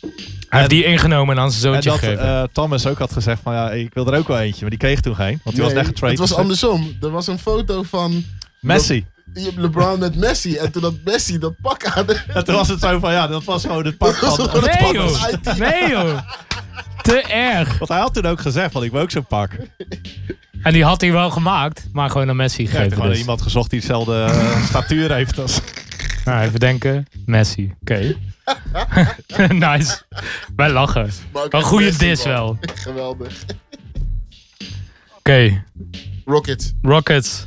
[SPEAKER 6] en-
[SPEAKER 4] heeft die ingenomen en aan zijn
[SPEAKER 6] En
[SPEAKER 4] zoontje
[SPEAKER 6] dat
[SPEAKER 4] gegeven.
[SPEAKER 6] eh, Thomas ook had gezegd van ja, ik wil er ook wel eentje. Maar die kreeg toen geen, want die was
[SPEAKER 5] Nee,
[SPEAKER 6] echt getraind.
[SPEAKER 5] Het was andersom. Er was een foto van
[SPEAKER 6] Messi.
[SPEAKER 5] Le- LeBron met Messi. En toen had Messi dat pak aan.
[SPEAKER 6] En toen was het zo van ja, dat was gewoon het
[SPEAKER 5] Dat
[SPEAKER 6] pak
[SPEAKER 5] was
[SPEAKER 6] van...
[SPEAKER 5] gewoon het
[SPEAKER 4] nee,
[SPEAKER 5] pak
[SPEAKER 4] joh.
[SPEAKER 5] van IT.
[SPEAKER 4] nee, joh. te erg.
[SPEAKER 6] Want hij had toen ook gezegd, van ik wil ook zo'n pak.
[SPEAKER 4] En die had hij wel gemaakt, maar gewoon aan Messi
[SPEAKER 6] Ik heb
[SPEAKER 4] gegeven.
[SPEAKER 6] gewoon
[SPEAKER 4] dus.
[SPEAKER 6] iemand gezocht die dezelfde eh, statuur heeft als...
[SPEAKER 4] Nou, even denken. Messi. Oké. nice. Wij lachen.
[SPEAKER 5] Maar ook
[SPEAKER 4] Wel
[SPEAKER 5] echt
[SPEAKER 4] goede
[SPEAKER 5] best,
[SPEAKER 4] dis
[SPEAKER 5] man.
[SPEAKER 4] wel.
[SPEAKER 5] Geweldig.
[SPEAKER 4] Oké,
[SPEAKER 5] Rocket.
[SPEAKER 4] Rockets.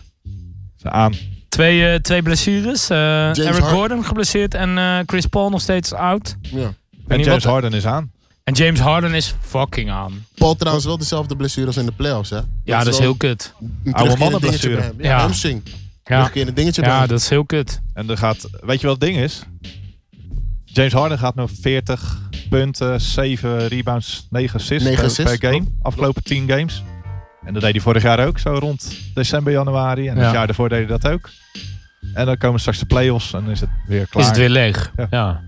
[SPEAKER 6] Aan.
[SPEAKER 4] Twee, eh, twee blessures. Eh, Eric
[SPEAKER 5] Harden.
[SPEAKER 4] Gordon geblesseerd en eh, Chris Paul nog steeds oud.
[SPEAKER 5] Ja.
[SPEAKER 6] En
[SPEAKER 4] niet
[SPEAKER 6] James
[SPEAKER 4] wat-
[SPEAKER 6] Harden is aan.
[SPEAKER 4] En James Harden is fucking aan.
[SPEAKER 5] Paul trouwens wel dezelfde blessure als in de playoffs, hè?
[SPEAKER 4] Ja, dat is
[SPEAKER 5] wel
[SPEAKER 4] heel kut.
[SPEAKER 5] een
[SPEAKER 6] oude
[SPEAKER 5] terugkerend
[SPEAKER 6] mannen
[SPEAKER 5] dingetje
[SPEAKER 6] blessure.
[SPEAKER 5] bij hem.
[SPEAKER 4] Ja.
[SPEAKER 5] Ja, hamstring.
[SPEAKER 4] Ja,
[SPEAKER 5] Terugkerend dingetje bij
[SPEAKER 4] ja
[SPEAKER 5] hem.
[SPEAKER 4] dat is heel kut.
[SPEAKER 6] En er gaat... Weet je wat het ding is? James Harden gaat nu 40 punten, 7 rebounds, 9 assists,
[SPEAKER 5] Negen
[SPEAKER 6] per-
[SPEAKER 5] assists,
[SPEAKER 6] per game. Afgelopen 10 games. En dat deed hij vorig jaar ook, zo rond december, januari. En
[SPEAKER 4] Ja.
[SPEAKER 6] het jaar daarvoor deed hij dat ook. En dan komen straks de playoffs en dan is het weer klaar.
[SPEAKER 4] Is het weer leeg. Ja.
[SPEAKER 6] Ja.
[SPEAKER 4] Ja,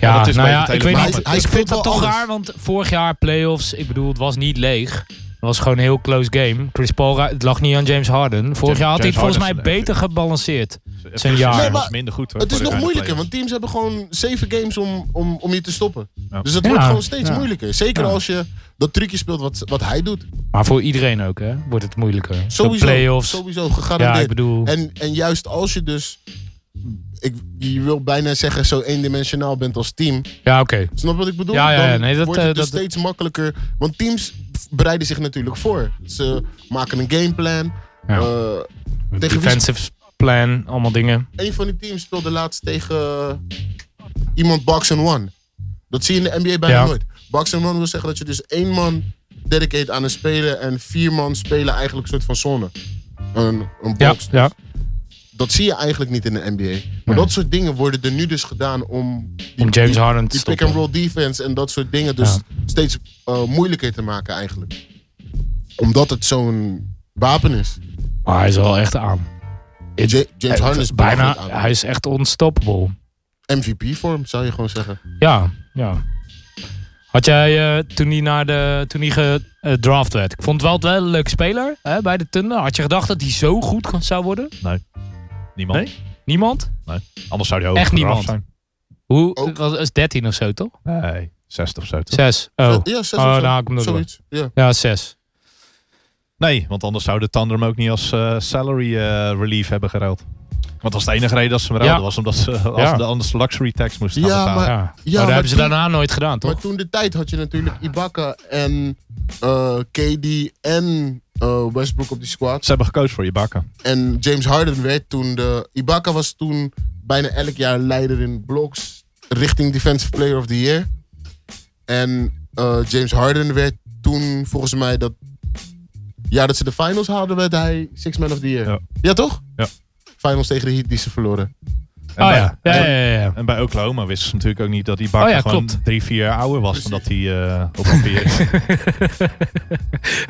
[SPEAKER 6] Ja, dat is
[SPEAKER 4] nou
[SPEAKER 6] bij
[SPEAKER 4] ja,
[SPEAKER 6] het
[SPEAKER 4] ik
[SPEAKER 6] hele
[SPEAKER 4] weet
[SPEAKER 5] Maar
[SPEAKER 4] niet.
[SPEAKER 5] hij- hij
[SPEAKER 4] ik vind
[SPEAKER 5] speelt
[SPEAKER 4] dat
[SPEAKER 5] wel
[SPEAKER 4] toch
[SPEAKER 5] alles.
[SPEAKER 4] raar, want vorig jaar playoffs, ik bedoel, het was niet leeg. Het was gewoon een heel close game. Chris Paul, ra- het lag niet aan James Harden. Vorig
[SPEAKER 6] James-
[SPEAKER 4] jaar had hij het
[SPEAKER 6] James
[SPEAKER 4] volgens mij
[SPEAKER 6] Harden is-
[SPEAKER 4] beter gebalanceerd. zijn
[SPEAKER 6] jaar
[SPEAKER 4] jaar.
[SPEAKER 5] Nee,
[SPEAKER 6] was
[SPEAKER 5] maar
[SPEAKER 6] minder goed. hoor,
[SPEAKER 5] Het is
[SPEAKER 6] vorig
[SPEAKER 5] nog
[SPEAKER 6] jaar in de
[SPEAKER 5] moeilijker, want teams hebben gewoon zeven games om, om, om je te stoppen.
[SPEAKER 6] Ja.
[SPEAKER 5] Dus het
[SPEAKER 4] Ja,
[SPEAKER 5] wordt gewoon steeds
[SPEAKER 4] ja.
[SPEAKER 5] moeilijker. Zeker
[SPEAKER 4] Ja.
[SPEAKER 5] als je dat trucje speelt wat, wat hij doet.
[SPEAKER 4] Maar voor iedereen ook, hè? Wordt het moeilijker. De
[SPEAKER 5] Sowieso,
[SPEAKER 4] playoffs.
[SPEAKER 5] sowieso
[SPEAKER 4] ja,
[SPEAKER 5] gegarandeerd.
[SPEAKER 4] ik bedoel.
[SPEAKER 5] en, en juist als je dus, ik, je wil bijna zeggen zo eendimensionaal bent als team.
[SPEAKER 4] Ja, oké.
[SPEAKER 5] Snap je wat ik bedoel?
[SPEAKER 4] Ja, ja, ja,
[SPEAKER 5] Dan
[SPEAKER 4] nee, dat,
[SPEAKER 5] wordt het
[SPEAKER 4] eh,
[SPEAKER 5] dus
[SPEAKER 4] dat-
[SPEAKER 5] steeds makkelijker. Want teams bereiden zich natuurlijk voor. Ze maken een gameplan.
[SPEAKER 4] Ja.
[SPEAKER 5] Eh, Tegen wie
[SPEAKER 4] Defensive plan, allemaal dingen.
[SPEAKER 5] een van die teams speelde laatst tegen iemand Box and One. Dat zie je in de NBA bijna
[SPEAKER 4] Ja.
[SPEAKER 5] nooit. Box and One wil zeggen dat je dus één man dedicate aan een speler en vier man spelen eigenlijk een soort van zone. Een, een
[SPEAKER 4] Ja,
[SPEAKER 5] box.
[SPEAKER 4] ja.
[SPEAKER 5] Dat zie je eigenlijk niet in de NBA. Maar
[SPEAKER 4] Nee.
[SPEAKER 5] dat soort dingen worden er nu dus gedaan om...
[SPEAKER 4] Om James Harden te
[SPEAKER 5] Die pick-and-roll
[SPEAKER 4] stoppen.
[SPEAKER 5] defense en dat soort dingen dus
[SPEAKER 4] Ja.
[SPEAKER 5] steeds eh, moeilijker te maken eigenlijk. Omdat het zo'n wapen is.
[SPEAKER 4] Maar hij is wel echt aan. Het-
[SPEAKER 5] Ja- James Harden is
[SPEAKER 4] eh, bijna.
[SPEAKER 5] belachelijk aan.
[SPEAKER 4] Hij is echt onstoppable.
[SPEAKER 5] MVP-vorm zou je gewoon zeggen.
[SPEAKER 4] Ja, ja. Had jij eh, toen hij, naar de, toen hij gedraft werd? Ik vond het wel, wel een leuk speler hè, bij de Thunder. Had je gedacht dat hij zo goed kon- zou worden?
[SPEAKER 6] Niemand.
[SPEAKER 4] Nee? Niemand?
[SPEAKER 6] Anders zou hij ook
[SPEAKER 4] Echt
[SPEAKER 6] gedraft
[SPEAKER 4] niemand.
[SPEAKER 6] zijn.
[SPEAKER 4] Hoe?
[SPEAKER 5] Ook.
[SPEAKER 4] Was, is 13 of zo, toch?
[SPEAKER 6] Nee, 60 of zo. toch?
[SPEAKER 4] Zes. Oh,
[SPEAKER 5] Ja, zes
[SPEAKER 4] Oh,
[SPEAKER 5] of zo.
[SPEAKER 4] daar haak ik hem nog door.
[SPEAKER 5] Zoiets. Ja.
[SPEAKER 4] ja, zes.
[SPEAKER 6] Nee, want anders zou de Thunder hem ook niet als eh, salary eh, relief hebben geruild. Want dat is de enige reden dat ze hem ruilden.
[SPEAKER 4] Ja.
[SPEAKER 6] Was omdat ze als
[SPEAKER 4] Ja.
[SPEAKER 6] de anders luxury tax moesten
[SPEAKER 5] Ja,
[SPEAKER 6] gaan betalen.
[SPEAKER 5] maar-
[SPEAKER 4] Ja. maar dat
[SPEAKER 5] maar
[SPEAKER 4] Oh, hebben ze
[SPEAKER 5] toen-
[SPEAKER 4] daarna nooit gedaan, toch?
[SPEAKER 5] Maar toen de tijd had je natuurlijk Ibaka en eh, KD en eh, Westbrook op die squad.
[SPEAKER 6] Ze hebben gekozen voor je bakken.
[SPEAKER 5] En James Harden werd toen de... Ibaka was toen bijna elk jaar leider in blocks richting Defensive Player of the Year. En eh, James Harden werd toen volgens mij dat... Ja, dat ze de finals haalden, werd hij Six Man of the Year.
[SPEAKER 6] Ja.
[SPEAKER 5] Ja, toch?
[SPEAKER 6] Ja.
[SPEAKER 5] Finals tegen de Heat die ze verloren.
[SPEAKER 6] En
[SPEAKER 4] Oh
[SPEAKER 6] bij-
[SPEAKER 4] ja. Ja, ja, ja, ja.
[SPEAKER 6] En bij Oklahoma wisten ze natuurlijk ook niet dat die bakken
[SPEAKER 4] Oh ja,
[SPEAKER 6] gewoon
[SPEAKER 4] klopt.
[SPEAKER 6] drie, vier jaar ouder was dan dat hij eh, op papier is.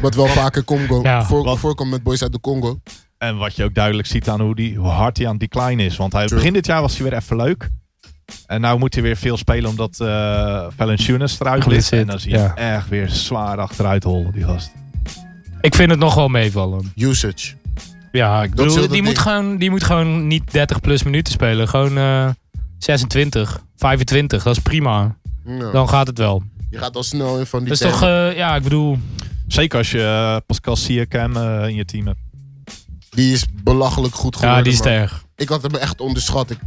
[SPEAKER 5] Wat wel vaker Congo,
[SPEAKER 4] Ja.
[SPEAKER 5] voor-
[SPEAKER 6] Wat-
[SPEAKER 5] voorkomt met boys uit de Congo.
[SPEAKER 6] En wat je ook duidelijk ziet aan hoe, die, hoe hard hij aan het decline is. Want hij,
[SPEAKER 5] True.
[SPEAKER 6] begin dit jaar was hij weer even leuk. En nu moet hij weer veel spelen omdat eh Valanciunas eruit ligt.
[SPEAKER 4] Geblesseerd,
[SPEAKER 6] En dan zie je
[SPEAKER 4] ja.
[SPEAKER 6] hem echt weer zwaar achteruit hollen, die gast.
[SPEAKER 4] Ik vind het nog wel meevallen.
[SPEAKER 5] Usage.
[SPEAKER 4] Ja, ik
[SPEAKER 5] is heel
[SPEAKER 4] bedoel,
[SPEAKER 5] dat
[SPEAKER 4] die moet,
[SPEAKER 5] ding.
[SPEAKER 4] gewoon, die moet gewoon niet 30 plus minuten spelen. Gewoon eh, 26, 25, dat is prima.
[SPEAKER 5] Ja.
[SPEAKER 4] Dan gaat het wel.
[SPEAKER 5] Je gaat al snel in van die
[SPEAKER 4] Dus toch,
[SPEAKER 5] termen.
[SPEAKER 4] eh, ja, ik bedoel,
[SPEAKER 6] Zeker als je eh, Pascal Siakam eh, in je team hebt.
[SPEAKER 5] Die is belachelijk goed geworden.
[SPEAKER 4] ja, die is te
[SPEAKER 5] man.
[SPEAKER 4] erg.
[SPEAKER 5] Ik had hem echt onderschat. Ik,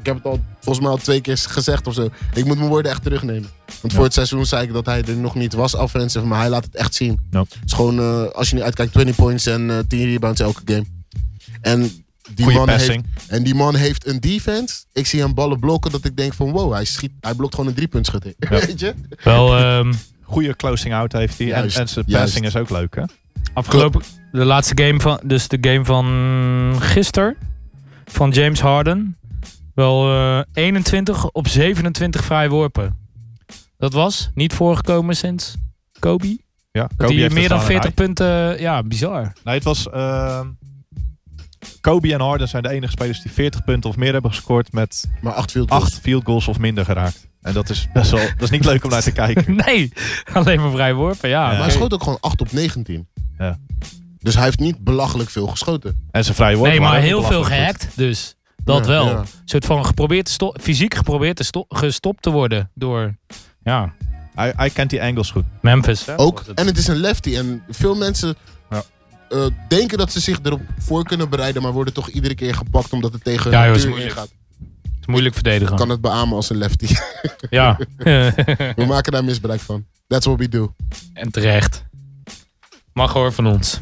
[SPEAKER 5] ik heb het al volgens mij al twee keer gezegd of zo. Ik moet mijn woorden echt terugnemen. Want voor het seizoen zei ik dat hij er nog niet was offensive, maar hij laat het echt zien.
[SPEAKER 6] Ja.
[SPEAKER 5] Het is gewoon, eh, als je niet uitkijkt, 20 points en eh 10 rebounds elke game. En die,
[SPEAKER 6] Goede
[SPEAKER 5] man heeft,
[SPEAKER 6] passing.
[SPEAKER 5] en die man heeft een defense. Ik zie hem ballen blokken dat ik denk van wow, hij, schiet, hij blokt gewoon een driepuntschutting. Weet je?
[SPEAKER 4] Wel, ehm,
[SPEAKER 6] Goede closing out heeft hij. En,
[SPEAKER 5] Juist,
[SPEAKER 6] en zijn
[SPEAKER 5] juist.
[SPEAKER 6] passing is ook leuk, hè?
[SPEAKER 4] afgelopen, de laatste game van, dus de game van gisteren, van James Harden. Wel eh, 21 op 27 vrijworpen. Dat was niet voorgekomen sinds Kobe.
[SPEAKER 6] Ja,
[SPEAKER 4] Dat
[SPEAKER 6] Kobe
[SPEAKER 4] hij
[SPEAKER 6] heeft
[SPEAKER 4] meer
[SPEAKER 6] het
[SPEAKER 4] dan
[SPEAKER 6] aan
[SPEAKER 4] 40
[SPEAKER 6] een
[SPEAKER 4] punten, ja, bizar.
[SPEAKER 6] rij. Nee, het was... ehm, Kobe en Harden zijn de enige spelers die 40 punten of meer hebben gescoord met
[SPEAKER 5] Maar acht field goals.
[SPEAKER 6] 8 field goals of minder geraakt. En dat is best wel... Dat is niet leuk om naar te kijken.
[SPEAKER 4] nee, alleen maar vrijworpen, ja.
[SPEAKER 6] Ja.
[SPEAKER 5] Maar hij schoot ook gewoon 8 op 19.
[SPEAKER 6] Ja.
[SPEAKER 5] Dus hij heeft niet belachelijk veel geschoten.
[SPEAKER 6] En zijn vrije worpen
[SPEAKER 4] Nee, maar
[SPEAKER 6] waren ook
[SPEAKER 4] heel veel
[SPEAKER 6] belachelijk goed.
[SPEAKER 4] gehackt, dus. Dat
[SPEAKER 5] Ja,
[SPEAKER 4] wel.
[SPEAKER 5] ja.
[SPEAKER 4] Een soort van geprobeerd te sto- fysiek geprobeerd te sto- gestopt te worden door. Ja,
[SPEAKER 6] Hij, hij kent die Engels goed.
[SPEAKER 4] Memphis. hè?
[SPEAKER 5] Ook.
[SPEAKER 4] Was het.
[SPEAKER 5] En het is een lefty. En veel mensen
[SPEAKER 6] Ja.
[SPEAKER 5] eh, denken dat ze zich erop voor kunnen bereiden, maar worden toch iedere keer gepakt omdat het tegen hun
[SPEAKER 4] Ja, joh, is
[SPEAKER 5] natuur
[SPEAKER 4] moeilijk.
[SPEAKER 5] ingaat.
[SPEAKER 4] Het is moeilijk verdedigen.
[SPEAKER 5] Ik kan het beamen als een lefty.
[SPEAKER 4] Ja.
[SPEAKER 5] We maken daar misbruik van. That's what we do.
[SPEAKER 4] en terecht. Mag hoor van ons.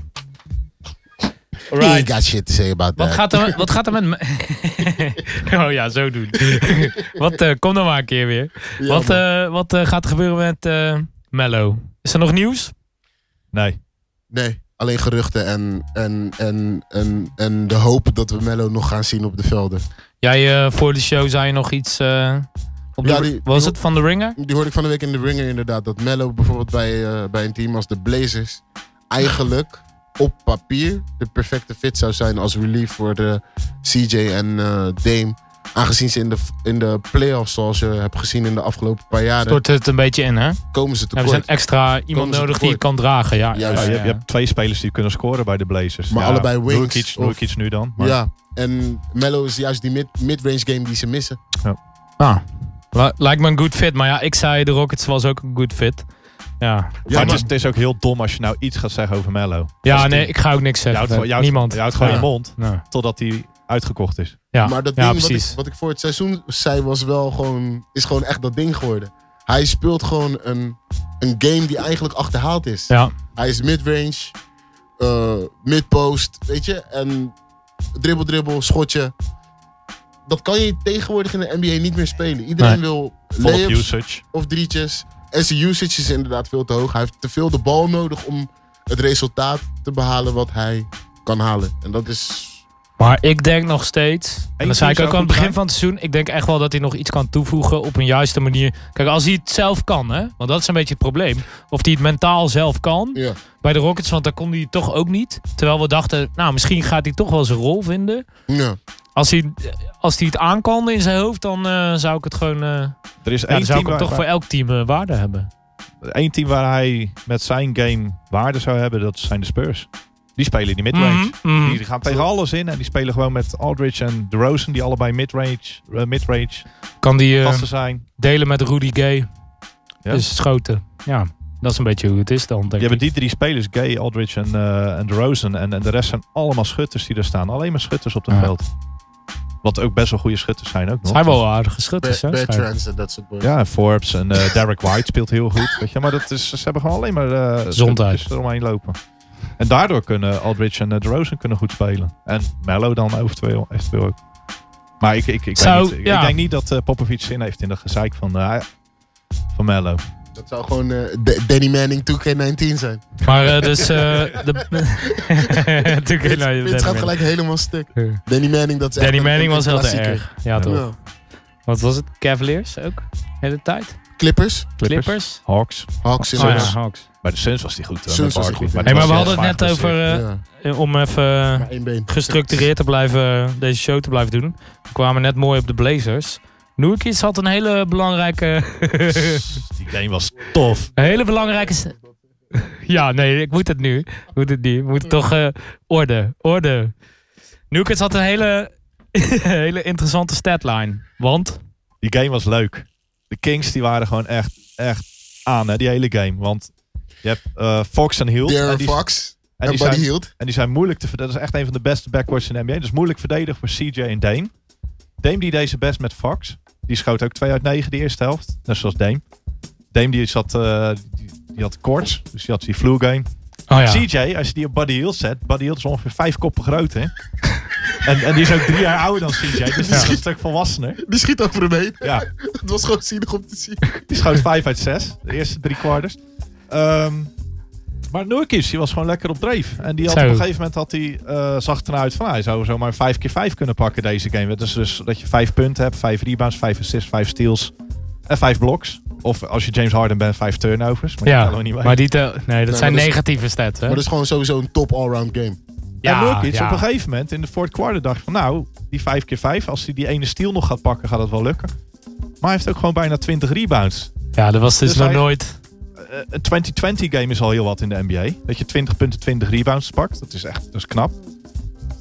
[SPEAKER 5] You got shit to say about
[SPEAKER 4] Wat
[SPEAKER 5] that.
[SPEAKER 4] gaat er, wat gaat er met... me- oh ja, zo doen. wat, eh, kom dan maar een keer weer.
[SPEAKER 5] Ja,
[SPEAKER 4] wat
[SPEAKER 5] man.
[SPEAKER 4] eh, wat eh, gaat er gebeuren met eh, Mello? Is er nog nieuws?
[SPEAKER 6] Nee.
[SPEAKER 5] Nee, alleen geruchten en, en, en, en, en de hoop dat we Mello nog gaan zien op de velden.
[SPEAKER 4] Jij eh, voor de show zei je nog iets... eh, op de,
[SPEAKER 5] Ja, die-
[SPEAKER 4] was
[SPEAKER 5] die-
[SPEAKER 4] het van de ringer?
[SPEAKER 5] Die hoorde ik van de week in de Ringer inderdaad. Dat Mello bijvoorbeeld bij, eh, bij een team als de Blazers eigenlijk op papier de perfecte fit zou zijn als relief voor de CJ en eh, Dame. Aangezien ze in de, in de playoffs, zoals je hebt gezien in de afgelopen paar jaren,
[SPEAKER 4] Stort het een beetje in, hè? Ja,
[SPEAKER 5] komen ze
[SPEAKER 4] we
[SPEAKER 5] tekort.
[SPEAKER 4] zijn extra iemand
[SPEAKER 5] ze
[SPEAKER 4] nodig die
[SPEAKER 5] tekort.
[SPEAKER 4] het kan dragen. Ja,
[SPEAKER 5] Juist.
[SPEAKER 4] ja,
[SPEAKER 6] Ja, je,
[SPEAKER 4] ja.
[SPEAKER 6] hebt- je hebt twee spelers die kunnen scoren bij de Blazers.
[SPEAKER 5] Maar
[SPEAKER 6] Ja,
[SPEAKER 5] allebei wings
[SPEAKER 6] Nurkic,
[SPEAKER 5] of-
[SPEAKER 6] Nurkic nu dan. Maar
[SPEAKER 5] Ja, en Mello is juist die mid, mid-range game die ze missen.
[SPEAKER 4] Ah. Li- Lijkt me een good fit. Maar ja, ik zei de Rockets was ook een good fit. Ja,
[SPEAKER 5] Ja,
[SPEAKER 6] maar
[SPEAKER 5] maar-
[SPEAKER 6] het, is, het is ook heel dom als je nou iets gaat zeggen over Mello.
[SPEAKER 4] ja nee, ik ga ook niks
[SPEAKER 6] Je
[SPEAKER 4] zeggen.
[SPEAKER 6] houdt, gewoon- je houdt-
[SPEAKER 4] Niemand.
[SPEAKER 6] Je houdt gewoon
[SPEAKER 4] Ja.
[SPEAKER 6] je mond
[SPEAKER 4] Nee.
[SPEAKER 6] totdat hij uitgekocht is.
[SPEAKER 4] Ja.
[SPEAKER 5] Maar dat
[SPEAKER 4] ja,
[SPEAKER 5] ding wat, ik,
[SPEAKER 4] precies.
[SPEAKER 5] wat ik voor het seizoen zei, was wel gewoon, is gewoon echt dat ding geworden. Hij speelt gewoon een, een game die eigenlijk achterhaald is.
[SPEAKER 4] Ja,
[SPEAKER 5] Hij is midrange, eh midpost, weet je. En dribbel, dribbel, schotje. Dat kan je tegenwoordig in de NBA niet meer spelen. Iedereen
[SPEAKER 4] Nee.
[SPEAKER 5] wil
[SPEAKER 6] Volop
[SPEAKER 5] layups
[SPEAKER 6] usage.
[SPEAKER 5] of drietjes. En zijn usage is inderdaad veel te hoog. Hij heeft te veel de bal nodig om het resultaat te behalen wat hij kan halen. En dat is...
[SPEAKER 4] maar ik denk nog steeds. En
[SPEAKER 6] team
[SPEAKER 4] dat zei ik
[SPEAKER 6] zou
[SPEAKER 4] ook aan het
[SPEAKER 6] goed
[SPEAKER 4] begin
[SPEAKER 6] zijn.
[SPEAKER 4] van het seizoen. Ik denk echt wel dat hij nog iets kan toevoegen op een juiste manier. Kijk, als hij het zelf kan, hè? Want dat is een beetje het probleem. Of hij het mentaal zelf kan.
[SPEAKER 5] Ja.
[SPEAKER 4] Bij de Rockets, want daar kon hij het toch ook niet. Terwijl we dachten, nou, misschien gaat hij toch wel zijn rol vinden.
[SPEAKER 5] ja.
[SPEAKER 4] Als hij, als hij het aan kan in zijn hoofd, dan eh, zou ik het gewoon. eh,
[SPEAKER 6] Er is
[SPEAKER 4] ja, dan
[SPEAKER 6] één,
[SPEAKER 4] zou
[SPEAKER 6] team
[SPEAKER 4] ik hem
[SPEAKER 6] waar,
[SPEAKER 4] toch voor elk team eh, waarde hebben.
[SPEAKER 6] waar- één team waar hij met zijn game waarde zou hebben. Dat zijn de Spurs. Die spelen in die midrange.
[SPEAKER 4] Mhm, mhm.
[SPEAKER 6] Die gaan tegen alles in en die spelen gewoon met Aldridge en DeRozan, die allebei midrange, eh, midrange
[SPEAKER 4] Kan die eh,
[SPEAKER 6] gasten zijn.
[SPEAKER 4] delen met Rudy Gay.
[SPEAKER 6] Ja.
[SPEAKER 4] Dus schoten. Ja, dat is een beetje hoe het is dan.
[SPEAKER 6] Je
[SPEAKER 4] Denk
[SPEAKER 6] hebt
[SPEAKER 4] ik.
[SPEAKER 6] die drie spelers, Gay, Aldridge en, eh en DeRozan. En, en de rest zijn allemaal schutters die er staan. Alleen maar schutters op het
[SPEAKER 4] Ja.
[SPEAKER 6] veld. Wat ook best wel goede schutters zijn ook nog.
[SPEAKER 4] Zijn wel aardige schutters, hè?
[SPEAKER 5] Bad, bad
[SPEAKER 4] schijnt.
[SPEAKER 5] trends en dat soort boys.
[SPEAKER 6] Ja, en Forbes en eh, Derek White speelt heel goed. Weet je? Maar dat is, ze hebben gewoon alleen maar eh, stukjes eromheen lopen. En daardoor kunnen Aldridge en eh, DeRozan kunnen goed spelen. En Mello dan eventueel, eventueel ook. Maar ik, ik, ik,
[SPEAKER 4] Zou-
[SPEAKER 6] weet niet, Ik-
[SPEAKER 4] ja.
[SPEAKER 6] ik denk niet dat eh, Popovic zin heeft in dat gezeik van, eh, van Mello.
[SPEAKER 5] Dat zou gewoon eh, D- Danny Manning 2K19 zijn.
[SPEAKER 4] Maar eh, dus... eh de... Natuurlijk,
[SPEAKER 5] Het
[SPEAKER 4] nou, Danny
[SPEAKER 5] gaat
[SPEAKER 4] Manning.
[SPEAKER 5] gelijk helemaal stuk.
[SPEAKER 4] Eh,
[SPEAKER 5] Danny Manning, dat is echt
[SPEAKER 4] Danny
[SPEAKER 5] een-
[SPEAKER 4] Manning
[SPEAKER 5] een
[SPEAKER 4] was heel te
[SPEAKER 5] klassieker.
[SPEAKER 4] erg. Ja, toch.
[SPEAKER 5] Ja.
[SPEAKER 4] Wat was het? Cavaliers ook? De hele tijd?
[SPEAKER 5] Clippers,
[SPEAKER 4] Clippers?
[SPEAKER 6] Hawks.
[SPEAKER 5] Hawks,
[SPEAKER 4] Oh ja,
[SPEAKER 5] Suns.
[SPEAKER 4] Hawks.
[SPEAKER 6] Bij de Suns was hij goed. eh,
[SPEAKER 5] Suns
[SPEAKER 6] met
[SPEAKER 5] was hij
[SPEAKER 6] Barkley,
[SPEAKER 5] goed.
[SPEAKER 4] Hey,
[SPEAKER 6] het
[SPEAKER 4] maar we
[SPEAKER 6] was
[SPEAKER 4] hadden
[SPEAKER 6] heel
[SPEAKER 4] het net
[SPEAKER 6] zwaar
[SPEAKER 4] over... eh,
[SPEAKER 5] Ja,
[SPEAKER 4] eh, om even eh,
[SPEAKER 5] maar één been.
[SPEAKER 4] gestructureerd te blijven... eh, deze show te blijven doen. We kwamen net mooi op de Blazers. Nurkic had een hele belangrijke...
[SPEAKER 6] geblesseerd. Die game was tof.
[SPEAKER 4] Een hele belangrijke. s- Ja, nee, ik moet het nu. Ik moet het nu. Ik moet het toch eh, orde. Orde. Nukets had een hele, hele interessante statline. Want.
[SPEAKER 6] Die game was leuk. De Kings die waren gewoon echt, echt aan, hè, die hele game. Want je hebt eh, Fox en Hill. en
[SPEAKER 5] Darren
[SPEAKER 6] die,
[SPEAKER 5] Fox
[SPEAKER 6] en
[SPEAKER 5] en
[SPEAKER 6] die
[SPEAKER 5] Buddy
[SPEAKER 6] zijn-
[SPEAKER 5] Hield.
[SPEAKER 6] En die zijn moeilijk te verdedigen. Dat is echt een van de beste backwards in de NBA. Dat is moeilijk verdedigd voor CJ en Dame. Dame die deze best met Fox. Die schoot ook 2 uit 9 de eerste helft. Net zoals Dame. Dame die, zat, eh, die, die had koorts. Dus die had die flu game.
[SPEAKER 4] Oh ja.
[SPEAKER 6] CJ, als je die op Buddy Hield zet. Buddy Hield is ongeveer vijf koppen groot hè. en, en die is ook drie jaar ouder dan CJ. Dus die is een stuk volwassener.
[SPEAKER 5] Die schiet over hem heen.
[SPEAKER 6] Ja.
[SPEAKER 5] Het was gewoon zielig om te zien.
[SPEAKER 6] Die schoot 5 uit 6. De eerste drie kwarters. Ehm, maar Nurkic, die was gewoon lekker op dreef. En die had
[SPEAKER 4] Zo.
[SPEAKER 6] op een gegeven moment had hij, eh, zag het eruit van... Hij zou zomaar 5 keer 5 kunnen pakken deze game. Dus, dus dat je 5 punten hebt, 5 rebounds, 5 assists, 5 steals en 5 blocks. Of als je James Harden bent, 5 turnovers. Maar ja,
[SPEAKER 4] Ja,
[SPEAKER 6] tellen we niet mee.
[SPEAKER 4] maar die tel- Nee, dat
[SPEAKER 5] maar
[SPEAKER 4] zijn
[SPEAKER 5] dat is-
[SPEAKER 4] negatieve stats. Hè?
[SPEAKER 5] Maar dat is gewoon sowieso een top allround game.
[SPEAKER 6] en
[SPEAKER 4] ja,
[SPEAKER 6] Nurkic
[SPEAKER 4] ja.
[SPEAKER 6] op een gegeven moment in de fourth quarter dacht van... Nou, die 5 keer 5 als hij die ene steal nog gaat pakken, gaat dat wel lukken. Maar hij heeft ook gewoon bijna 20 rebounds.
[SPEAKER 4] ja, dat was dus,
[SPEAKER 6] Dus
[SPEAKER 4] nog
[SPEAKER 6] hij-
[SPEAKER 4] nooit.
[SPEAKER 6] Eh, een 2020 game is al heel wat in de NBA. Dat je 20 punten 20 rebounds pakt. Dat is echt dat is knap.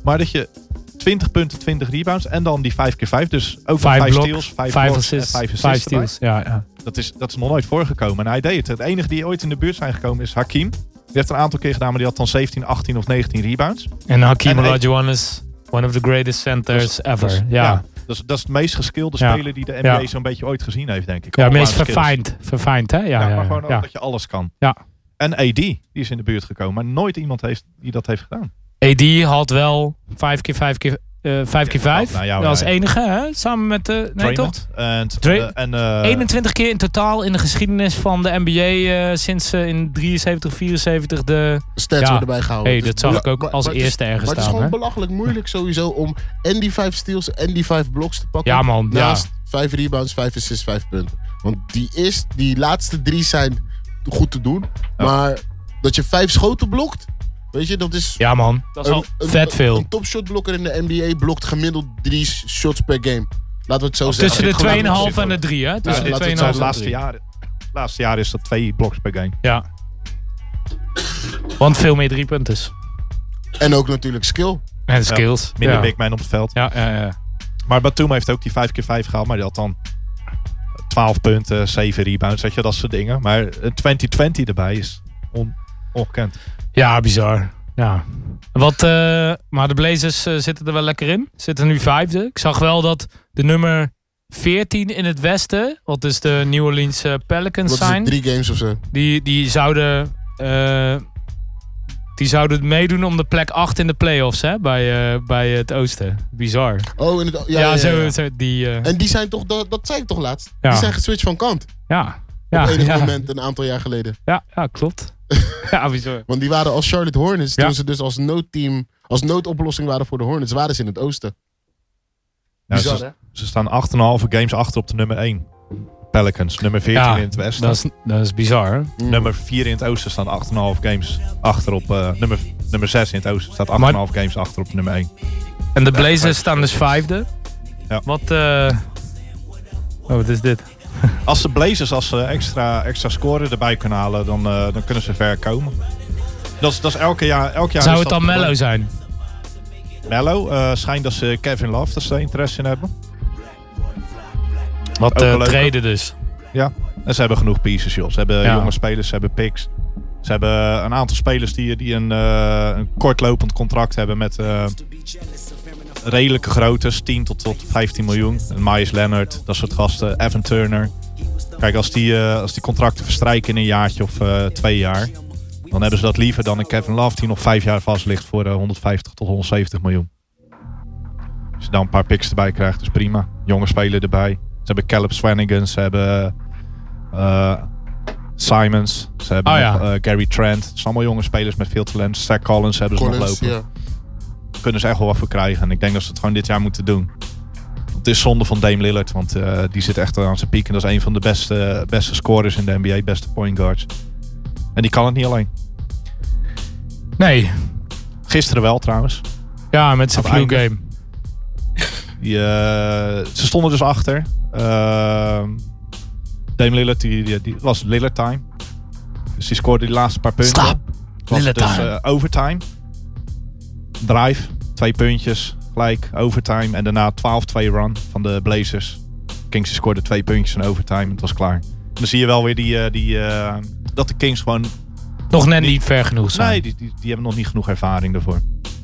[SPEAKER 6] Maar dat je 20 punten 20 rebounds en dan die 5 keer 5 Dus ook 5
[SPEAKER 4] Vijf blok,
[SPEAKER 6] steals, 5
[SPEAKER 4] Vijf
[SPEAKER 6] blocks en
[SPEAKER 4] assists,
[SPEAKER 6] vijf
[SPEAKER 4] vijf
[SPEAKER 6] assists erbij.
[SPEAKER 4] steals. Ja, ja.
[SPEAKER 6] Dat is, dat is nog nooit voorgekomen. En hij deed het. Het enige die ooit in de buurt zijn gekomen is Hakim. Die heeft een aantal keer gedaan, maar die had dan 17, 18 of 19 rebounds.
[SPEAKER 4] En Hakim
[SPEAKER 6] En hij-
[SPEAKER 4] Olajuwon is one of the greatest centers ever.
[SPEAKER 6] Dat is-
[SPEAKER 4] ja. ja.
[SPEAKER 6] Dus, Dat, is, dat is het meest geskilde
[SPEAKER 4] Ja.
[SPEAKER 6] speler die de NBA
[SPEAKER 4] Ja.
[SPEAKER 6] zo'n beetje ooit gezien heeft, denk
[SPEAKER 4] het
[SPEAKER 6] ik.
[SPEAKER 4] meest
[SPEAKER 6] Allemaal skills.
[SPEAKER 4] verfijnd. Verfijnd, hè? Ja,
[SPEAKER 6] Ja,
[SPEAKER 4] ja,
[SPEAKER 6] maar gewoon
[SPEAKER 4] ja.
[SPEAKER 6] ook dat je alles kan.
[SPEAKER 4] Ja.
[SPEAKER 6] En AD, die is in de buurt gekomen. Maar nooit iemand heeft, die dat heeft gedaan.
[SPEAKER 4] AD had wel 5 keer 5 keer eh 5 keer 5.
[SPEAKER 6] nou ja, maar
[SPEAKER 4] als
[SPEAKER 6] hij-
[SPEAKER 4] enige, hè? Samen met de. Nee, toch?
[SPEAKER 6] Draymond En,
[SPEAKER 4] Dray-
[SPEAKER 6] eh, en, eh,
[SPEAKER 4] 21 keer in totaal in de geschiedenis van de NBA eh, sinds eh, in 73, 74 de...
[SPEAKER 5] Stats
[SPEAKER 4] Ja.
[SPEAKER 5] worden erbij gehouden.
[SPEAKER 4] hey,
[SPEAKER 5] Dus-
[SPEAKER 4] dat zag
[SPEAKER 5] Ja,
[SPEAKER 4] ik ook
[SPEAKER 5] maar-
[SPEAKER 4] als
[SPEAKER 5] maar het is-
[SPEAKER 4] eerste ergens
[SPEAKER 5] Maar het is
[SPEAKER 4] staan.
[SPEAKER 5] gewoon
[SPEAKER 4] hè?
[SPEAKER 5] belachelijk moeilijk sowieso om en die vijf steals en die vijf blocks te pakken.
[SPEAKER 4] Ja man, ja.
[SPEAKER 5] Naast vijf rebounds, vijf assists, vijf punten. Want die, is, die laatste drie zijn goed te doen. Maar dat je vijf schoten blokt, weet je, dat is...
[SPEAKER 4] ja man, dat is al vet veel.
[SPEAKER 5] Een topshotblokker in de NBA blokt gemiddeld drie shots per game. Laten we het zo zeggen.
[SPEAKER 4] Tussen
[SPEAKER 6] dit
[SPEAKER 4] de
[SPEAKER 6] gewoon
[SPEAKER 4] 2,5 en
[SPEAKER 6] laten
[SPEAKER 4] de
[SPEAKER 6] we
[SPEAKER 4] 3 hè? Tussen
[SPEAKER 5] laten we het
[SPEAKER 4] de
[SPEAKER 6] nou,
[SPEAKER 5] zo
[SPEAKER 4] 2,5
[SPEAKER 6] het laatste jaar, het laatste jaar is dat twee blocks per game.
[SPEAKER 4] Ja. Want veel meer drie punten.
[SPEAKER 5] En ook natuurlijk skill.
[SPEAKER 4] En skills.
[SPEAKER 6] Minder
[SPEAKER 4] ja.
[SPEAKER 6] big man op het veld.
[SPEAKER 4] Ja, ja, ja.
[SPEAKER 6] Maar Batum heeft ook die 5x5 gehaald. Maar die had dan 12 punten, 7 rebounds. Weet je, dat soort dingen. Maar een 2020 erbij is on, ongekend.
[SPEAKER 4] ja, bizar. Ja. Wat, eh, maar de Blazers eh, zitten er wel lekker in. Zitten nu vijfde. Ik zag wel dat de nummer 14 in het westen, wat dus de New Orleans eh, Pelicans
[SPEAKER 5] Dat is
[SPEAKER 4] zijn.
[SPEAKER 5] het, drie games of zo.
[SPEAKER 4] Die, die zouden. eh, die zouden meedoen om de plek 8 in de playoffs, hè? Bij, eh, bij het Oosten. Bizar.
[SPEAKER 5] Oh, in het, ja,
[SPEAKER 4] Ja,
[SPEAKER 5] ja, ja,
[SPEAKER 4] zo.
[SPEAKER 5] ja.
[SPEAKER 4] zo die, eh,
[SPEAKER 5] En die zijn toch, dat, dat zei ik toch laatst?
[SPEAKER 4] Ja.
[SPEAKER 5] Die zijn geswitcht van kant.
[SPEAKER 4] ja. Ja,
[SPEAKER 5] op enig
[SPEAKER 4] ja,
[SPEAKER 5] moment, een aantal jaar geleden.
[SPEAKER 4] ja, ja, klopt. ja, bizar.
[SPEAKER 5] Want die waren als Charlotte Hornets,
[SPEAKER 4] Ja.
[SPEAKER 5] toen ze dus als noodteam, als noodoplossing waren voor de Hornets, waren ze in het oosten.
[SPEAKER 6] Ja,
[SPEAKER 5] Bizar,
[SPEAKER 6] Nou, ze, ze staan 8,5 games achter op de nummer 1. Pelicans, nummer 14
[SPEAKER 4] Ja,
[SPEAKER 6] in het westen.
[SPEAKER 4] Dat is, dat is bizar. hè?
[SPEAKER 6] Nummer 4 in het oosten staan 8,5 games achter op... eh, nummer, nummer 6 in het oosten staat 8,5 games achter op nummer 1.
[SPEAKER 4] En de Blazers staan dus vijfde.
[SPEAKER 6] Ja.
[SPEAKER 4] Wat. eh, Oh, wat is dit?
[SPEAKER 6] Als de Blazers als ze extra, extra scoren erbij kunnen halen, dan, eh, dan kunnen ze ver komen. Dat is, dat is elke jaar... Elk jaar
[SPEAKER 4] Zou
[SPEAKER 6] is
[SPEAKER 4] het
[SPEAKER 6] dat-
[SPEAKER 4] dan Mello zijn?
[SPEAKER 6] Mello, eh, schijnt dat ze Kevin Love, dat ze daar interesse in hebben.
[SPEAKER 4] Wat
[SPEAKER 6] Ook
[SPEAKER 4] eh
[SPEAKER 6] een leuke.
[SPEAKER 4] treden dus.
[SPEAKER 6] Ja, en ze hebben genoeg pieces, joh. Ze hebben
[SPEAKER 4] Ja.
[SPEAKER 6] jonge spelers, ze hebben picks. Ze hebben een aantal spelers die, die een, eh, een kortlopend contract hebben met eh, redelijke groottes. 10 tot, tot 15 miljoen. Een Myers Leonard, dat soort gasten. Evan Turner. Kijk, als die, eh, als die contracten verstrijken in een jaartje of eh, twee jaar... dan hebben ze dat liever dan een Kevin Love die nog vijf jaar vast ligt voor eh, 150 tot 170 miljoen. Als je dan een paar picks erbij krijgt, is prima. Jonge speler erbij. Ze hebben Caleb Swanigan, ze hebben eh, Simons, ze hebben
[SPEAKER 4] Oh ja.
[SPEAKER 6] nog, eh, Gary Trent. Het zijn allemaal jonge spelers met veel talent. Zach Collins hebben ze nog
[SPEAKER 5] Collins,
[SPEAKER 6] lopen.
[SPEAKER 5] ja.
[SPEAKER 6] Daar kunnen ze echt wel wat voor krijgen. En ik denk dat ze het gewoon dit jaar moeten doen. Het is zonde van Dame Lillard, want eh, die zit echt aan zijn piek. En dat is een van de beste, beste scorers in de NBA, beste point guards. En die kan het niet alleen.
[SPEAKER 4] Nee.
[SPEAKER 6] Gisteren wel trouwens.
[SPEAKER 4] Ja, met zijn
[SPEAKER 6] Op
[SPEAKER 4] flu
[SPEAKER 6] einde.
[SPEAKER 4] game.
[SPEAKER 6] Die, eh, ze stonden dus achter. Ehm Dame Lillard, die, die, die- het was Lillard time. Dus die scoorde die laatste paar punten.
[SPEAKER 5] Stop.
[SPEAKER 6] Het was
[SPEAKER 4] Lillard
[SPEAKER 6] dus
[SPEAKER 4] time.
[SPEAKER 6] eh, overtime. Drive, twee puntjes, gelijk, overtime. En daarna 12-2 run van de Blazers. Kings scoorde twee puntjes in overtime. Het was klaar. En dan zie je wel weer die, eh, die, eh, dat de Kings gewoon...
[SPEAKER 4] Nog net
[SPEAKER 6] Die-
[SPEAKER 4] niet ver genoeg zijn.
[SPEAKER 6] Nee, die, die, die hebben nog niet genoeg ervaring daarvoor.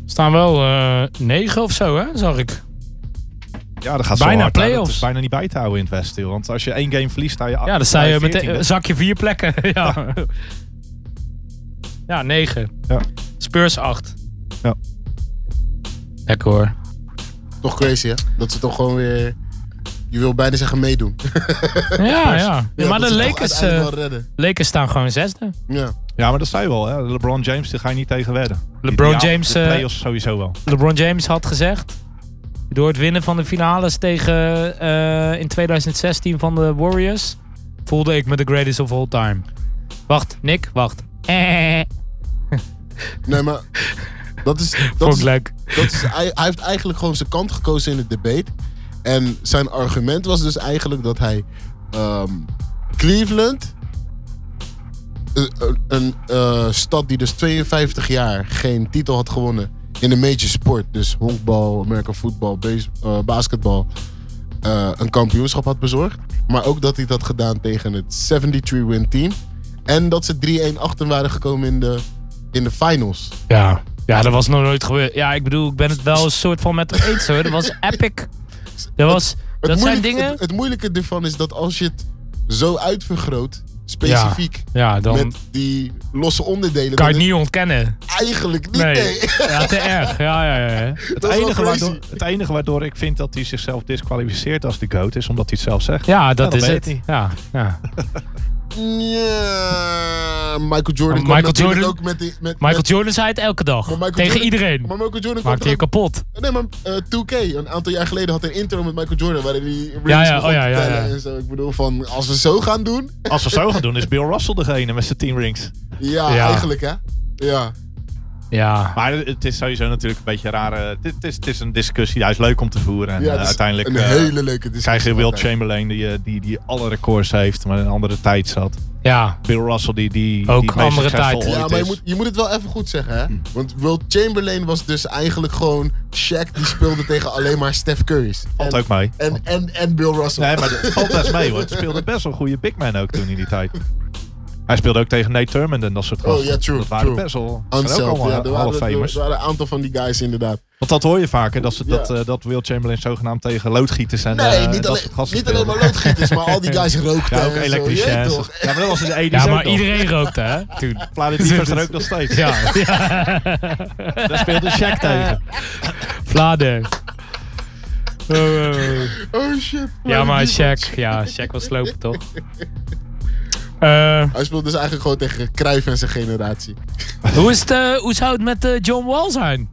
[SPEAKER 4] staan wel eh negen of zo, hè? Zag ik.
[SPEAKER 6] Ja, dat gaat
[SPEAKER 4] Bijna
[SPEAKER 6] zo hard. hè. Dat
[SPEAKER 4] playoffs.
[SPEAKER 6] is bijna niet bij te houden in het Westen. joh. Want als je één game verliest, sta je...
[SPEAKER 4] Ja, dan sta je
[SPEAKER 6] met
[SPEAKER 4] meteen, zak je vier plekken. ja. ja, negen.
[SPEAKER 6] Ja.
[SPEAKER 4] Spurs acht.
[SPEAKER 6] Ja.
[SPEAKER 4] Lekker hoor.
[SPEAKER 5] Toch crazy, hè? Dat ze toch gewoon weer, je wil bijna zeggen meedoen.
[SPEAKER 4] Ja, ja. maar
[SPEAKER 5] Eh, dat
[SPEAKER 4] de
[SPEAKER 5] ze toch
[SPEAKER 4] Lakers, eh,
[SPEAKER 5] uiteindelijk wel redden.
[SPEAKER 4] Lakers staan gewoon zesde.
[SPEAKER 5] Ja.
[SPEAKER 6] Ja, maar dat zei je wel. Hè? LeBron James, daar ga je niet tegen wedden.
[SPEAKER 4] LeBron
[SPEAKER 6] Die- ja,
[SPEAKER 4] James,
[SPEAKER 6] De
[SPEAKER 4] eh,
[SPEAKER 6] playoffs sowieso wel.
[SPEAKER 4] LeBron James had gezegd... door het winnen van de finales tegen eh, in 2016 van de Warriors... voelde ik me de greatest of all time. Wacht, Nick, wacht. Eh,
[SPEAKER 5] Nee, maar dat is,
[SPEAKER 4] vond
[SPEAKER 5] dat
[SPEAKER 4] ik
[SPEAKER 5] is,
[SPEAKER 4] leuk.
[SPEAKER 5] dat is, hij, hij heeft eigenlijk gewoon zijn kant gekozen in het debate. En zijn argument was dus eigenlijk dat hij ehm, Cleveland, een, een- een eh, stad die dus 52 jaar geen titel had gewonnen in de major sport, dus honkbal, American voetbal, base- eh, basketbal, eh, een kampioenschap had bezorgd. Maar ook dat hij dat had gedaan tegen het 73-win team. En dat ze 3-1 achter waren gekomen in de, in de finals.
[SPEAKER 4] Ja. ja, dat was nog nooit gebeurd. Ja, ik bedoel, ik ben het wel een soort van met hem eens hoor. Dat was epic. Dat, was, dat zijn
[SPEAKER 5] moeilijke-
[SPEAKER 4] dingen...
[SPEAKER 5] Het, het moeilijke ervan is dat als je het zo uitvergroot, specifiek,
[SPEAKER 4] ja, dan
[SPEAKER 5] met die losse onderdelen,
[SPEAKER 4] kan je
[SPEAKER 5] dan
[SPEAKER 4] het niet ontkennen.
[SPEAKER 5] is het eigenlijk niet.
[SPEAKER 4] Nee.
[SPEAKER 5] nee.
[SPEAKER 4] Ja, te erg. Ja, ja, ja.
[SPEAKER 6] Het
[SPEAKER 5] Dat is wel
[SPEAKER 6] enige,
[SPEAKER 5] crazy.
[SPEAKER 6] waardoor, het enige waardoor ik vind dat hij zichzelf disqualificeert als de goat is, omdat hij het zelf zegt.
[SPEAKER 4] Ja, dat
[SPEAKER 6] dan
[SPEAKER 4] is
[SPEAKER 6] ben je
[SPEAKER 4] het.
[SPEAKER 6] het niet.
[SPEAKER 4] Ja, ja.
[SPEAKER 5] Ja, Michael Jordan kwam
[SPEAKER 4] Michael
[SPEAKER 5] natuurlijk
[SPEAKER 4] Jordan-
[SPEAKER 5] ook met die... Met,
[SPEAKER 4] Michael
[SPEAKER 5] met-
[SPEAKER 4] Jordan zei het elke dag.
[SPEAKER 5] maar
[SPEAKER 4] Tegen
[SPEAKER 5] Michael Jordan-
[SPEAKER 4] iedereen.
[SPEAKER 5] Maar Michael Jordan kwam
[SPEAKER 4] Maakte je
[SPEAKER 5] toch
[SPEAKER 4] kapot.
[SPEAKER 5] ook- Nee, maar eh, 2K, een aantal jaar geleden had een intro met Michael Jordan... waarin hij rings
[SPEAKER 4] ja,
[SPEAKER 5] begon
[SPEAKER 4] oh ja,
[SPEAKER 5] te
[SPEAKER 4] ja,
[SPEAKER 5] tellen
[SPEAKER 4] ja.
[SPEAKER 5] en zo. Ik bedoel, van als we zo gaan doen...
[SPEAKER 6] Als we zo gaan doen, is Bill Russell degene met zijn team rings.
[SPEAKER 5] Ja,
[SPEAKER 4] Ja.
[SPEAKER 5] eigenlijk hè. Ja.
[SPEAKER 4] Ja.
[SPEAKER 6] Maar het is sowieso natuurlijk een beetje een rare. Het is, het is een discussie, hij is leuk om te voeren. En
[SPEAKER 5] ja
[SPEAKER 6] eh,
[SPEAKER 5] het is
[SPEAKER 6] uiteindelijk
[SPEAKER 5] dus Een
[SPEAKER 6] eh,
[SPEAKER 5] hele leuke discussie.
[SPEAKER 6] krijg je Will
[SPEAKER 5] altijd.
[SPEAKER 6] Chamberlain die, eh, die, die alle records heeft, maar in een andere tijd zat.
[SPEAKER 4] Ja.
[SPEAKER 6] Bill Russell die, die
[SPEAKER 4] Ook
[SPEAKER 6] die het meest
[SPEAKER 4] andere
[SPEAKER 6] succesvol
[SPEAKER 4] tijd.
[SPEAKER 6] ooit
[SPEAKER 5] Ja, maar je
[SPEAKER 6] is.
[SPEAKER 5] moet, je moet het wel even goed zeggen, hè? Want Will Chamberlain was dus eigenlijk gewoon Shaq die speelde tegen alleen maar Steph Curry's.
[SPEAKER 6] Valt
[SPEAKER 5] En-
[SPEAKER 6] ook mee.
[SPEAKER 5] En, en, en Bill Russell.
[SPEAKER 6] Nee, maar dat valt best mee hoor. Het speelde best wel een goede big man ook toen in die tijd. Hij speelde ook tegen Nate Thurmond en dat soort gasten.
[SPEAKER 5] Oh, ja, true,
[SPEAKER 6] Dat waren
[SPEAKER 5] true.
[SPEAKER 6] best wel dat waren ook
[SPEAKER 5] Unseld, ja, er
[SPEAKER 6] allemaal half
[SPEAKER 5] waren, er
[SPEAKER 6] famers.
[SPEAKER 5] waren een aantal van die guys inderdaad.
[SPEAKER 6] Want dat hoor je vaker, dat, ze, dat,
[SPEAKER 5] Ja.
[SPEAKER 6] eh, dat Will Chamberlain zogenaamd tegen loodgieters en
[SPEAKER 5] Nee,
[SPEAKER 6] eh,
[SPEAKER 5] niet,
[SPEAKER 6] dat
[SPEAKER 5] alleen,
[SPEAKER 6] soort gasten
[SPEAKER 5] niet alleen maar
[SPEAKER 6] speelde.
[SPEAKER 5] loodgieters, maar al die guys rookten.
[SPEAKER 6] Ja,
[SPEAKER 5] en
[SPEAKER 6] ook
[SPEAKER 5] zo.
[SPEAKER 6] elektriciën.
[SPEAKER 5] Jeet
[SPEAKER 6] en
[SPEAKER 5] toch?
[SPEAKER 6] zo. Ja, maar dat was in de 80's
[SPEAKER 4] Ja,
[SPEAKER 6] ook
[SPEAKER 4] maar
[SPEAKER 6] nog.
[SPEAKER 4] iedereen rookte, hè? Toen.
[SPEAKER 6] Vladivers er ook nog steeds.
[SPEAKER 4] Ja.
[SPEAKER 6] Daar speelde Shaq tegen.
[SPEAKER 4] Vlader.
[SPEAKER 5] Oh shit.
[SPEAKER 4] Ja, maar Shaq. Ja, Shaq was slopen, toch? Eh,
[SPEAKER 5] Hij speelde dus eigenlijk gewoon tegen Cruijff en zijn generatie.
[SPEAKER 4] hoe, is het, eh, hoe zou het met eh, John Wall zijn?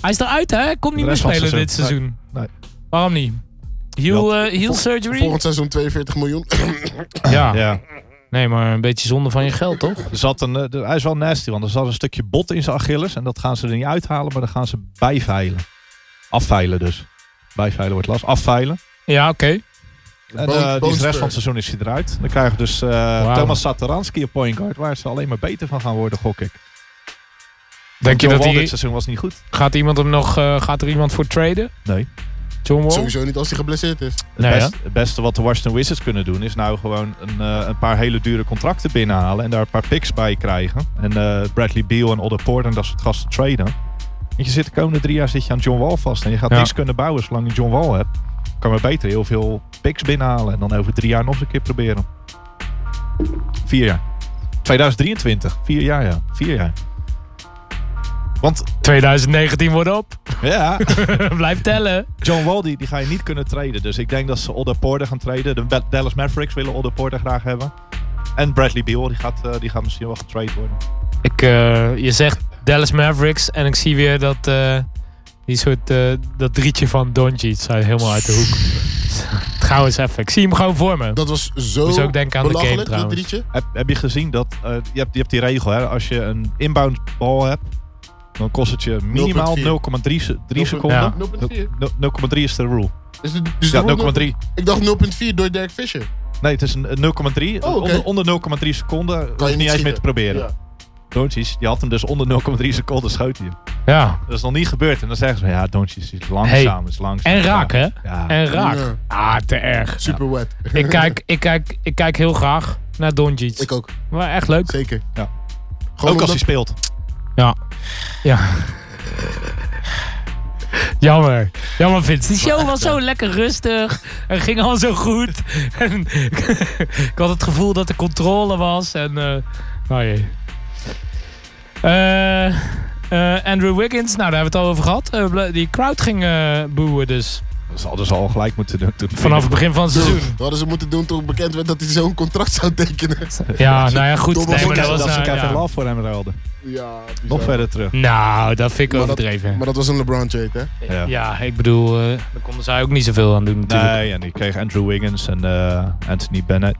[SPEAKER 4] Hij is eruit, hè? Komt niet
[SPEAKER 6] De
[SPEAKER 4] meer
[SPEAKER 6] rest van het
[SPEAKER 4] spelen dit
[SPEAKER 6] seizoen.
[SPEAKER 4] seizoen.
[SPEAKER 6] Nee.
[SPEAKER 4] Waarom niet? Heel
[SPEAKER 6] Ja.
[SPEAKER 4] surgery?
[SPEAKER 5] Volgend seizoen 42 miljoen.
[SPEAKER 4] ja.
[SPEAKER 6] Ja.
[SPEAKER 4] Nee, maar een beetje zonde van je geld, toch?
[SPEAKER 6] Er zat een, eh, er- hij is wel nasty, want er zat een stukje bot in zijn Achilles. En dat gaan ze er niet uithalen, maar dan gaan ze bijveilen. Afveilen dus. Bijveilen wordt last. Afveilen.
[SPEAKER 4] Ja, oké.
[SPEAKER 6] En
[SPEAKER 5] Bone-
[SPEAKER 6] eh, die is de
[SPEAKER 5] Bonespur.
[SPEAKER 6] rest van het seizoen is hij eruit. Dan krijgen we dus eh, Thomas Satoranski op point guard. Waar ze alleen maar beter van gaan worden, gok ik.
[SPEAKER 4] Denk je
[SPEAKER 6] John
[SPEAKER 4] dat
[SPEAKER 6] Wall dit
[SPEAKER 4] hij...
[SPEAKER 6] seizoen was niet goed.
[SPEAKER 4] Gaat, iemand hem nog, eh, gaat er iemand voor traden?
[SPEAKER 6] Nee.
[SPEAKER 4] John Wall?
[SPEAKER 5] Sowieso niet als hij geblesseerd is.
[SPEAKER 6] Het,
[SPEAKER 4] Nee,
[SPEAKER 6] best- het beste wat de Washington Wizards kunnen doen... is nou gewoon een, eh, een paar hele dure contracten binnenhalen... en daar een paar picks bij krijgen. En eh, Bradley Beal en Otto Porter en dat soort gasten traden. Want je zit de komende drie jaar zit je aan John Wall vast... en je gaat
[SPEAKER 4] Ja.
[SPEAKER 6] niks kunnen bouwen zolang je John Wall hebt. Kan maar beter heel veel picks binnenhalen... en dan over drie jaar nog eens een keer proberen. Vier jaar. 2023. Vier jaar, ja. Vier jaar. Want
[SPEAKER 4] 2019 wordt op.
[SPEAKER 6] ja,
[SPEAKER 4] Blijf tellen.
[SPEAKER 6] John Wall die, die ga je niet kunnen traden. Dus ik denk dat ze Otto Porter gaan traden. De Ba- Dallas Mavericks willen Otto Porter graag hebben. En Bradley Beal, die gaat, eh, die gaat misschien wel getrade worden.
[SPEAKER 4] Ik, eh, je zegt Dallas Mavericks en ik zie weer dat, eh, die soort, eh, dat drietje van Doncic uit- helemaal uit de hoek. Trouwens even, ik zie hem gewoon voor me.
[SPEAKER 5] Dat was zo
[SPEAKER 4] Moest ook denken aan de game
[SPEAKER 5] belachelijk, dat
[SPEAKER 4] trouwens.
[SPEAKER 5] drietje.
[SPEAKER 6] Heb, heb je gezien dat... eh, je, hebt, je hebt die regel, hè. Als je een inbound bal hebt, dan kost het je minimaal
[SPEAKER 5] 0,4.
[SPEAKER 6] 0,3 se- drie seconden.
[SPEAKER 4] Ja.
[SPEAKER 5] 0,4.
[SPEAKER 6] Nul- 0,3 is de rule.
[SPEAKER 5] Is het- dus
[SPEAKER 6] Ja,
[SPEAKER 5] er wordt
[SPEAKER 6] 0,3.
[SPEAKER 5] Ik dacht 0,4 door Dirk Fisher.
[SPEAKER 6] Nee, het is een een 0,3.
[SPEAKER 5] Oh, oké.
[SPEAKER 6] Onder- Onder, 0,3 seconden hoef je
[SPEAKER 5] niet
[SPEAKER 6] niet eens meer
[SPEAKER 5] schieten.
[SPEAKER 6] te proberen.
[SPEAKER 5] Ja.
[SPEAKER 6] Doncic, je had hem dus onder 0,3 seconden schoten. je hem.
[SPEAKER 4] Ja,
[SPEAKER 6] Dat is nog niet gebeurd. En dan zeggen ze, ja, Doncic is langzaam, is langzaam.
[SPEAKER 4] en raak hè?
[SPEAKER 6] Ja.
[SPEAKER 4] En raak.
[SPEAKER 5] Ja.
[SPEAKER 4] Ah, te erg.
[SPEAKER 5] Super wet.
[SPEAKER 4] Ik kijk, ik, kijk, ik kijk heel graag naar Doncic.
[SPEAKER 5] Ik ook,
[SPEAKER 4] Maar echt leuk.
[SPEAKER 5] zeker.
[SPEAKER 6] Ja.
[SPEAKER 5] Gewoon
[SPEAKER 6] ook als hij
[SPEAKER 5] omdat-
[SPEAKER 6] speelt.
[SPEAKER 4] Ja. Ja. Jammer. Jammer, Vince. Die show was zo lekker rustig. En ging al zo goed. En ik had het gevoel dat er controle was. En, eh, nou jee. Eh, eh, Andrew Wiggins, nou daar hebben we het al over gehad. Eh, ble- die crowd ging eh, boeien dus.
[SPEAKER 6] Dat hadden ze al gelijk moeten doen. toen-
[SPEAKER 4] Vanaf het begin van het
[SPEAKER 5] Dude,
[SPEAKER 4] seizoen.
[SPEAKER 5] Dat hadden ze moeten doen toen bekend werd dat hij zo'n contract zou tekenen.
[SPEAKER 4] Ja, nou ja, goed.
[SPEAKER 5] Domme
[SPEAKER 4] Nee, maar
[SPEAKER 5] Wiggins,
[SPEAKER 4] dat
[SPEAKER 6] dat
[SPEAKER 4] was...
[SPEAKER 6] ze
[SPEAKER 4] nou,
[SPEAKER 6] Kevin
[SPEAKER 4] ja.
[SPEAKER 6] Love voor hem ruilden.
[SPEAKER 5] Ja, bizar.
[SPEAKER 6] Nog verder terug.
[SPEAKER 4] Nou, dat vind ik
[SPEAKER 5] Maar dat-
[SPEAKER 4] overdreven.
[SPEAKER 5] Maar dat was een LeBron trade, hè?
[SPEAKER 6] Ja.
[SPEAKER 4] Ja, ik bedoel, eh, daar konden zij ook niet zoveel aan doen natuurlijk.
[SPEAKER 6] Nee, en die kreeg Andrew Wiggins en eh, Anthony Bennett.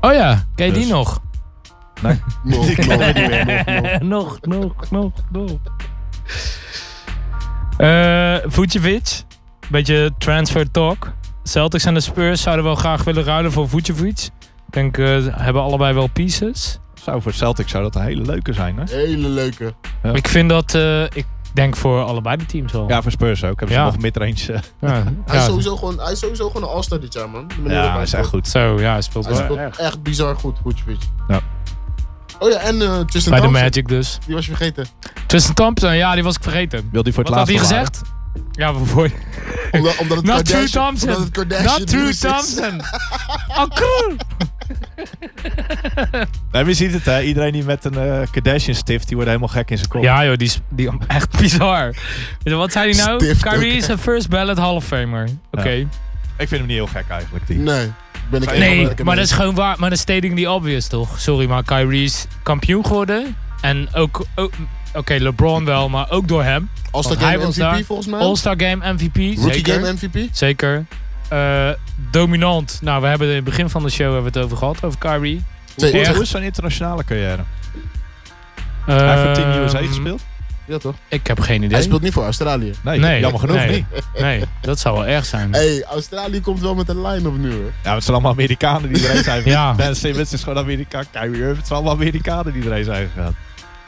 [SPEAKER 4] Oh ja, ken je die
[SPEAKER 6] Dus-
[SPEAKER 4] nog?
[SPEAKER 5] Nog, nog, nog, nog, nog.
[SPEAKER 4] nog, nog, nog, nog. Eh, Vucevic. Beetje transfer talk. Celtics en de Spurs zouden wel graag willen ruilen voor Vucevic. Ik denk, eh, ze hebben allebei wel pieces.
[SPEAKER 6] Zou voor Celtic zou dat een hele leuke zijn, hè?
[SPEAKER 5] Hele leuke.
[SPEAKER 6] Ja.
[SPEAKER 4] Ik vind dat... eh, ik, denk voor allebei de teams wel.
[SPEAKER 6] Ja, voor Spurs ook. Hebben ze
[SPEAKER 4] Ja.
[SPEAKER 6] nog midrange. eh,
[SPEAKER 4] Ja,
[SPEAKER 5] Hij,
[SPEAKER 4] ja,
[SPEAKER 5] is sowieso gewoon, hij is sowieso gewoon een all-star dit jaar, man. De manier waarop
[SPEAKER 6] ja,
[SPEAKER 5] hij
[SPEAKER 6] dat is echt
[SPEAKER 5] speelt.
[SPEAKER 6] goed.
[SPEAKER 4] Zo, ja, hij speelt
[SPEAKER 5] Hij
[SPEAKER 4] wel
[SPEAKER 5] speelt
[SPEAKER 4] erg.
[SPEAKER 5] echt bizar goed, Vucevic.
[SPEAKER 6] Ja.
[SPEAKER 5] Oh ja, en eh Tristan
[SPEAKER 4] Bij de
[SPEAKER 5] Thompson,
[SPEAKER 4] Magic dus.
[SPEAKER 5] die was je vergeten.
[SPEAKER 4] Tristan Thompson, ja, die was ik vergeten.
[SPEAKER 6] Wil hij voor het
[SPEAKER 4] Wat had
[SPEAKER 6] laatst
[SPEAKER 4] hij
[SPEAKER 6] bewaren?
[SPEAKER 4] gezegd? Ja, voor
[SPEAKER 5] Omdat, omdat het
[SPEAKER 4] Not true
[SPEAKER 5] Kardashian,
[SPEAKER 4] Thompson.
[SPEAKER 5] Omdat het Kardashian
[SPEAKER 4] Not true
[SPEAKER 5] virus is.
[SPEAKER 4] Thompson. Oh, cool.
[SPEAKER 6] Nee, maar je ziet het, hè. Iedereen die met een eh, Kardashian stift, die wordt helemaal gek in zijn kop.
[SPEAKER 4] Ja joh, die is die, echt bizar. Wat zei hij nou?
[SPEAKER 5] Stift
[SPEAKER 4] Kyrie
[SPEAKER 5] ook.
[SPEAKER 4] is een first ballot Hall of Famer. Oké.
[SPEAKER 6] Ik vind hem niet heel gek eigenlijk. Die.
[SPEAKER 5] Nee, ben ik
[SPEAKER 4] Nee,
[SPEAKER 5] helemaal-
[SPEAKER 4] maar dat is gewoon waar. Maar dat is stating die obvious, toch? Sorry, maar Kyrie is kampioen geworden. En ook... ook- Oké, LeBron wel, maar ook door hem.
[SPEAKER 5] All-star
[SPEAKER 4] want hij
[SPEAKER 5] Game
[SPEAKER 4] was
[SPEAKER 5] MVP
[SPEAKER 4] daar.
[SPEAKER 5] volgens mij.
[SPEAKER 4] All-Star Game MVP,
[SPEAKER 5] Rookie
[SPEAKER 4] zeker.
[SPEAKER 5] Game MVP.
[SPEAKER 4] zeker. Eh, dominant. Nou, we hebben het in het begin van de show hebben we het over gehad, over Kyrie.
[SPEAKER 5] Twee,
[SPEAKER 6] Hoe-
[SPEAKER 4] erg?
[SPEAKER 6] Hoe is zijn internationale carrière? Hij heeft voor Team USA
[SPEAKER 4] Ehm,
[SPEAKER 6] gespeeld?
[SPEAKER 5] Ja toch?
[SPEAKER 4] Ik heb geen idee.
[SPEAKER 5] Hij speelt niet voor Australië.
[SPEAKER 6] Nee,
[SPEAKER 4] Nee.
[SPEAKER 6] jammer genoeg
[SPEAKER 4] Nee.
[SPEAKER 6] niet.
[SPEAKER 4] Nee, dat zou wel erg zijn.
[SPEAKER 5] hey, Australië komt wel met een line-up nu hoor.
[SPEAKER 6] Ja, maar het zijn allemaal Amerikanen die erin zijn.
[SPEAKER 4] Ja.
[SPEAKER 6] Ben Simmons is gewoon Amerikaan. Kyrie Irving, het zijn allemaal Amerikanen die erin zijn gegaan.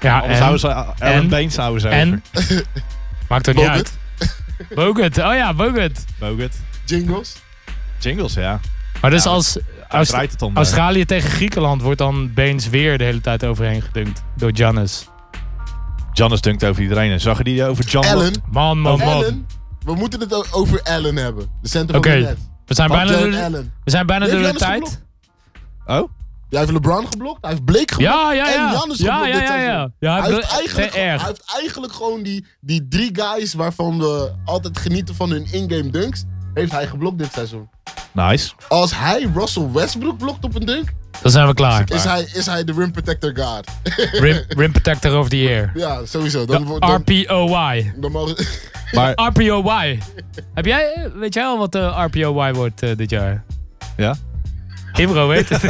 [SPEAKER 4] Ja,
[SPEAKER 6] Anders
[SPEAKER 4] en,
[SPEAKER 6] zouden ze, Aaron
[SPEAKER 4] en-
[SPEAKER 6] Baines zouden ze
[SPEAKER 4] en maakt er niet
[SPEAKER 5] Bogut,
[SPEAKER 4] uit. Bogut, oh ja, Bogut.
[SPEAKER 6] over. Bogut.
[SPEAKER 5] Jingles.
[SPEAKER 6] Jingles, ja.
[SPEAKER 4] Maar dus
[SPEAKER 6] Ja,
[SPEAKER 4] als
[SPEAKER 6] Hij
[SPEAKER 4] Austra-
[SPEAKER 6] draait het om. eh.
[SPEAKER 4] Australië tegen Griekenland wordt dan Beens weer de hele tijd overheen gedunkt door Giannis.
[SPEAKER 6] Giannis dunkt over iedereen. En zag je die over John?
[SPEAKER 5] Allen.
[SPEAKER 4] Man, man, man.
[SPEAKER 5] Allen. We moeten het o- over Allen hebben. De center
[SPEAKER 4] Oké,
[SPEAKER 5] van de net.
[SPEAKER 4] we zijn
[SPEAKER 5] Van
[SPEAKER 4] bijna door
[SPEAKER 5] Jalen
[SPEAKER 4] de,
[SPEAKER 5] Allen.
[SPEAKER 4] we zijn bijna
[SPEAKER 5] Heeft
[SPEAKER 4] door de
[SPEAKER 5] Giannis
[SPEAKER 4] tijd.
[SPEAKER 5] geblokt?
[SPEAKER 6] Oh?
[SPEAKER 5] Hij heeft LeBron geblokt. Hij heeft Blake geblokt.
[SPEAKER 4] Ja, ja, ja.
[SPEAKER 5] En Giannis
[SPEAKER 4] ja,
[SPEAKER 5] geblokt
[SPEAKER 4] ja,
[SPEAKER 5] dit
[SPEAKER 4] ja,
[SPEAKER 5] seizoen.
[SPEAKER 4] ja. ja.
[SPEAKER 5] Hij heeft,
[SPEAKER 4] te
[SPEAKER 5] eigenlijk,
[SPEAKER 4] erg.
[SPEAKER 5] hij heeft eigenlijk gewoon die, die drie guys waarvan we altijd genieten van hun in-game dunks. Heeft hij geblokt dit seizoen.
[SPEAKER 6] Nice.
[SPEAKER 5] Als hij Russell Westbrook blokt op een dunk,
[SPEAKER 4] Dan zijn we klaar.
[SPEAKER 5] is hij, is hij de rim protector guard.
[SPEAKER 4] Rim, rim Protector of the Year.
[SPEAKER 5] ja, sowieso. Dan,
[SPEAKER 4] De
[SPEAKER 5] wordt dan,
[SPEAKER 4] RPOY.
[SPEAKER 5] dan mogen,
[SPEAKER 6] Maar
[SPEAKER 4] RPOY. Heb jij, eh, weet jij al wat de RPOY wordt eh, dit jaar?
[SPEAKER 6] Ja?
[SPEAKER 4] Imro weet het.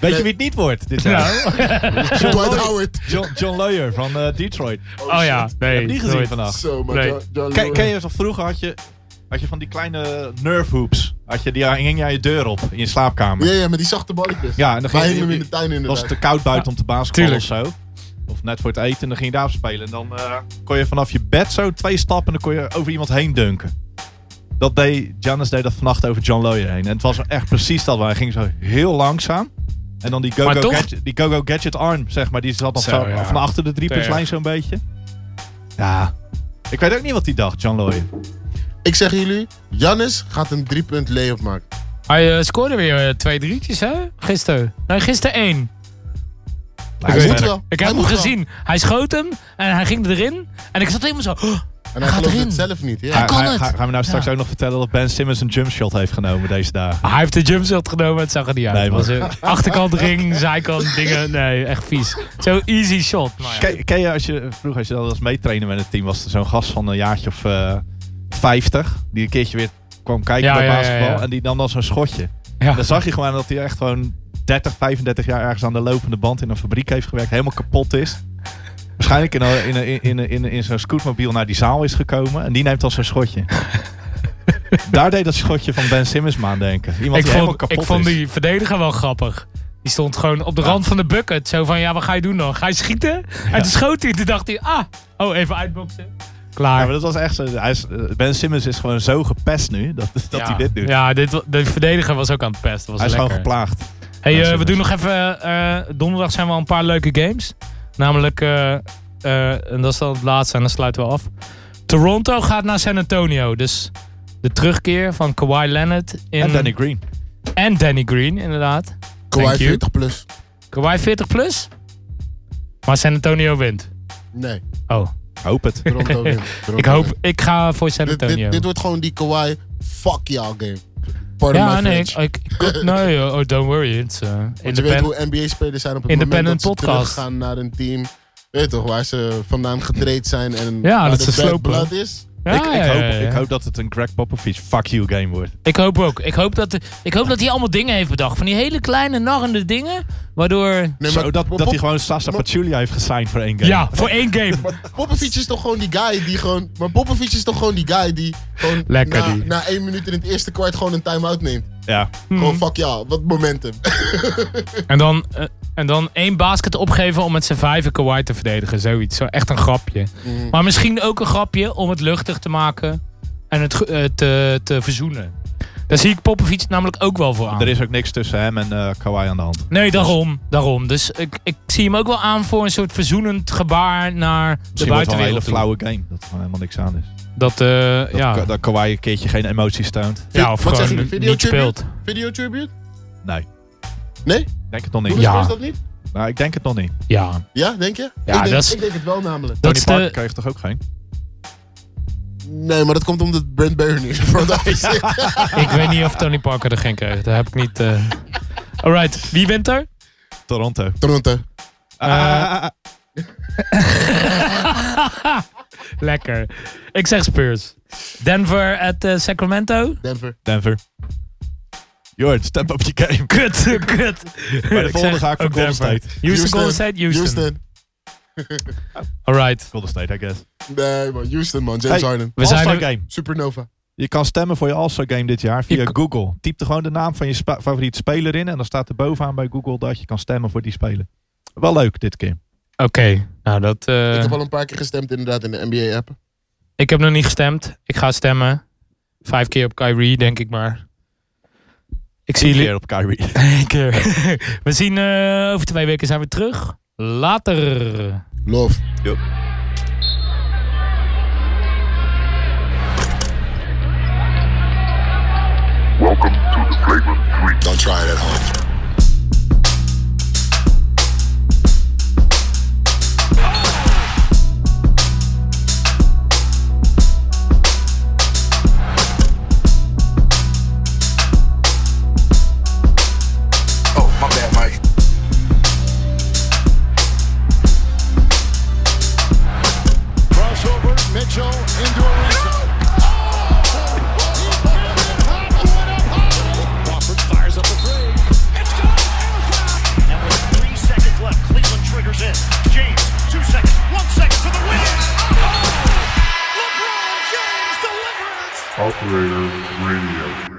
[SPEAKER 6] weet je wie het niet wordt? Dit
[SPEAKER 4] Nou,
[SPEAKER 6] jaar?
[SPEAKER 5] Dwight Howard.
[SPEAKER 6] John, John Lawyer van eh, Detroit.
[SPEAKER 4] Oh ja, nee.
[SPEAKER 6] ik heb die gezien
[SPEAKER 4] nooit.
[SPEAKER 6] vandaag.
[SPEAKER 5] Zo, maar
[SPEAKER 4] Nee.
[SPEAKER 5] John- John
[SPEAKER 6] Ken, ken
[SPEAKER 5] Lewis.
[SPEAKER 6] je van vroeger had je, had je van die kleine nerve hoops. Had je, die hing je aan je deur op in je slaapkamer.
[SPEAKER 5] Ja, ja, met die zachte balletjes.
[SPEAKER 6] Ja, en dan
[SPEAKER 5] Wij
[SPEAKER 6] ging je-
[SPEAKER 5] hingen hem in de tuin
[SPEAKER 6] was
[SPEAKER 5] inderdaad.
[SPEAKER 6] het te koud buiten om te basketballen of
[SPEAKER 4] Tuurlijk.
[SPEAKER 6] zo. Of net voor het eten en dan ging je daarop spelen. En dan eh, kon je vanaf je bed zo twee stappen en dan kon je over iemand heen dunken. Dat deed, Giannis deed dat vannacht over John Lawyer heen. En het was echt precies dat. Hij ging zo heel langzaam. En dan die
[SPEAKER 4] Maar
[SPEAKER 6] go-go
[SPEAKER 4] toch-
[SPEAKER 6] gadget, die go-go gadget arm, zeg maar. Die zat nog
[SPEAKER 4] Zo,
[SPEAKER 6] zo,
[SPEAKER 4] ja.
[SPEAKER 6] van achter de driepuntslijn
[SPEAKER 4] Terg.
[SPEAKER 6] zo'n beetje. Ja. Ik weet ook niet wat hij dacht, John Lawyer.
[SPEAKER 5] Ik zeg jullie, Jannis gaat een drie-punt layup maken.
[SPEAKER 4] Hij eh, scoorde weer eh, twee drietjes, hè? Gisteren. Nee, gisteren één.
[SPEAKER 5] Hij
[SPEAKER 6] weet
[SPEAKER 5] moet
[SPEAKER 6] het.
[SPEAKER 5] wel.
[SPEAKER 4] Ik
[SPEAKER 5] Hij
[SPEAKER 4] heb hem
[SPEAKER 5] moet wel.
[SPEAKER 4] gezien. Hij schoot hem en hij ging erin. En ik zat helemaal zo. "Oh,
[SPEAKER 5] En hij
[SPEAKER 4] gaat
[SPEAKER 5] gelooft
[SPEAKER 4] erin."
[SPEAKER 5] het zelf niet. Ja.
[SPEAKER 4] Hij kan
[SPEAKER 6] Ga-
[SPEAKER 4] het.
[SPEAKER 6] ga- Gaan we nou straks ook nog vertellen dat Ben Simmons een jumpshot heeft genomen deze dagen?
[SPEAKER 4] Ah, Hij heeft de jumpshot genomen, het zag er niet uit.
[SPEAKER 6] Nee,
[SPEAKER 4] Het was een achterkant ring, zijkant dingen. Nee, echt vies. Zo easy shot. Maar Nou ja.
[SPEAKER 6] Ken, ken je als je vroeger als je dat als meetrainen met het team was er zo'n gast van een jaartje of eh 50 die een keertje weer kwam kijken
[SPEAKER 4] Ja,
[SPEAKER 6] bij
[SPEAKER 4] ja, ja,
[SPEAKER 6] basketbal
[SPEAKER 4] ja.
[SPEAKER 6] en die nam dan zo'n schotje.
[SPEAKER 4] Ja.
[SPEAKER 6] Dan zag je gewoon dat hij echt gewoon 30, 35 jaar ergens aan de lopende band in een fabriek heeft gewerkt, helemaal kapot is. Waarschijnlijk in, een- in, een- in, een- in, een- in zo'n scootmobiel naar die zaal is gekomen en die neemt dan zo'n schotje. Daar deed dat schotje van Ben Simmons me aan denken. Iemand
[SPEAKER 4] ik
[SPEAKER 6] die helemaal
[SPEAKER 4] vond,
[SPEAKER 6] kapot
[SPEAKER 4] ik vond
[SPEAKER 6] is.
[SPEAKER 4] die verdediger wel grappig. Die stond gewoon op de rand van de bucket. Zo van, ja, wat ga je doen dan? Ga je schieten? En toen schoot hij. Toen dacht hij, ah, oh, even uitboksen.
[SPEAKER 6] Ja,
[SPEAKER 4] Klaar.
[SPEAKER 6] maar dat was echt zo. Hij is, eh, ben Simmons is gewoon zo gepest nu dat, dat
[SPEAKER 4] Ja.
[SPEAKER 6] hij dit doet.
[SPEAKER 4] Ja, dit, wa- de verdediger was ook aan het pesten. Was
[SPEAKER 6] hij is
[SPEAKER 4] lekker.
[SPEAKER 6] gewoon geplaagd.
[SPEAKER 4] Hey, eh, we
[SPEAKER 6] Simmons.
[SPEAKER 4] doen nog even. eh, donderdag zijn wel een paar leuke games. Namelijk, eh, eh, en dat is dan het laatste en dan sluiten we af. Toronto gaat naar San Antonio. Dus de terugkeer van Kawhi Leonard in,
[SPEAKER 6] En Danny Green.
[SPEAKER 4] en Danny Green, inderdaad.
[SPEAKER 5] Kawhi
[SPEAKER 4] Thank you.
[SPEAKER 5] 40 plus.
[SPEAKER 4] Kawhi 40 plus. Maar San Antonio wint.
[SPEAKER 5] Nee,
[SPEAKER 4] Oh,
[SPEAKER 6] Hoop het.
[SPEAKER 5] Toronto wint. Toronto
[SPEAKER 4] ik hoop.
[SPEAKER 5] wint.
[SPEAKER 4] Ik ga voor San
[SPEAKER 5] Dit, dit,
[SPEAKER 4] Antonio.
[SPEAKER 5] dit wordt gewoon die Kawhi fuck y'all game. Pardon
[SPEAKER 4] ja,
[SPEAKER 5] my
[SPEAKER 4] nee. Ik,
[SPEAKER 5] French.
[SPEAKER 4] ik, ik- nee, oh, don't worry. It's, eh,
[SPEAKER 5] Want je weet
[SPEAKER 4] independ-
[SPEAKER 5] hoe NBA-spelers zijn op het moment dat
[SPEAKER 4] Independent
[SPEAKER 5] ze
[SPEAKER 4] podcast.
[SPEAKER 5] teruggaan naar een team. Weet je toch, waar ze vandaan getraind zijn en
[SPEAKER 4] Ja,
[SPEAKER 5] waar
[SPEAKER 4] dat
[SPEAKER 5] de
[SPEAKER 4] ze
[SPEAKER 5] bad
[SPEAKER 4] slopen.
[SPEAKER 5] blood is.
[SPEAKER 4] Ja,
[SPEAKER 6] ik, ik,
[SPEAKER 4] ja,
[SPEAKER 6] hoop,
[SPEAKER 4] ja, ja.
[SPEAKER 6] ik hoop dat het een Greg Popovich fuck you game wordt.
[SPEAKER 4] Ik hoop ook. Ik hoop, dat, ik hoop dat hij allemaal dingen heeft bedacht. Van die hele kleine narrende dingen. Waardoor.
[SPEAKER 5] Nee,
[SPEAKER 6] Zo, dat,
[SPEAKER 5] Pop-
[SPEAKER 6] dat hij gewoon Sasa Pachulia heeft gesigned voor één game.
[SPEAKER 4] Ja, voor één game.
[SPEAKER 5] Popovic is toch gewoon die guy die gewoon... Maar Popovic is toch gewoon die guy die gewoon
[SPEAKER 4] Lekker
[SPEAKER 5] na,
[SPEAKER 4] die. Mhm.
[SPEAKER 5] na één minuut in het eerste kwart gewoon een time-out neemt.
[SPEAKER 6] Ja,
[SPEAKER 4] Hmm.
[SPEAKER 5] Gewoon fuck ja, wat momentum.
[SPEAKER 4] En dan, eh, en dan één basket opgeven om met z'n vijven Kawhi te verdedigen. Zoiets. Zo echt een grapje.
[SPEAKER 6] Hmm.
[SPEAKER 4] Maar misschien ook een grapje om het luchtig te maken en het ge- eh, te, te verzoenen. Daar zie ik Popovic namelijk ook wel voor
[SPEAKER 6] er
[SPEAKER 4] aan.
[SPEAKER 6] is ook niks tussen hem en eh Kawhi aan de hand.
[SPEAKER 4] Nee, daarom. daarom. Dus ik, ik zie hem ook wel aan voor een soort verzoenend gebaar naar de
[SPEAKER 6] Misschien wordt het wel een hele
[SPEAKER 4] buitenwereld. toe.
[SPEAKER 6] flauwe game. Dat er gewoon helemaal niks aan is.
[SPEAKER 4] Dat, eh,
[SPEAKER 6] Dat,
[SPEAKER 4] ja.
[SPEAKER 6] Ka- dat Kawhi een keertje geen emoties toont.
[SPEAKER 4] ja, of
[SPEAKER 5] Wat zeg je,
[SPEAKER 4] gewoon
[SPEAKER 5] video
[SPEAKER 4] niet
[SPEAKER 5] tribute?
[SPEAKER 4] speelt.
[SPEAKER 5] Video tribute?
[SPEAKER 6] Nee.
[SPEAKER 5] Nee?
[SPEAKER 6] Ik denk het nog
[SPEAKER 5] Doe
[SPEAKER 6] niet.
[SPEAKER 5] de
[SPEAKER 4] Ja.
[SPEAKER 5] Spurs dat niet?
[SPEAKER 6] Nou, ik denk het nog niet. Tony
[SPEAKER 4] Ja,
[SPEAKER 5] Ja, denk je?
[SPEAKER 4] Ja,
[SPEAKER 5] ik, denk,
[SPEAKER 4] dat is-
[SPEAKER 5] ik denk het wel namelijk.
[SPEAKER 4] dat is
[SPEAKER 6] Parker
[SPEAKER 4] de...
[SPEAKER 6] kreeg toch ook geen?
[SPEAKER 5] Nee, maar dat komt omdat Brent Barron in de front office zit.
[SPEAKER 4] Ik weet niet of Tony Parker er geen kreeg. Daar heb ik niet... eh. Alright, wie wint er?
[SPEAKER 6] Toronto.
[SPEAKER 5] Toronto.
[SPEAKER 4] Eh.
[SPEAKER 6] Ah,
[SPEAKER 4] Lekker. Ik zeg Spurs. Denver at eh, Sacramento.
[SPEAKER 5] Denver.
[SPEAKER 6] Denver. Jordan, step up je game.
[SPEAKER 4] Kut, kut.
[SPEAKER 6] Bij de
[SPEAKER 4] Ik zeg
[SPEAKER 6] volgende ga ik voor
[SPEAKER 4] ook
[SPEAKER 6] Golden
[SPEAKER 4] Denver.
[SPEAKER 6] State.
[SPEAKER 4] Houston, Golden State, Houston.
[SPEAKER 5] Houston.
[SPEAKER 4] Alright.
[SPEAKER 6] Golden State, I guess.
[SPEAKER 5] Nee man, Houston man. James
[SPEAKER 6] Hey.
[SPEAKER 5] Harden.
[SPEAKER 4] We zijn
[SPEAKER 6] All-Star
[SPEAKER 4] er-
[SPEAKER 6] game.
[SPEAKER 5] Supernova.
[SPEAKER 6] Je kan stemmen voor je All-Star Game dit jaar via
[SPEAKER 4] Je
[SPEAKER 6] Google. Typ er gewoon de naam van je spa- favoriete speler in. En dan staat er bovenaan bij Google dat je kan stemmen voor die speler. Wel leuk dit keer.
[SPEAKER 4] Oké. Nou, dat... eh,
[SPEAKER 5] Ik heb al een paar keer gestemd inderdaad in de NBA-app.
[SPEAKER 4] nog niet gestemd. Ik ga stemmen. Vijf keer op Kyrie, denk ik maar. Ik zie jullie...
[SPEAKER 6] Keer op Kyrie.
[SPEAKER 4] Eén keer. We zien... eh, over twee weken zijn we terug. Later.
[SPEAKER 5] Love.
[SPEAKER 3] Welcome to the Flavor 3.
[SPEAKER 5] Don't try it at home.
[SPEAKER 7] Oh, my bad, Mike.
[SPEAKER 2] Crossover, Mitchell into a
[SPEAKER 1] Crawford fires up a three.
[SPEAKER 2] And with three seconds left, Cleveland triggers in. James, two seconds, one second for the win. Oh!
[SPEAKER 3] Operator Radio.